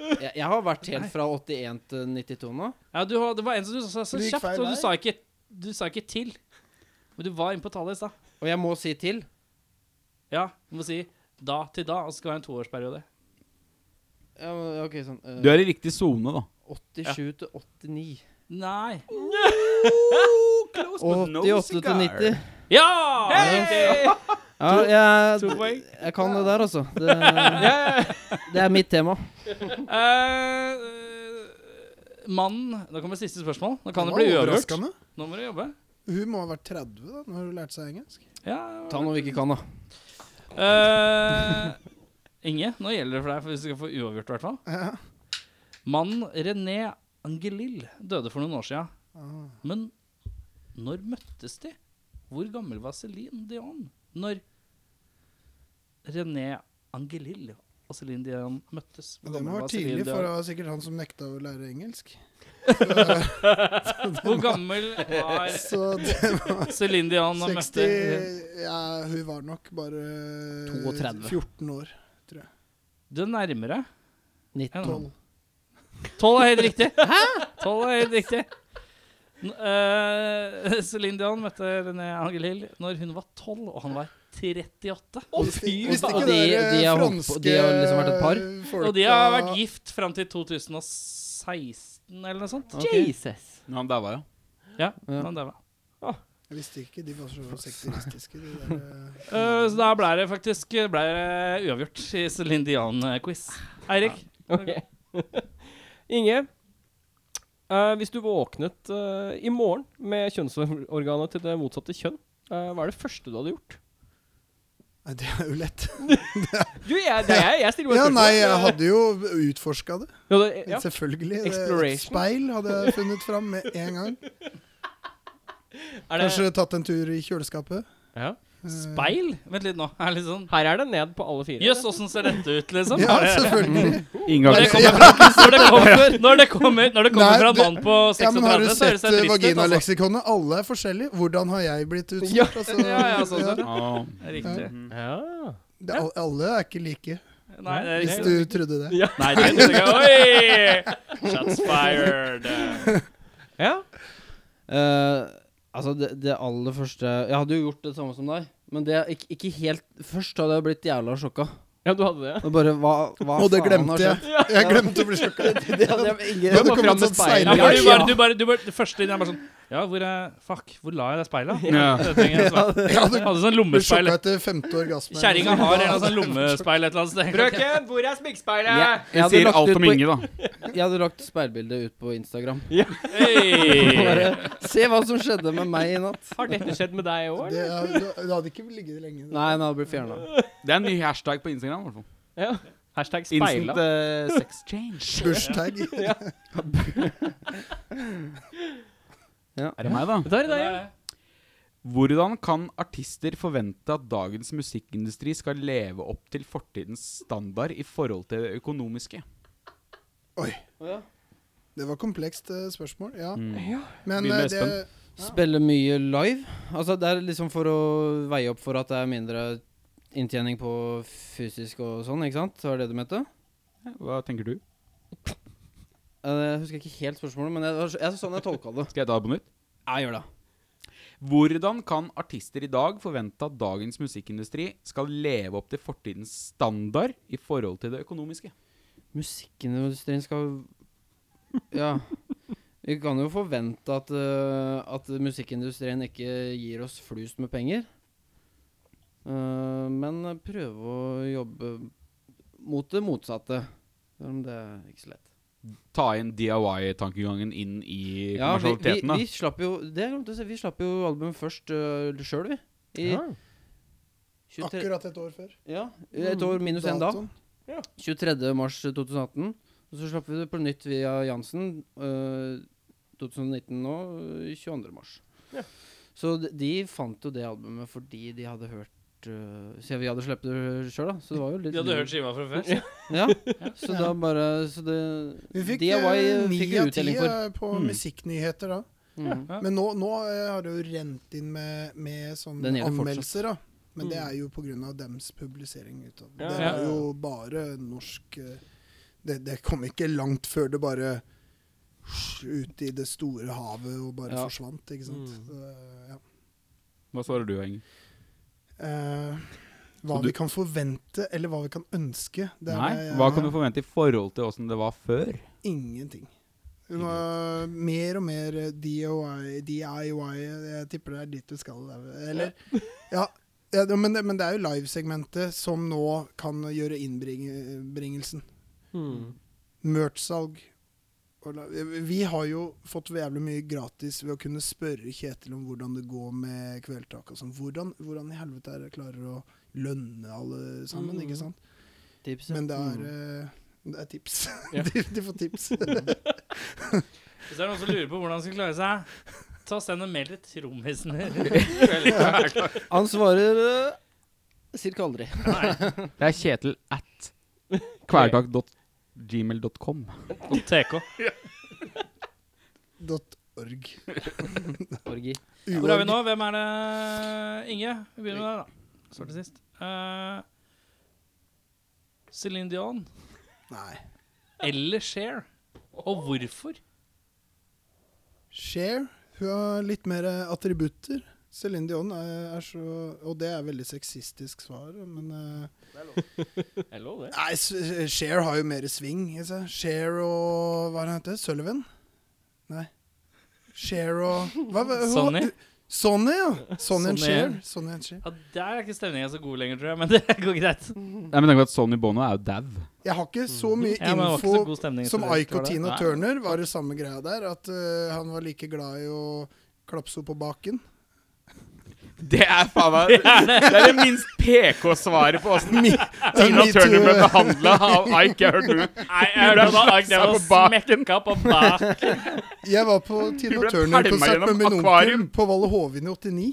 Speaker 1: Jeg, jeg har vært helt fra 81 til 92 nå.
Speaker 2: Ja, du, har- det var en som du sa så
Speaker 8: Du gikk
Speaker 2: kjapt,
Speaker 8: feil
Speaker 2: og du
Speaker 8: vei.
Speaker 2: sa ikke, du sa ikke til. Men du var inne på tallet i stad.
Speaker 1: Og jeg må si til.
Speaker 2: Ja, du må si da til da, og så skal det være en toårsperiode.
Speaker 1: Ja, men, ok, sånn eh,
Speaker 3: Du er i riktig sone, da.
Speaker 1: 87 til 89.
Speaker 2: Nei.
Speaker 1: Og 88 til 90.
Speaker 2: Ja!
Speaker 1: Ja, jeg,
Speaker 2: To poeng.
Speaker 1: jeg kan det der, altså. Det, det er mitt tema.
Speaker 2: Eh, eh, mannen Nå kommer siste spørsmål. Nå kan det bli uavgjort.
Speaker 8: var overraskende.
Speaker 2: Nå må du jobbe.
Speaker 8: Hun må ha vært 30 da, når hun lærte seg engelsk.
Speaker 2: Ja.
Speaker 1: Ta noe vi ikke kan, da.
Speaker 2: Eh, Inge, nå gjelder det for deg for hvis du skal få uavgjort, i hvert fall. Mannen René
Speaker 8: Ah,
Speaker 2: Angelil døde for noen år sia. Men når møttes de? Hvor gammel var Céline Dion når René Angelil og Céline Dion møttes? Hvor
Speaker 8: Men det må
Speaker 2: gammel
Speaker 8: ha
Speaker 2: var
Speaker 8: vært
Speaker 2: Céline
Speaker 8: tidlig, for det
Speaker 2: Dion?
Speaker 8: var sikkert han som nekta å lære engelsk.
Speaker 2: Hvor gammel var
Speaker 8: Så det var
Speaker 2: Céline Dion og
Speaker 8: 60
Speaker 2: møtte
Speaker 8: Ja, hun var nok bare
Speaker 1: 32.
Speaker 8: 14 år.
Speaker 2: Du er nærmere.
Speaker 1: 19.
Speaker 8: 12.
Speaker 2: Tolv er helt riktig. Hæ? Tolv er helt riktig. N eh, Céline Dion møtte René Angelil når hun var 12, og han var 38.
Speaker 8: Visste
Speaker 1: Og
Speaker 8: ikke
Speaker 1: de-
Speaker 8: dere
Speaker 1: de har holdt på-
Speaker 8: franske
Speaker 1: de har liksom vært et par?
Speaker 8: folka-
Speaker 2: Og de har vært gift fram til 2016 eller noe sånt.
Speaker 1: Jesus!
Speaker 3: Men han daua, ja.
Speaker 2: Ja,
Speaker 1: Ja.
Speaker 2: men Sånn det var.
Speaker 8: Jeg visste ikke, de var så sekteristiske. De der,
Speaker 2: Eh, så da ble det faktisk ble det uavgjort i Céline Dion-quiz. Eirik?
Speaker 4: Ok. Inge, eh, hvis du våknet eh, i morgen med kjønnsorganet til det motsatte kjønn, eh, hva er det første du hadde gjort?
Speaker 8: nei, det er jo lett.
Speaker 4: Du, jeg, det er jeg. Jeg stiller bare
Speaker 8: Ja,
Speaker 4: spørsmål.
Speaker 8: nei, jeg hadde jo utforska det.
Speaker 4: Ja, det- ja.
Speaker 8: Selvfølgelig. Det-
Speaker 4: Exploration.
Speaker 8: Speil hadde jeg funnet fram med en gang.
Speaker 4: Er det,
Speaker 8: Kanskje tatt en tur i kjøleskapet. Eh,
Speaker 4: ja.
Speaker 2: Speil? Vent litt nå. Er det litt sånn
Speaker 4: Her er det ned på alle fire.
Speaker 2: Jøss, åssen ser dette ut, liksom?
Speaker 8: Ja, selvfølgelig.
Speaker 2: Når
Speaker 3: Oh.
Speaker 6: Inngang.
Speaker 2: det kommer, når det kommer, når det kommer, når det
Speaker 8: Nei,
Speaker 2: kommer fra en
Speaker 8: det-
Speaker 2: mann på
Speaker 8: Ja, men har du
Speaker 2: 36, så høres
Speaker 8: sett
Speaker 2: det
Speaker 8: eh,
Speaker 2: trist ut. Altså.
Speaker 8: vaginaleksikonet? Alle er forskjellige. Hvordan har jeg blitt utsatt?
Speaker 4: Ja.
Speaker 8: Altså,
Speaker 2: Ja, ja, sånn sett.
Speaker 3: Ah.
Speaker 2: Riktig.
Speaker 4: Ja.
Speaker 8: det, al- alle er ikke like,
Speaker 2: Nei, det er
Speaker 8: hvis
Speaker 2: riktig.
Speaker 8: du trodde det.
Speaker 4: Ja.
Speaker 2: Nei, det er ikke Oi! Shots fired.
Speaker 4: ja.
Speaker 1: Eh, altså, det, det aller første Jeg hadde jo gjort det samme som deg. Men det ikke, ikke helt Først hadde jeg blitt jævla sjokka.
Speaker 4: ja, du hadde det.
Speaker 1: Og bare hva, hva
Speaker 8: Og det
Speaker 1: faen har
Speaker 8: glemte
Speaker 1: skjedd?
Speaker 8: jeg. Jeg glemte å bli sjokka.
Speaker 1: Det, det hadde jeg
Speaker 8: Det
Speaker 1: ingen
Speaker 8: hadde
Speaker 4: var
Speaker 8: kommet
Speaker 4: frem med
Speaker 8: sånn
Speaker 4: speilet.
Speaker 2: Ja,
Speaker 8: seilende-
Speaker 2: for du bare, du bare, du bare det første din er bare sånn Ja, hvor er Fuck, hvor la jeg det speilet?
Speaker 6: Ja.
Speaker 2: Det trenger jeg å svare.
Speaker 8: Ja, du
Speaker 2: Jeg hadde sånn
Speaker 8: blir sjokka
Speaker 2: lommespeil.
Speaker 8: etter femte orgasme.
Speaker 2: Kjerringa har en eller annen sånn lommespeil et eller annet sted.
Speaker 4: Brøken, hvor er sminkspeilet?
Speaker 1: jeg, jeg,
Speaker 6: Jeg
Speaker 1: hadde
Speaker 6: sier
Speaker 1: lagt
Speaker 6: alt
Speaker 1: ut
Speaker 6: om
Speaker 1: på,
Speaker 6: Inge, da.
Speaker 1: jeg hadde lagt speilbildet ut på Instagram.
Speaker 2: Hey.
Speaker 1: Bare se hva som skjedde med meg i natt.
Speaker 4: Har dette skjedd med deg i år?
Speaker 8: Det, er- du, du hadde ikke ligget lenge.
Speaker 1: Nei, den hadde blitt fjerna.
Speaker 3: Det er en ny hashtag på Instagram. i hvert fall.
Speaker 4: Ja. Hashtag
Speaker 3: Instant
Speaker 4: speila.
Speaker 3: eh, sex change.
Speaker 8: Bursdag.
Speaker 3: Er det meg, da?
Speaker 4: Der, der, ja.
Speaker 3: Hvordan kan artister forvente at dagens musikkindustri skal leve opp til fortidens standard i forhold til det økonomiske?
Speaker 8: Oi.
Speaker 1: Ja.
Speaker 8: Det var komplekst eh, spørsmål, ja.
Speaker 4: Ja.
Speaker 8: Men
Speaker 3: Begynn med
Speaker 8: eh, det
Speaker 3: Espen.
Speaker 1: Spille mye live. Altså, det er liksom for å veie opp for at det er mindre inntjening på fysisk og sånn, ikke sant? Det var det du mente?
Speaker 3: Hva tenker du?
Speaker 1: Eh, Jeg husker ikke helt spørsmålet, men jeg, det var så- jeg, sånn jeg tolka det.
Speaker 3: Skal jeg ta det på nytt?
Speaker 1: Jeg gjør det.
Speaker 3: Hvordan kan artister i dag forvente at dagens musikkindustri skal leve opp til fortidens standard i forhold til det økonomiske?
Speaker 1: Musikkindustrien skal Ja. Vi kan jo forvente at, eh, at musikkindustrien ikke gir oss flust med penger. Eh, men prøve å jobbe mot det motsatte. Selv om det er ikke så lett.
Speaker 3: Ta inn DIY-tankegangen inn i
Speaker 1: Ja, vi, vi,
Speaker 3: kommersialiteten,
Speaker 1: vi slapp jo Det jeg glemte å si. Vi slapp jo album først uh, sjøl, vi. I
Speaker 4: Ja.
Speaker 1: 23,
Speaker 8: akkurat et år før.
Speaker 1: Ja, et år minus én dag.
Speaker 8: Datoen.
Speaker 1: 23. mars 2018. Og så slapp vi det på nytt via Jansen eh, 2019 nå, eh, 22. mars.
Speaker 4: Ja.
Speaker 1: Så de, de fant jo det albumet fordi de hadde hørt uh, Siden vi hadde sluppet det sjøl, da. Så det var jo litt
Speaker 2: Du hadde hørt skiva fra før?
Speaker 1: Ja, så da bare Så det
Speaker 8: Vi fikk
Speaker 1: DIY
Speaker 8: eh, ni
Speaker 1: fikk vi
Speaker 8: av ti
Speaker 1: uttelling for.
Speaker 8: eh, på musikknyheter da.
Speaker 1: Mm.
Speaker 2: Ja.
Speaker 8: Men nå, nå eh, har det jo rent inn med, med sånne
Speaker 1: Den gjelder
Speaker 8: anmeldelser, da. Men det er jo pga. dems publisering utad.
Speaker 4: Mm. Ja,
Speaker 8: det
Speaker 4: ja,
Speaker 8: er
Speaker 4: ja.
Speaker 8: jo bare norsk eh, det, det kom ikke langt før det bare ut i det store havet og bare
Speaker 1: Ja.
Speaker 8: forsvant, ikke sant.
Speaker 4: Mm.
Speaker 8: Så, eh, ja.
Speaker 3: Hva svarer du, Enge?
Speaker 8: Eh, hva
Speaker 3: Så du-
Speaker 8: vi kan forvente, eller hva vi kan ønske, det er eh,
Speaker 3: Nei,
Speaker 8: det jeg-
Speaker 3: hva kan du forvente i forhold til åssen det var før?
Speaker 8: Ingenting. Det var mer og mer DIY, DIY Jeg tipper det er dit du skal. der. Eller Ja. ja det- men, det, men det er jo livesegmentet som nå kan gjøre innbringelsen.
Speaker 4: Hmm.
Speaker 8: Merch-salg. Og la- Vi har jo fått jævlig mye gratis ved å kunne spørre Kjetil om hvordan det går med kveldtak og sånn. Hvordan, hvordan i helvete er det jeg klarer å lønne alle sammen,
Speaker 4: Mm.
Speaker 8: ikke sant?
Speaker 1: Tipset.
Speaker 8: Men det er,
Speaker 1: Mm.
Speaker 8: eh, det er tips.
Speaker 4: Ja.
Speaker 8: De, de får tips.
Speaker 2: Hvis det er noen som lurer på hvordan han skal klare seg, Ta og Send en mail til trommisen.
Speaker 1: Han svarer uh, cirka aldri.
Speaker 3: Det er kjetil at kvelertak.gmail.com.
Speaker 2: TK.
Speaker 8: .org.
Speaker 1: Orgi.
Speaker 2: Hvor er vi nå? Hvem er det? Inge? Vi begynner med deg, da. Svarte sist. Eh, Céline Dion
Speaker 8: Nei.
Speaker 2: eller Cher? Og hvorfor?
Speaker 8: Cher. Hun har litt mer eh, attributter. Céline Dion er, er så Og det er veldig sexistisk svar, men eh,
Speaker 4: Jeg lov det.
Speaker 8: Nei, S- Cher har jo mer sving i seg. Cher og Hva er det han heter? Sullivan? Nei. Cher og hva, hva, hva-
Speaker 2: Sonny?
Speaker 8: Sonny, ja. Sonny
Speaker 2: Sonny.
Speaker 8: and Cher. Sonny and Cher.
Speaker 2: Ja, der er ikke stemninga så god lenger, tror jeg. Men det går greit.
Speaker 3: Nei, men tenk på at Sonny Bono er jo dau.
Speaker 8: Jeg har ikke så mye
Speaker 2: Ja, men det var ikke så
Speaker 8: info
Speaker 2: god stemning
Speaker 8: som
Speaker 2: etter det,
Speaker 8: Ike
Speaker 2: var
Speaker 8: og
Speaker 2: det?
Speaker 8: Tina
Speaker 2: Nei.
Speaker 8: Turner. Var det samme greia der? At eh, han var like glad i å klapse henne på baken?
Speaker 6: Det er faen meg Det er det minst PK-svaret på åssen Tina
Speaker 8: Me
Speaker 6: Turner ble
Speaker 8: too.
Speaker 6: behandla av Ike. Jeg hørte noe.
Speaker 2: Nei, jeg hørte da Agnes
Speaker 6: Jeg var
Speaker 2: var
Speaker 6: på baken.
Speaker 2: smekka på bak.
Speaker 8: Jeg var på Tina
Speaker 6: ble pælma
Speaker 8: Turner-konsert
Speaker 6: gjennom
Speaker 8: med min onkel
Speaker 6: akvarium.
Speaker 8: på Valle Hovin i 89.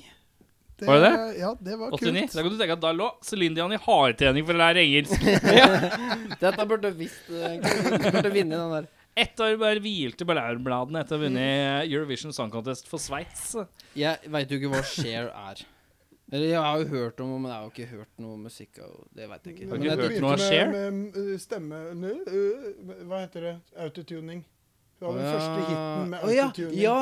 Speaker 6: Var det
Speaker 8: Ja, det var
Speaker 2: 89.
Speaker 8: kult.
Speaker 2: Da kan du tenke at da lå Céline Dion i hardtrening for å lære engelsk.
Speaker 1: Dette burde du visst. eh, egentlig. Du burde vinne den der.
Speaker 2: Ett år bare hvilte på laurbladene etter å ha vunnet Eurovision Song Contest for Sveits.
Speaker 1: Jeg veit jo ikke hva Cher er. Eller jeg har jo hørt om henne, men jeg har jo ikke hørt noe musikk av henne. Det vet jeg ikke.
Speaker 2: Har du
Speaker 1: Men
Speaker 2: ikke
Speaker 1: jeg,
Speaker 2: hørt
Speaker 8: begynte
Speaker 2: noe av
Speaker 8: med-
Speaker 2: Cher?
Speaker 8: Med, uh, stemme Nå, uh, Hva heter det? Autotuning. Hun var den
Speaker 1: Å,
Speaker 8: første hiten med
Speaker 1: Å ja,
Speaker 8: autotuning.
Speaker 1: ja.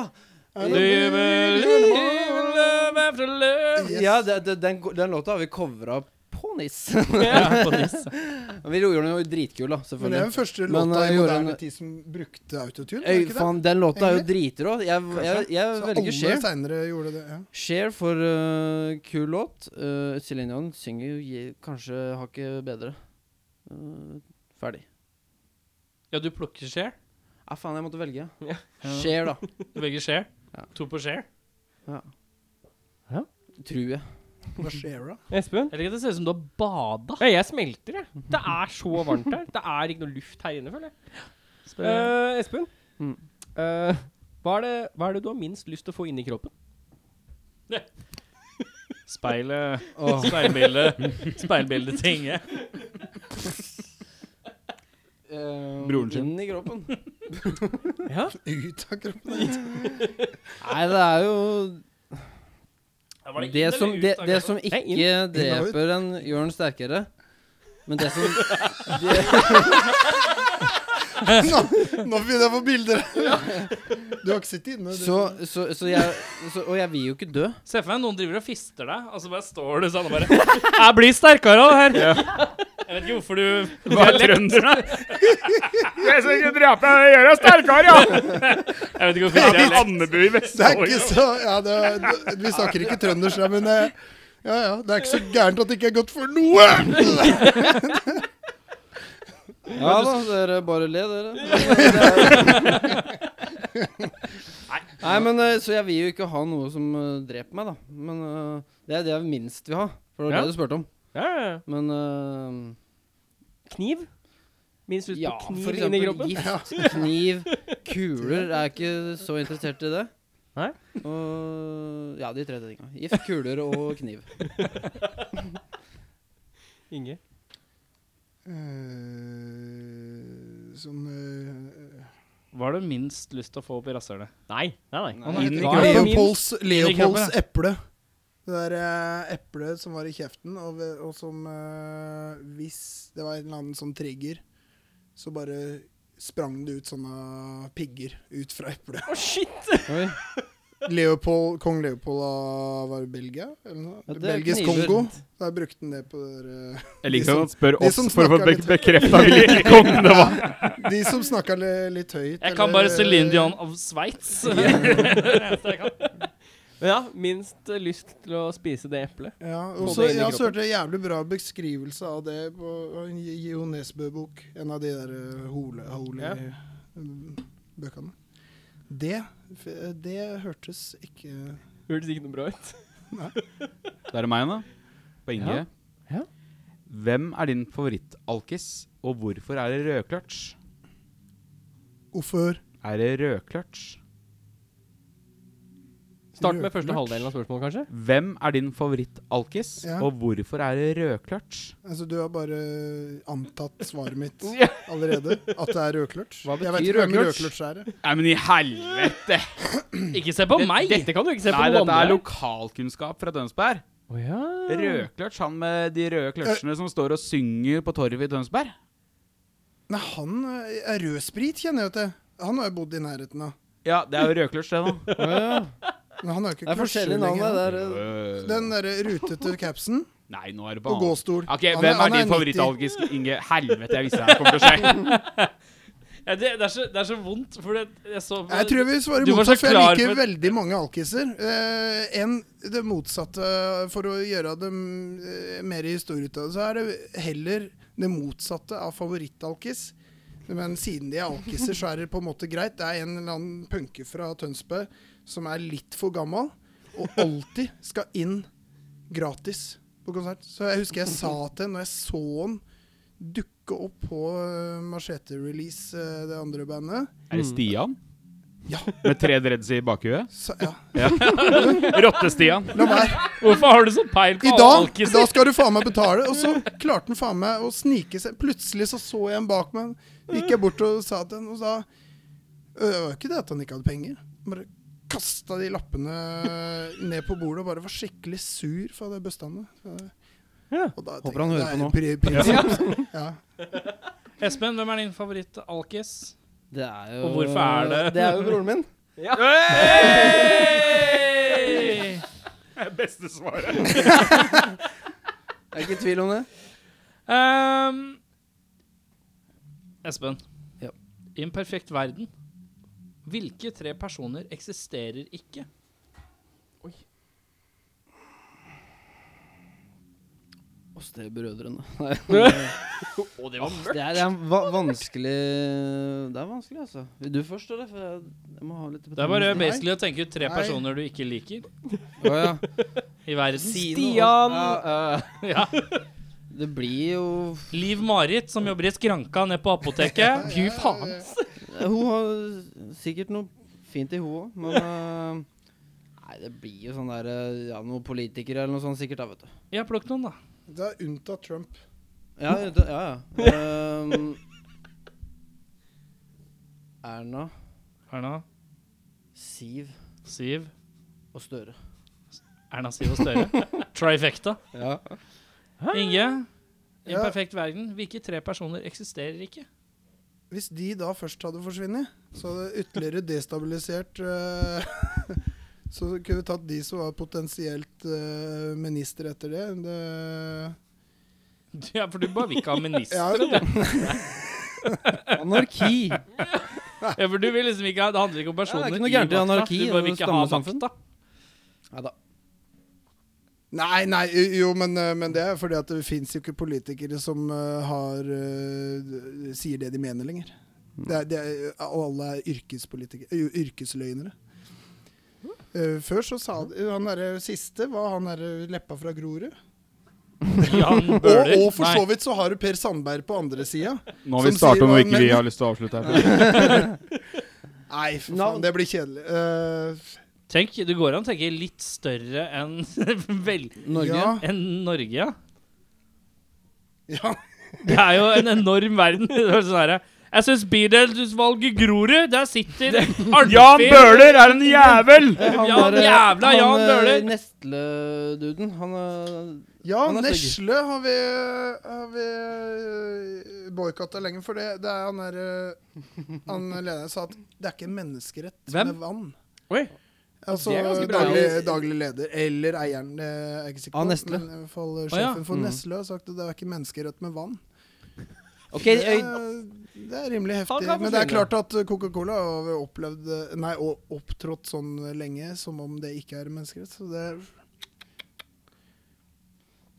Speaker 8: Er
Speaker 2: Do
Speaker 8: det-
Speaker 2: you believe in love after love?
Speaker 8: Yes.
Speaker 1: ja det, det, den, den låta har vi covra på NIS.
Speaker 2: Ja, på disse.
Speaker 1: vi gjorde den jo dritkul, da,
Speaker 8: Men det er den
Speaker 1: selvfølgelig.
Speaker 8: første
Speaker 1: Men,
Speaker 8: låta
Speaker 1: uh,
Speaker 8: i
Speaker 1: gjorde
Speaker 8: moderne
Speaker 1: en-
Speaker 8: tid som brukte autotune. var det
Speaker 1: Øy,
Speaker 8: ikke det?
Speaker 1: faen, den låta er jo dritrå. Jeg, jeg, jeg
Speaker 8: Så
Speaker 1: velger
Speaker 8: alle
Speaker 1: Cher.
Speaker 8: seinere gjorde det. Ja.
Speaker 1: Cher for eh, kul låt. Uh, Céline Dion synger jo je- kanskje hakket bedre. Eh, ferdig.
Speaker 2: Ja, du plukker Cher?
Speaker 1: Ja, faen, jeg måtte velge.
Speaker 2: Ja.
Speaker 1: Cher, da.
Speaker 2: Du velger Cher?
Speaker 1: Ja.
Speaker 2: To på Cher?
Speaker 1: Tror jeg.
Speaker 8: Det var Cher, da.
Speaker 4: Espen?
Speaker 2: Jeg liker at det ser ut som du har bada.
Speaker 4: Ja, jeg smelter, jeg. Det er så varmt her. Det er ikke noe luft her inne, føler jeg. Eh, Espen,
Speaker 1: Mm.
Speaker 4: Eh, hva, er det, hva er det du har minst lyst til å få inn i kroppen?
Speaker 2: Speilet Eh, Speilbildet. Speilbildet til Inge.
Speaker 3: Broren sin.
Speaker 1: Eh, Inn i kroppen.
Speaker 8: Ut av kroppen.
Speaker 1: Nei, det er jo
Speaker 2: Ja, var
Speaker 1: det,
Speaker 2: inn eller
Speaker 1: som,
Speaker 2: ut,
Speaker 1: det,
Speaker 2: da,
Speaker 1: det
Speaker 2: Karl?
Speaker 1: som ikke
Speaker 4: inn.
Speaker 8: og ut.
Speaker 1: dreper en, gjør en sterkere. Men det som det,
Speaker 8: Nå, nå begynner jeg å få bilder! Du har ikke sittet inne? du.
Speaker 1: så, så, så jeg så, Og jeg vil jo ikke dø.
Speaker 2: Se for deg noen driver og fister deg, og så bare står du sånn og bare Jeg blir sterkere av det her. Jeg vet ikke hvorfor du
Speaker 6: Hva er trønder, da? Jeg skal ikke drepe deg, jeg gjør deg sterkere, ja!
Speaker 2: Jeg vet ikke
Speaker 6: Det
Speaker 2: hvorfor
Speaker 6: er
Speaker 2: jeg
Speaker 6: i Andebu i
Speaker 8: Det er ikke
Speaker 6: Vestfold.
Speaker 8: så ja, det, det, Vi snakker ikke trøndersk, ja, men eh, ja, ja, det er ikke så gærent at det ikke er godt for noe! Eh,
Speaker 1: Ja da, dere bare le, dere. Nei, men eh, Så jeg vil jo ikke ha noe som eh, dreper meg, da. Men eh, det er det jeg minst vil ha. For det var
Speaker 4: Ja.
Speaker 1: det du spurte om.
Speaker 4: Ja, ja, ja.
Speaker 1: Men eh,
Speaker 4: Kniv? Minst lyst
Speaker 1: ja,
Speaker 4: på
Speaker 1: for
Speaker 4: kniv inn i
Speaker 1: eksempel
Speaker 4: kroppen?
Speaker 1: gift, kniv, kuler Jeg er ikke så interessert i det.
Speaker 4: Nei.
Speaker 1: Og ja, de tre tingene. Gift, kuler og kniv.
Speaker 4: Inge?
Speaker 8: Eh, sånn eh,
Speaker 2: Hva har du minst lyst til å få opp i rasshølet?
Speaker 4: Nei. nei, nei.
Speaker 1: Nei.
Speaker 2: Inn i
Speaker 4: Hva er det minst-
Speaker 8: Leopolds, Leopolds
Speaker 2: kroppen,
Speaker 8: eple. Det der eh, eplet som var i kjeften, og, ve- og som eh, Hvis det var en eller annen sånn trigger, så bare sprang det ut sånne pigger ut fra eplet.
Speaker 4: Å, shit!
Speaker 1: Oi.
Speaker 8: Leopold, Kong Leopold av var det Belgia? Eller noe?
Speaker 1: Ja, det er
Speaker 8: Belgisk
Speaker 1: kniver.
Speaker 8: Kongo. Der brukte han det på det der, eh,
Speaker 6: Jeg liker at
Speaker 3: sånn
Speaker 6: han spør
Speaker 8: De
Speaker 6: oss
Speaker 8: som
Speaker 6: for å få
Speaker 8: snakker
Speaker 6: bek
Speaker 8: litt-
Speaker 6: bekrefta hvilken konge det var.
Speaker 8: De som snakka litt høyt.
Speaker 2: Jeg kan
Speaker 8: eller-
Speaker 2: bare Céline Dion av Sveits.
Speaker 4: Men ja, minst eh, lyst til å spise det eplet.
Speaker 8: Ja,
Speaker 4: Få
Speaker 8: og så
Speaker 4: det inn i
Speaker 8: ja, så
Speaker 4: kroppen.
Speaker 8: hørte jeg jævlig bra beskrivelse av det på en J- J.O. Nesbø-bok. En av de der eh, hole, hole
Speaker 4: Ja.
Speaker 8: mm, bøkene. Det, f- det hørtes ikke
Speaker 4: Hørtes ikke noe bra ut.
Speaker 3: Det er meg, da. På Inge.
Speaker 4: Ja. Ja.
Speaker 3: Hvem er din favorittalkis, og hvorfor er det rødkløtsj?
Speaker 8: Hvorfor?
Speaker 3: Er det rødkløtsj?
Speaker 4: Start med første
Speaker 8: Rødlurt.
Speaker 4: halvdelen av spørsmålet, kanskje.
Speaker 3: Hvem er din favorittalkis,
Speaker 8: Ja.
Speaker 3: og hvorfor er det rødkløtsj?
Speaker 8: Altså, du har bare antatt svaret mitt allerede. At det er rødkløtsj.
Speaker 1: Hva
Speaker 8: Jeg
Speaker 1: betyr
Speaker 8: vet ikke hvem
Speaker 1: rødkløtsj?
Speaker 8: rødkløtsj er. jeg.
Speaker 3: Nei, men i helvete!
Speaker 2: Ikke se på meg!
Speaker 4: Dette kan du ikke se på
Speaker 3: Nei,
Speaker 4: noen
Speaker 3: dette er
Speaker 4: andre.
Speaker 3: lokalkunnskap fra Tønsberg.
Speaker 4: Å ja.
Speaker 3: Rødkløtsj, han med de røde kløtsjene som står og synger på torvet i Tønsberg.
Speaker 8: Nei, han eh, er rødsprit, kjenner jeg til. Han har jo bodd i nærheten av.
Speaker 3: Ja, det er jo rødkløtsj, det, da.
Speaker 8: Men han
Speaker 1: Det
Speaker 8: har jo ikke
Speaker 1: er
Speaker 8: kløtsjer
Speaker 1: forskjellige navn.
Speaker 8: lenger.
Speaker 1: Det er, eh,
Speaker 8: Den derre rutete capsen
Speaker 3: Øh. Nei, nå er det
Speaker 8: og
Speaker 3: på annet.
Speaker 8: gåstol.
Speaker 3: Ok,
Speaker 8: Han
Speaker 3: Hvem
Speaker 8: han
Speaker 3: er din
Speaker 8: 90.
Speaker 3: favorittalkis, Inge? Helvete, jeg visste det her kom til å skje.
Speaker 2: Ja, det, det, er så, det er så vondt, for det, jeg så på
Speaker 8: Jeg tror vi svarer
Speaker 2: Du var så
Speaker 8: motsatt, for jeg
Speaker 2: klar
Speaker 8: liker
Speaker 2: for-
Speaker 8: veldig mange alkiser. Eh, en, det motsatte, for å gjøre dem eh, mer historie ut av det, så er det heller det motsatte av favorittalkis. Men siden de er alkiser, så er det på en måte greit. Det er en eller annen punke fra Tønsberg som er litt for gammel, og alltid skal inn gratis på konsert. Så jeg husker jeg sa til henne, når jeg så han dukke opp på eh, Machete Release, eh, det andre bandet
Speaker 3: Er det Stian?
Speaker 8: Ja.
Speaker 3: Med tre dreads i bakhuet?
Speaker 8: så, ja,
Speaker 3: Rotte-Stian.
Speaker 8: La være.
Speaker 2: Hvorfor har du så peil på
Speaker 8: I dag,
Speaker 2: alkiser?
Speaker 8: da skal du faen meg betale. Og så klarte han faen meg å snike seg. Plutselig så så jeg en bak meg. Gikk jeg bort og sa til han og sa «Øh, Det var jo ikke det at han ikke hadde penger. Han bare kasta de lappene ned på bordet og bare var skikkelig sur for det bøstene.
Speaker 4: Ja,
Speaker 1: håper han hører på nå.
Speaker 8: nå. Ja.
Speaker 2: Espen, hvem er din favoritt-alkis?
Speaker 1: det er jo,
Speaker 2: Og hvorfor er det-
Speaker 1: Det er jo broren min.
Speaker 6: Beste svaret.
Speaker 1: Jeg er ikke i tvil om det.
Speaker 2: Ehm, Espen.
Speaker 1: Ja.
Speaker 2: I en perfekt verden, hvilke tre personer eksisterer ikke?
Speaker 1: Oss det er brødrene. Nei, eh,
Speaker 2: Og det var mørkt!
Speaker 1: det, er, det er va vanskelig Det er vanskelig, altså. Vil du først, eller? For jeg, jeg må ha litt
Speaker 2: Det er bare
Speaker 1: betenkningstid.
Speaker 2: basically å tenke ut tre
Speaker 8: Nei.
Speaker 2: personer du ikke liker
Speaker 1: Å, ja.
Speaker 2: i verden.
Speaker 1: Stian!
Speaker 2: Ja.
Speaker 1: Det blir jo
Speaker 2: Liv Marit, som jobber i skranka nede på apoteket. Fy faen.
Speaker 1: Hun har sikkert noe fint i hun òg, men eh, Nei, det blir jo sånn der eh, Ja, noen politikere eller noe sånt sikkert, da, vet du.
Speaker 2: Ja, plukk noen, da.
Speaker 8: Det er unntatt Trump.
Speaker 1: Ja, det, ja. ja. Ehm, Erna,
Speaker 2: Erna,
Speaker 1: Siv
Speaker 2: Siv,
Speaker 1: og Støre.
Speaker 2: Erna Siv og Støre. Trifecta.
Speaker 1: Ja.
Speaker 2: Inge, i en
Speaker 8: Ja.
Speaker 2: perfekt verden, hvilke tre personer eksisterer ikke?
Speaker 8: Hvis de da først hadde forsvunnet, så hadde det ytterligere destabilisert eh, Så kunne vi tatt de som var potensielt eh, minister etter det. det
Speaker 2: Ja, for du bare vil ikke ha minister.
Speaker 8: ja,
Speaker 2: ja.
Speaker 8: det
Speaker 1: Anarki!
Speaker 2: for du vil liksom ikke ha, Det handler ikke om personer.
Speaker 1: Ja, det er ikke noe gærent i
Speaker 2: makta,
Speaker 1: anarki
Speaker 2: Du bare vil
Speaker 1: og
Speaker 2: ikke ha
Speaker 1: stammesamfunn.
Speaker 2: makta.
Speaker 1: Nei da.
Speaker 8: Nei, nei, jo, jo, men, eh, men det er fordi at det fins jo ikke politikere som eh, har eh, sier det de mener lenger. Det er, det er, og alle er yrkespolitikere jo, Yrkesløgnere. Eh, før så sa de, han derre siste var han derre leppa fra Grorud.
Speaker 2: Jan
Speaker 8: Og,
Speaker 2: Bøhler.
Speaker 8: og for så
Speaker 2: Nei.
Speaker 8: vidt så har du Per Sandberg på andre sida.
Speaker 3: Nå
Speaker 8: har vi Som startet sier noe hva- ikke vi men- har
Speaker 3: lyst til å avslutte her.
Speaker 8: Nei, for
Speaker 1: Navn.
Speaker 8: faen, det blir kjedelig. Eh,
Speaker 2: Tenk, Det går an å tenke litt større enn vel,
Speaker 1: Norge.
Speaker 8: Ja.
Speaker 2: enn Norge, ja.
Speaker 8: ja.
Speaker 2: Det er jo en enorm verden. Det var sånn herre, jeg syns bydelsutvalget Grorud, der sitter Arnfinn
Speaker 3: Jan Bøhler er en jævel!
Speaker 1: Han
Speaker 2: Jan
Speaker 1: der, eh,
Speaker 2: jævla
Speaker 1: han,
Speaker 2: Jan
Speaker 1: eh,
Speaker 2: Bøhler.
Speaker 1: Nestle-duden. Han eh,
Speaker 8: ja
Speaker 1: Han er stygg.
Speaker 8: Nesle har vi, har vi eh, boikotta lenge, for det, det er han der eh, Han lederen sa at det er ikke en menneskerett
Speaker 2: Hvem?
Speaker 8: med vann.
Speaker 4: Oi.
Speaker 8: Altså
Speaker 4: Det er ganske bra.
Speaker 8: daglig, daglig leder, eller eieren, det er jeg ikke sikker
Speaker 1: Av
Speaker 8: på.
Speaker 1: Nestle.
Speaker 8: Men i hvert fall eh,
Speaker 2: Å, ja.
Speaker 8: sjefen for
Speaker 1: Mm.
Speaker 8: Nesle har sagt at det er ikke menneskerett med vann.
Speaker 1: OK,
Speaker 8: Det
Speaker 1: øy,
Speaker 8: er, det er rimelig
Speaker 4: Han
Speaker 8: heftig.
Speaker 4: kan
Speaker 8: Men det er
Speaker 4: forsvinne.
Speaker 8: klart at Coca-Cola har opplevd Nei, og opptrådt sånn lenge som om det ikke er menneskerett. Så det er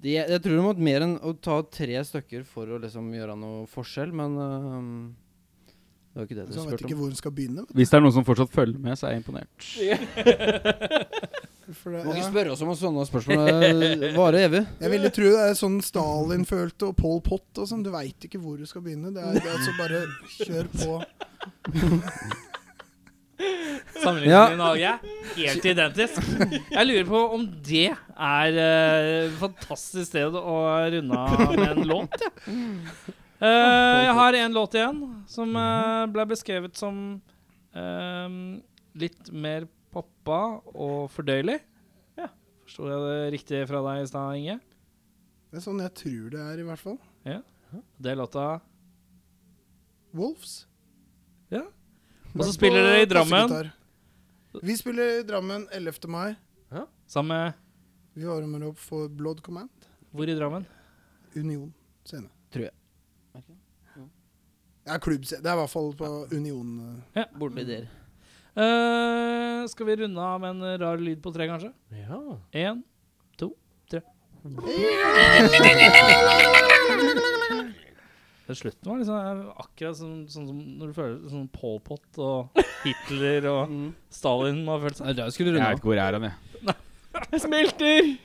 Speaker 1: de, jeg tror det måtte mer enn å ta tre stykker for å liksom gjøre noe forskjell, men eh, Det var ikke det du
Speaker 8: Så han vet
Speaker 1: spurte
Speaker 8: ikke
Speaker 1: om.
Speaker 8: hvor han skal begynne. vet
Speaker 3: Hvis det er noen som fortsatt følger med, så er jeg imponert.
Speaker 8: du, For det,
Speaker 1: Du må ikke
Speaker 8: ja.
Speaker 1: spørre oss om sånne spørsmål eh, varer evig.
Speaker 8: Jeg ville tro det er sånn Stalin følte, og Pol Pot og sånn. Du veit ikke hvor du skal begynne. Det er, det er altså bare kjør på.
Speaker 2: Sammenligningen
Speaker 8: Ja.
Speaker 2: i Norge er helt identisk. Jeg lurer på om det er eh, et fantastisk sted å runde av med en låt. Ja. Eh, jeg har en låt igjen som eh, ble beskrevet som eh, litt mer poppa og fordøyelig. Ja, Forsto jeg det riktig fra deg i stad, Inge?
Speaker 8: Det er sånn jeg tror det er, i hvert fall.
Speaker 2: Det er låta
Speaker 8: Wolves.
Speaker 2: Og så spiller dere i
Speaker 8: På
Speaker 2: Drammen
Speaker 8: kassegitar. Vi spiller i Drammen 11. mai.
Speaker 2: sammen med
Speaker 8: Vi varmer opp for Blood Command.
Speaker 2: Hvor i Drammen?
Speaker 8: Union scene.
Speaker 1: Tror jeg. Er det ikke
Speaker 8: Det er klubbscene. Det er i hvert fall på Union. eh,
Speaker 1: Borte i der.
Speaker 2: Eh, skal vi runde av med en rar lyd på tre, kanskje?
Speaker 4: Ja.
Speaker 2: Én to, tre. Den slutten var liksom akkurat sånn, sånn som når du føler sånn Pol Pot og Hitler og Stalin må ha følt seg
Speaker 1: Nei, da skulle du runde
Speaker 3: Jeg
Speaker 1: av.
Speaker 3: vet ikke hvor jeg er hen, jeg.
Speaker 4: Jeg smelter!